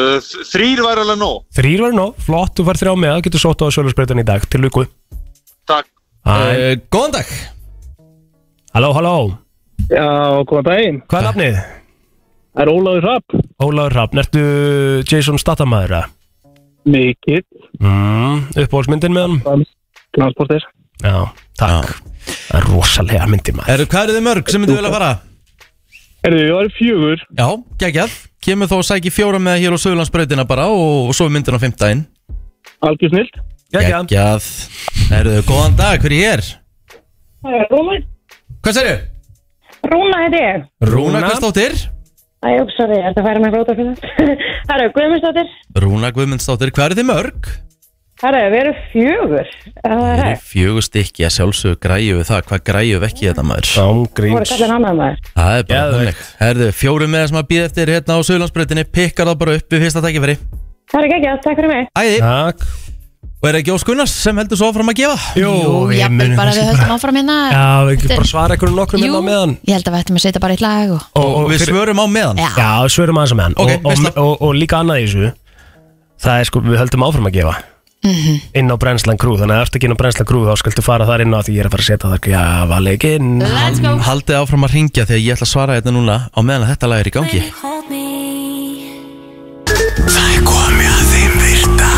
uh, Þrýr var alveg nóg
Þrýr var nóg, flott, þú fær þrjá með það, getur sótt á sölusbreytan í dag, til luku
Takk
Eh.
Æ,
Eh, Góðan dag
Halló, halló
Já, góðan daginn
Hvað er nafnið?
Það er Ólaður Rapp
Ólaður Hrafn, ertu Jason Stathamaður að?
Mikið
Mm, uppáhaldsmyndin með hann?
Transporter
Já, takk Það er rosalega myndir maður
Eru, hvað eru þið mörg sem myndu vilja fara?
Eru þið, það eru fjögur
Já, geggjað Kemur þá og sækir fjóra miða hér á Suðurlandsbrautina bara og, og svo er myndin á 5. daginn
Algjör snilt
Geggjað.
Geggjað Herðu, góðan dag, hver er hér?
Rúna,
Hvað segirðu?
Eh, Rúna heit ég.
Rúna Guðmundsdóttir
Æ, jú, sorry, ég ætla að færa mig bróta fyrir það. *laughs* Herru, Guðmundsdóttir.
Rúna Guðmundsdóttir, hvað eru þið mörg?
Eh, Herru, við erum fjögur. Er Það
Mhm.
er hægt.
Fjögur stykki að sjálfsögðu græju við það Hvað græju við ekki þetta maður?
Þú voru kallin annað maður.
Það er bara
Geðveikt.
þannig Herðu, fjórum með sem að býða eftir hérna á Suðlandsbreytinni Pikkar það bara upp við fyrsta tækifæri
Það er ekki takk fyrir mig.
Æði
Takk
Og er það ekki Ós Gunnars sem heldur svo áfram að gefa?
Jú,
Jú, jafnvel bara við höldum áfram hérna
*laughs* Já, við ekki
Þetta-
bara svara einhverjum nokkrum
Jú,
hérna á meðan
Ég held að við ættum að setja bara eitt lag og
og, og
Við svörum á meðan
Já.
Já, við svörum aðeins á meðan
Ok,
og,
veistla.
og, og, og líka annað í þessu Það er sko, við höldum áfram að gefa
Mhm.
inn á Brennslan Crew þannig að ef þú ekki inn á Brennslan Crew þá skaltu fara þar inn á því ég er að fara að setja þar gefa leikinn
Let's go.
Haldið áfram að ringja þegar ég ætla að svara hérna núna á meðan að þetta lag er í gangi
Það er komið að þeim virta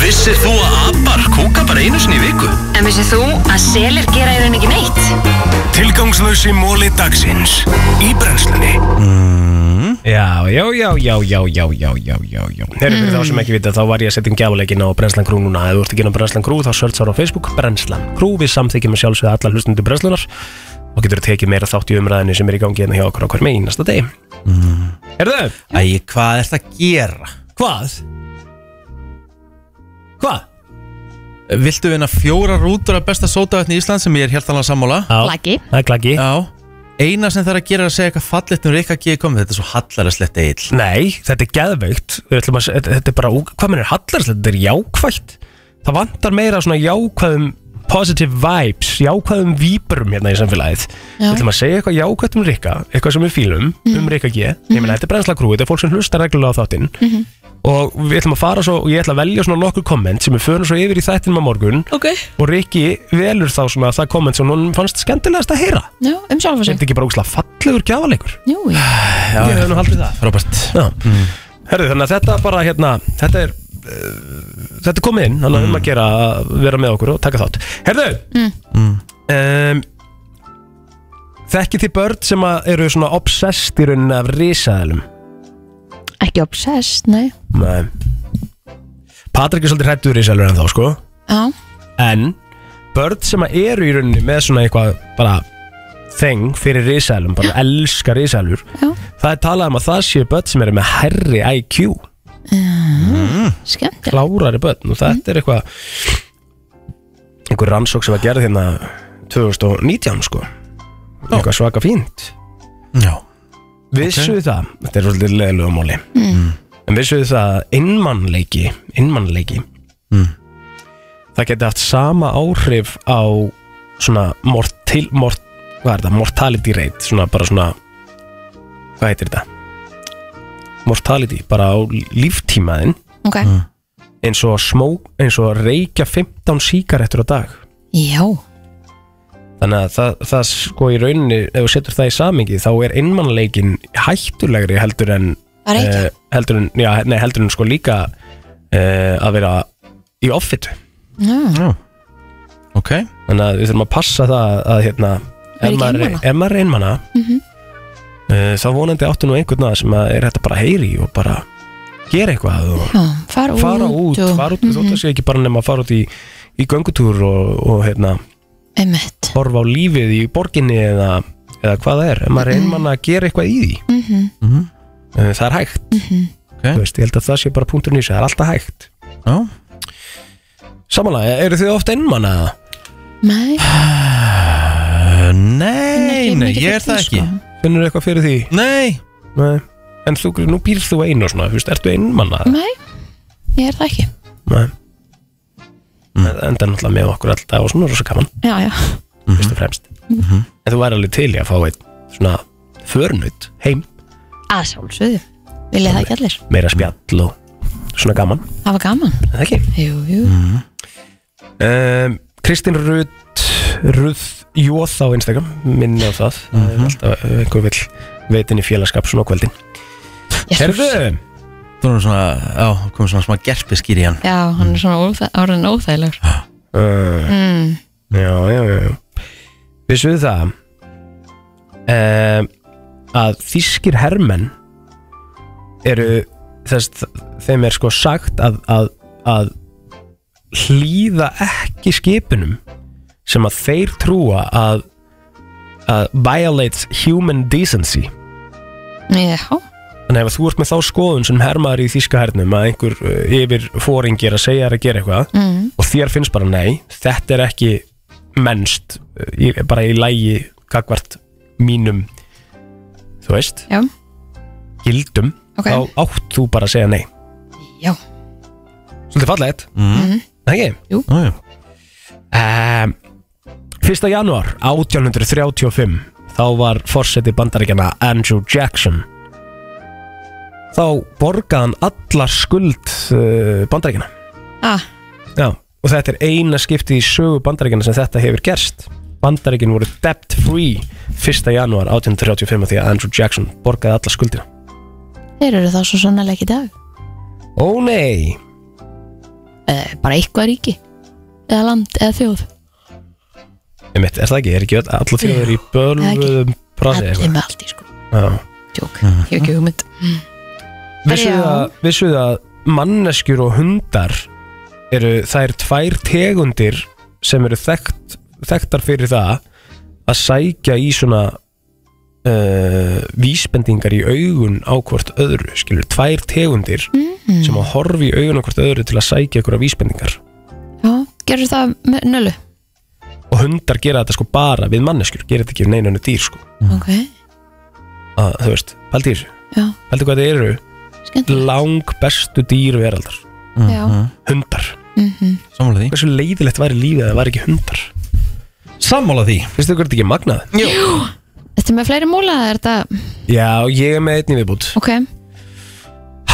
Vissir þú að abar kúka bara einu sinni í viku?
En vissið þú að selir gera í raun ekki neitt?
Tilgangslösi móli dagsins Í brennslunni
Já, já, já, já, já, já, já, já, já, já Herri, fyrir þá sem ekki vita þá var ég að setja um gefuleikin á Brennslan Crew núna Ef þú ert ekki inn á Brennslan Crew þá searchar á Facebook Brennslan Crew Við samþykjum að sjálfsögða alla hlustundu Brennslunar og getur tekið meira þátt í umræðinu sem er í gangi hérna hjá okkur á hver einasta degi Mm. Herðu
Æ, hvað er þetta að gera?
Hvað? Hvað?
Viltu vinna fjóra rútur af besta sótavætni í Ísland sem ég er helt alveg sammála?
Já.
Lagi.
Það er klaki
Já Eina sem það er að gera er að segja eitthvað fallit um Rikka G. komið Þetta er svo hallarslegt eill
Nei, þetta er geðveikt Við ætlum að, þetta þetta er bara, ó- hvað minn er hallarslegt Þetta er jákvætt Það vantar meira svona jákvæðum positive vibes, jákvæðum víbrum hérna í samfélagið
Já.
Við ætlum að segja eitthvað jákvætt um Rikka Eitthvað sem við fílum um Rikka G Ég meina, þetta er brennslakrúi, þetta er fólk sem hlustar reglulega á þáttinn Og við ætlum að fara svo Og ég ætla að velja svona nokkur komment Sem við förum svo yfir í þættinum á morgun
Ok.
Og Rikki velur þá svona það komment Sem hún fannst skemmtilegast að heyra
Já, um sjálf og
Er
sig
þetta ekki bara ógislega fallegur gjafaleikur?
Jú, jú.
Já, ég hef nú haldið það
Robert
Já Herðu, þannig að þetta bara hérna Þetta er uh, Þetta er komið inn Þannig að um að gera að vera með okkur og taka þátt Herðu
Mm.
um, Þekkið þið börn sem að eru svona obsessed í rauninni af risaðalum
Ekki obsessed, nei
Nei Patrik er svolítið hrættur risaðalur en þá sko
Já,
En börn sem að eru í rauninni með svona eitthvað bara þeng fyrir risaðalum, bara elska risaðalur Það er talað um að það séu börn sem eru með herri IQ
mm. skemmt
klárari börn og þetta er eitthvað einhver rannsók sem var gerð hérna 2019 sko eitthvað svaka fínt
Já
Vissu okay. það, þetta er svolítið leðilega móli
Mm.
En vissu þið það að innmannleiki Innmannleiki Það geti haft sama áhrif á Svona mortil mort, Hvað er það? Mortality rate Svona bara svona Hvað heitir þetta? Mortality, bara á líftímaðin
Ok. Mm.
Eins og smók Eins og að reykja 15 síkarettur á dag
Já
Þannig að það, það sko í rauninni, ef þú setur það í samingi, þá er innmannleikin hættulegri heldur en,
Að reykja.
eh, heldur en, já, nei, heldur en sko líka uh, að vera í offitu.
Já.
Ok. Þannig að við þurfum að passa það að hérna,
Vera
ef
ekki
maður,
einmana.
ef maður er innmanna,
Mhm.
uh, þá vonandi áttu nú einhvern að sem að er þetta bara heyri og bara gera eitthvað og
Já, fara út
fara út,
og- Mhm.
fara út, mm þótt að sé ekki bara nema að fara út í, í göngutúr og, og hérna,
Einmitt.
horfa á lífið í borginni eða, eða hvað það er, ef maður er einmann að gera eitthvað í því
Mhm.
-hmm. það er hægt okay. veist, ég held að það sé bara punktur nýsa, það er alltaf hægt já samanlega, eru þið oft einmann að
Nei
nei,
Uh, nei, ég er það ekki.
sko.
finnur eitthvað fyrir því? nei, nei. en þú, nú býrð þú einu og svona, þú veist, ertu einmann að
Nei, ég er það ekki
nei en það er náttúrulega með okkur alltaf og svona rosa gaman,
Já, já
fyrst og fremst en þú væri alveg til í að fá einn svona förnut heim
Að sjálfsögðu Vilja það ekki allir
meira spjall og svona gaman
Það var gaman
Er Það ekki
Jú, jú
um, Kristín Rutt Rutt Jóð á Instagram minni á það mm -hmm. alltaf ef einhver vill veitin í félagskap svona á kvöldin Herðu
Þú erum svona, já, komið svona smá gerpiskýr í hann
Já, hann er svona óþæ- orðin óþægilegur
uh,
mm.
Já, já, já, já Vissuðu það um, að þýskir hermenn eru þess, þeim er sko sagt að, að, að hlýða ekki skipunum sem að þeir trúa að, að violates human decency
Já,
Þannig ef þú ert með þá skoðun sem hermaður í þýska hernum að einhver uh, yfir fóringir að segja þér að gera eitthvað
Mm.
og þér finnst bara nei, þetta er ekki mennst, uh, í, bara í lægi gagvart mínum þú veist
Já.
gildum,
Ok.
þá átt þú bara að segja nei
Já. Mhm.
Svolítið fallegt mm. Ekki?
Jú
um, 1. januar 1835 þá var forseti bandaríkjana Andrew Jackson þá borgaði hann allar skuld uh, bandaríkjana
ah,
Já, og þetta er eina skipti í sögu bandaríkjana sem þetta hefur gerst bandaríkin voru debt free 1. januar 1835 af því að Andrew Jackson borgaði allar skuldina
Þeir eru það svo sannlega ekki í dag
Ó nei
eh, Bara eitthvað ríki Eða land, eða þjóð
Einmitt, er það ekki, er ekki öll- allar því að vera í bölvum prasi
Allir með allt í sko
Já
Jók, Ég hef ekki hugmynd mm.
Vissuð
Já.
að, vissuð að manneskjur og hundar eru þær tvær tegundir sem eru þekkt, þekktar fyrir það að sækja í svona uh, vísbendingar í augun á hvort öðru skilur, tvær tegundir sem að horfi í augun á hvort öðru til að sækja ykkur vísbendingar
Já, gerur það með nölu
og hundar gera þetta sko bara við manneskjur gera þetta ekki við neina dýr sko
Ok,
að, þú veist, pældi í þessu
já,
pældi hvað þetta eru lang bestu dýr veraldar
já
hundar
Mhm.
Sammála því Hversu leiðilegt væri lífið að það væri ekki hundar Sammála því Finnst þið hvernig ekki magnað? Jú
Þetta er með fleiri múla eða er þetta
Já, ég er með einni viðbútt
Ok,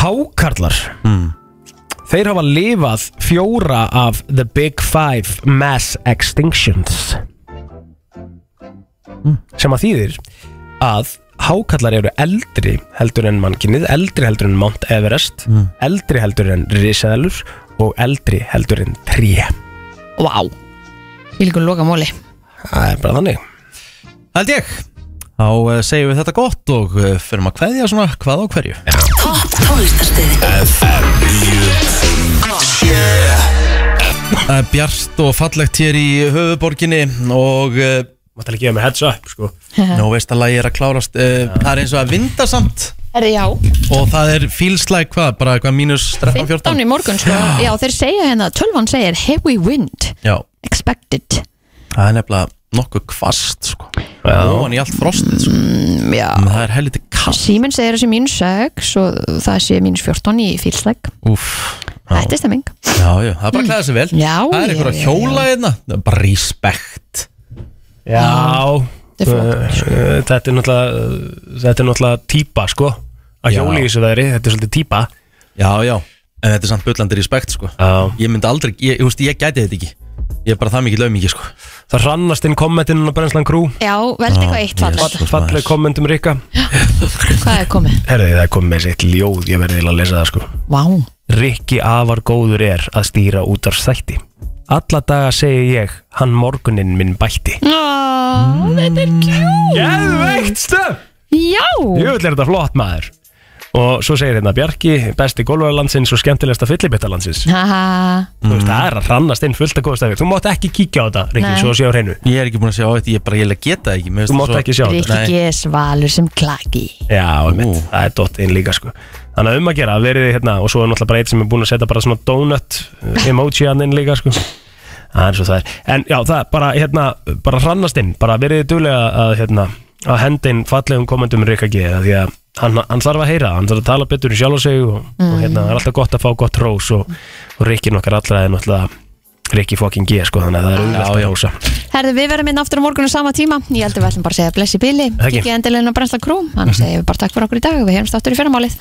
Hákarlar mm. Þeir hafa lifað fjóra af The Big Five Mass Extinctions sem að þýðir að hákallar eru eldri heldur en mannkinnið, eldri heldur en Mount Everest eldri heldur en Risaðalur og eldri heldur en Tré
Vá wow. Vilgur loka múli
Það er bara þannig
Held ég Þá uh, segjum við þetta gott og uh, fyrir að kveðja svona hvað á hverju
Topp tónlistarstöð
FM 9 Það er bjart og fallegt hér í höfuborginni og eh,
Máttal ekki gefa mig heads up sko
Nú veist að lagi er að klárast uh, Það er eins og að vinda samt
Er já
Og það er fílslæg hvað, bara hvað mínus 13,
15 í
14
morgun sko Já, þeir segja hérna, tölvan segir heavy wind
Já,
expected
það er nefnilega nokkuð kvast sko. Óan í allt frostið sko.
mm, Já
En það er helviti kast
Síminn segir þessi mínus 6 og það sé mínus 14 í fílsleik
Úff já.
Þetta er stemming
Já, já, það er bara að klæða sig vel
Já,
Það er
já,
einhver að
já,
hjóla hérna Það er bara respect
Já
Þetta er flott,
Eh, Þetta er náttúrulega Þetta er náttúrulega típa sko Að
Já.
hjóli í þessu veðri, þetta er svolítið típa
Já, já, en þetta er samt bullandi respect sko
já.
Ég myndi aldrei, ég, ég, veist, ég gæti þetta ekki Ég er bara það mikið laumingi sko
Það hrannast inn kommentinn á Brenslan Crew
Já, veldi eitthvað eitt fallegt
Falleg kommentum Rikka
Hvað er komið?
Herði það er komið með sitt ljóð, ég verði til að lesa það sko
Vá
Rikki afar góður er að stýra út af þætti Alla daga segi ég, hann morguninn minn bætti
Ó, þetta er kjúl
Geðveikt stöf
Já
Jöfull er þetta flott maður Og svo segir hérna Bjarki, besti golfarlandsins og skemmtilegsta fyllibittalandsins
Haha
Þú veist, það er að hrannast inn fullt að góðstæfi Þú mátt ekki kíkja á þetta, Rikki,
Nei.
svo sé á hreinu
Ég er ekki búin að sjá þetta, ég er bara, ég geta það ekki Mér finnst
Þú
það
mátt
svo-
ekki sjá þetta.
Rikki G. Svalur sem klaki
Já, einmitt, það er dott inn líka sko Þannig að um að gera, verið þið hérna Og svo er náttúrulega bara eitt sem er búin að setja bara svona donut eh, emoji hann inn líka sko Það er svo það er En já, það er bara hérna, bara hrannast inn Bara verið þið duðlega að hérna Að henda inn fallegum komendum Rikka G af Því að hann, hann þarf að heyra, hann þarf að tala betur í sjálf og sig og, og hérna, það er alltaf gott að fá gott rós Og, og Rikkin okkar allra er náttúrulega Rikki fokkin G sko, þannig að það er auðvitað að rósa
Herðu, við verðum inn aftur á morgun á sama tíma Ég held að við ætlum bara að segja bless í bili
Takk.
Kikið endilegin á Brensla Krú Annars segjum við bara takk fyrir okkur í dag og Við heyrumst aftur í fyrramálið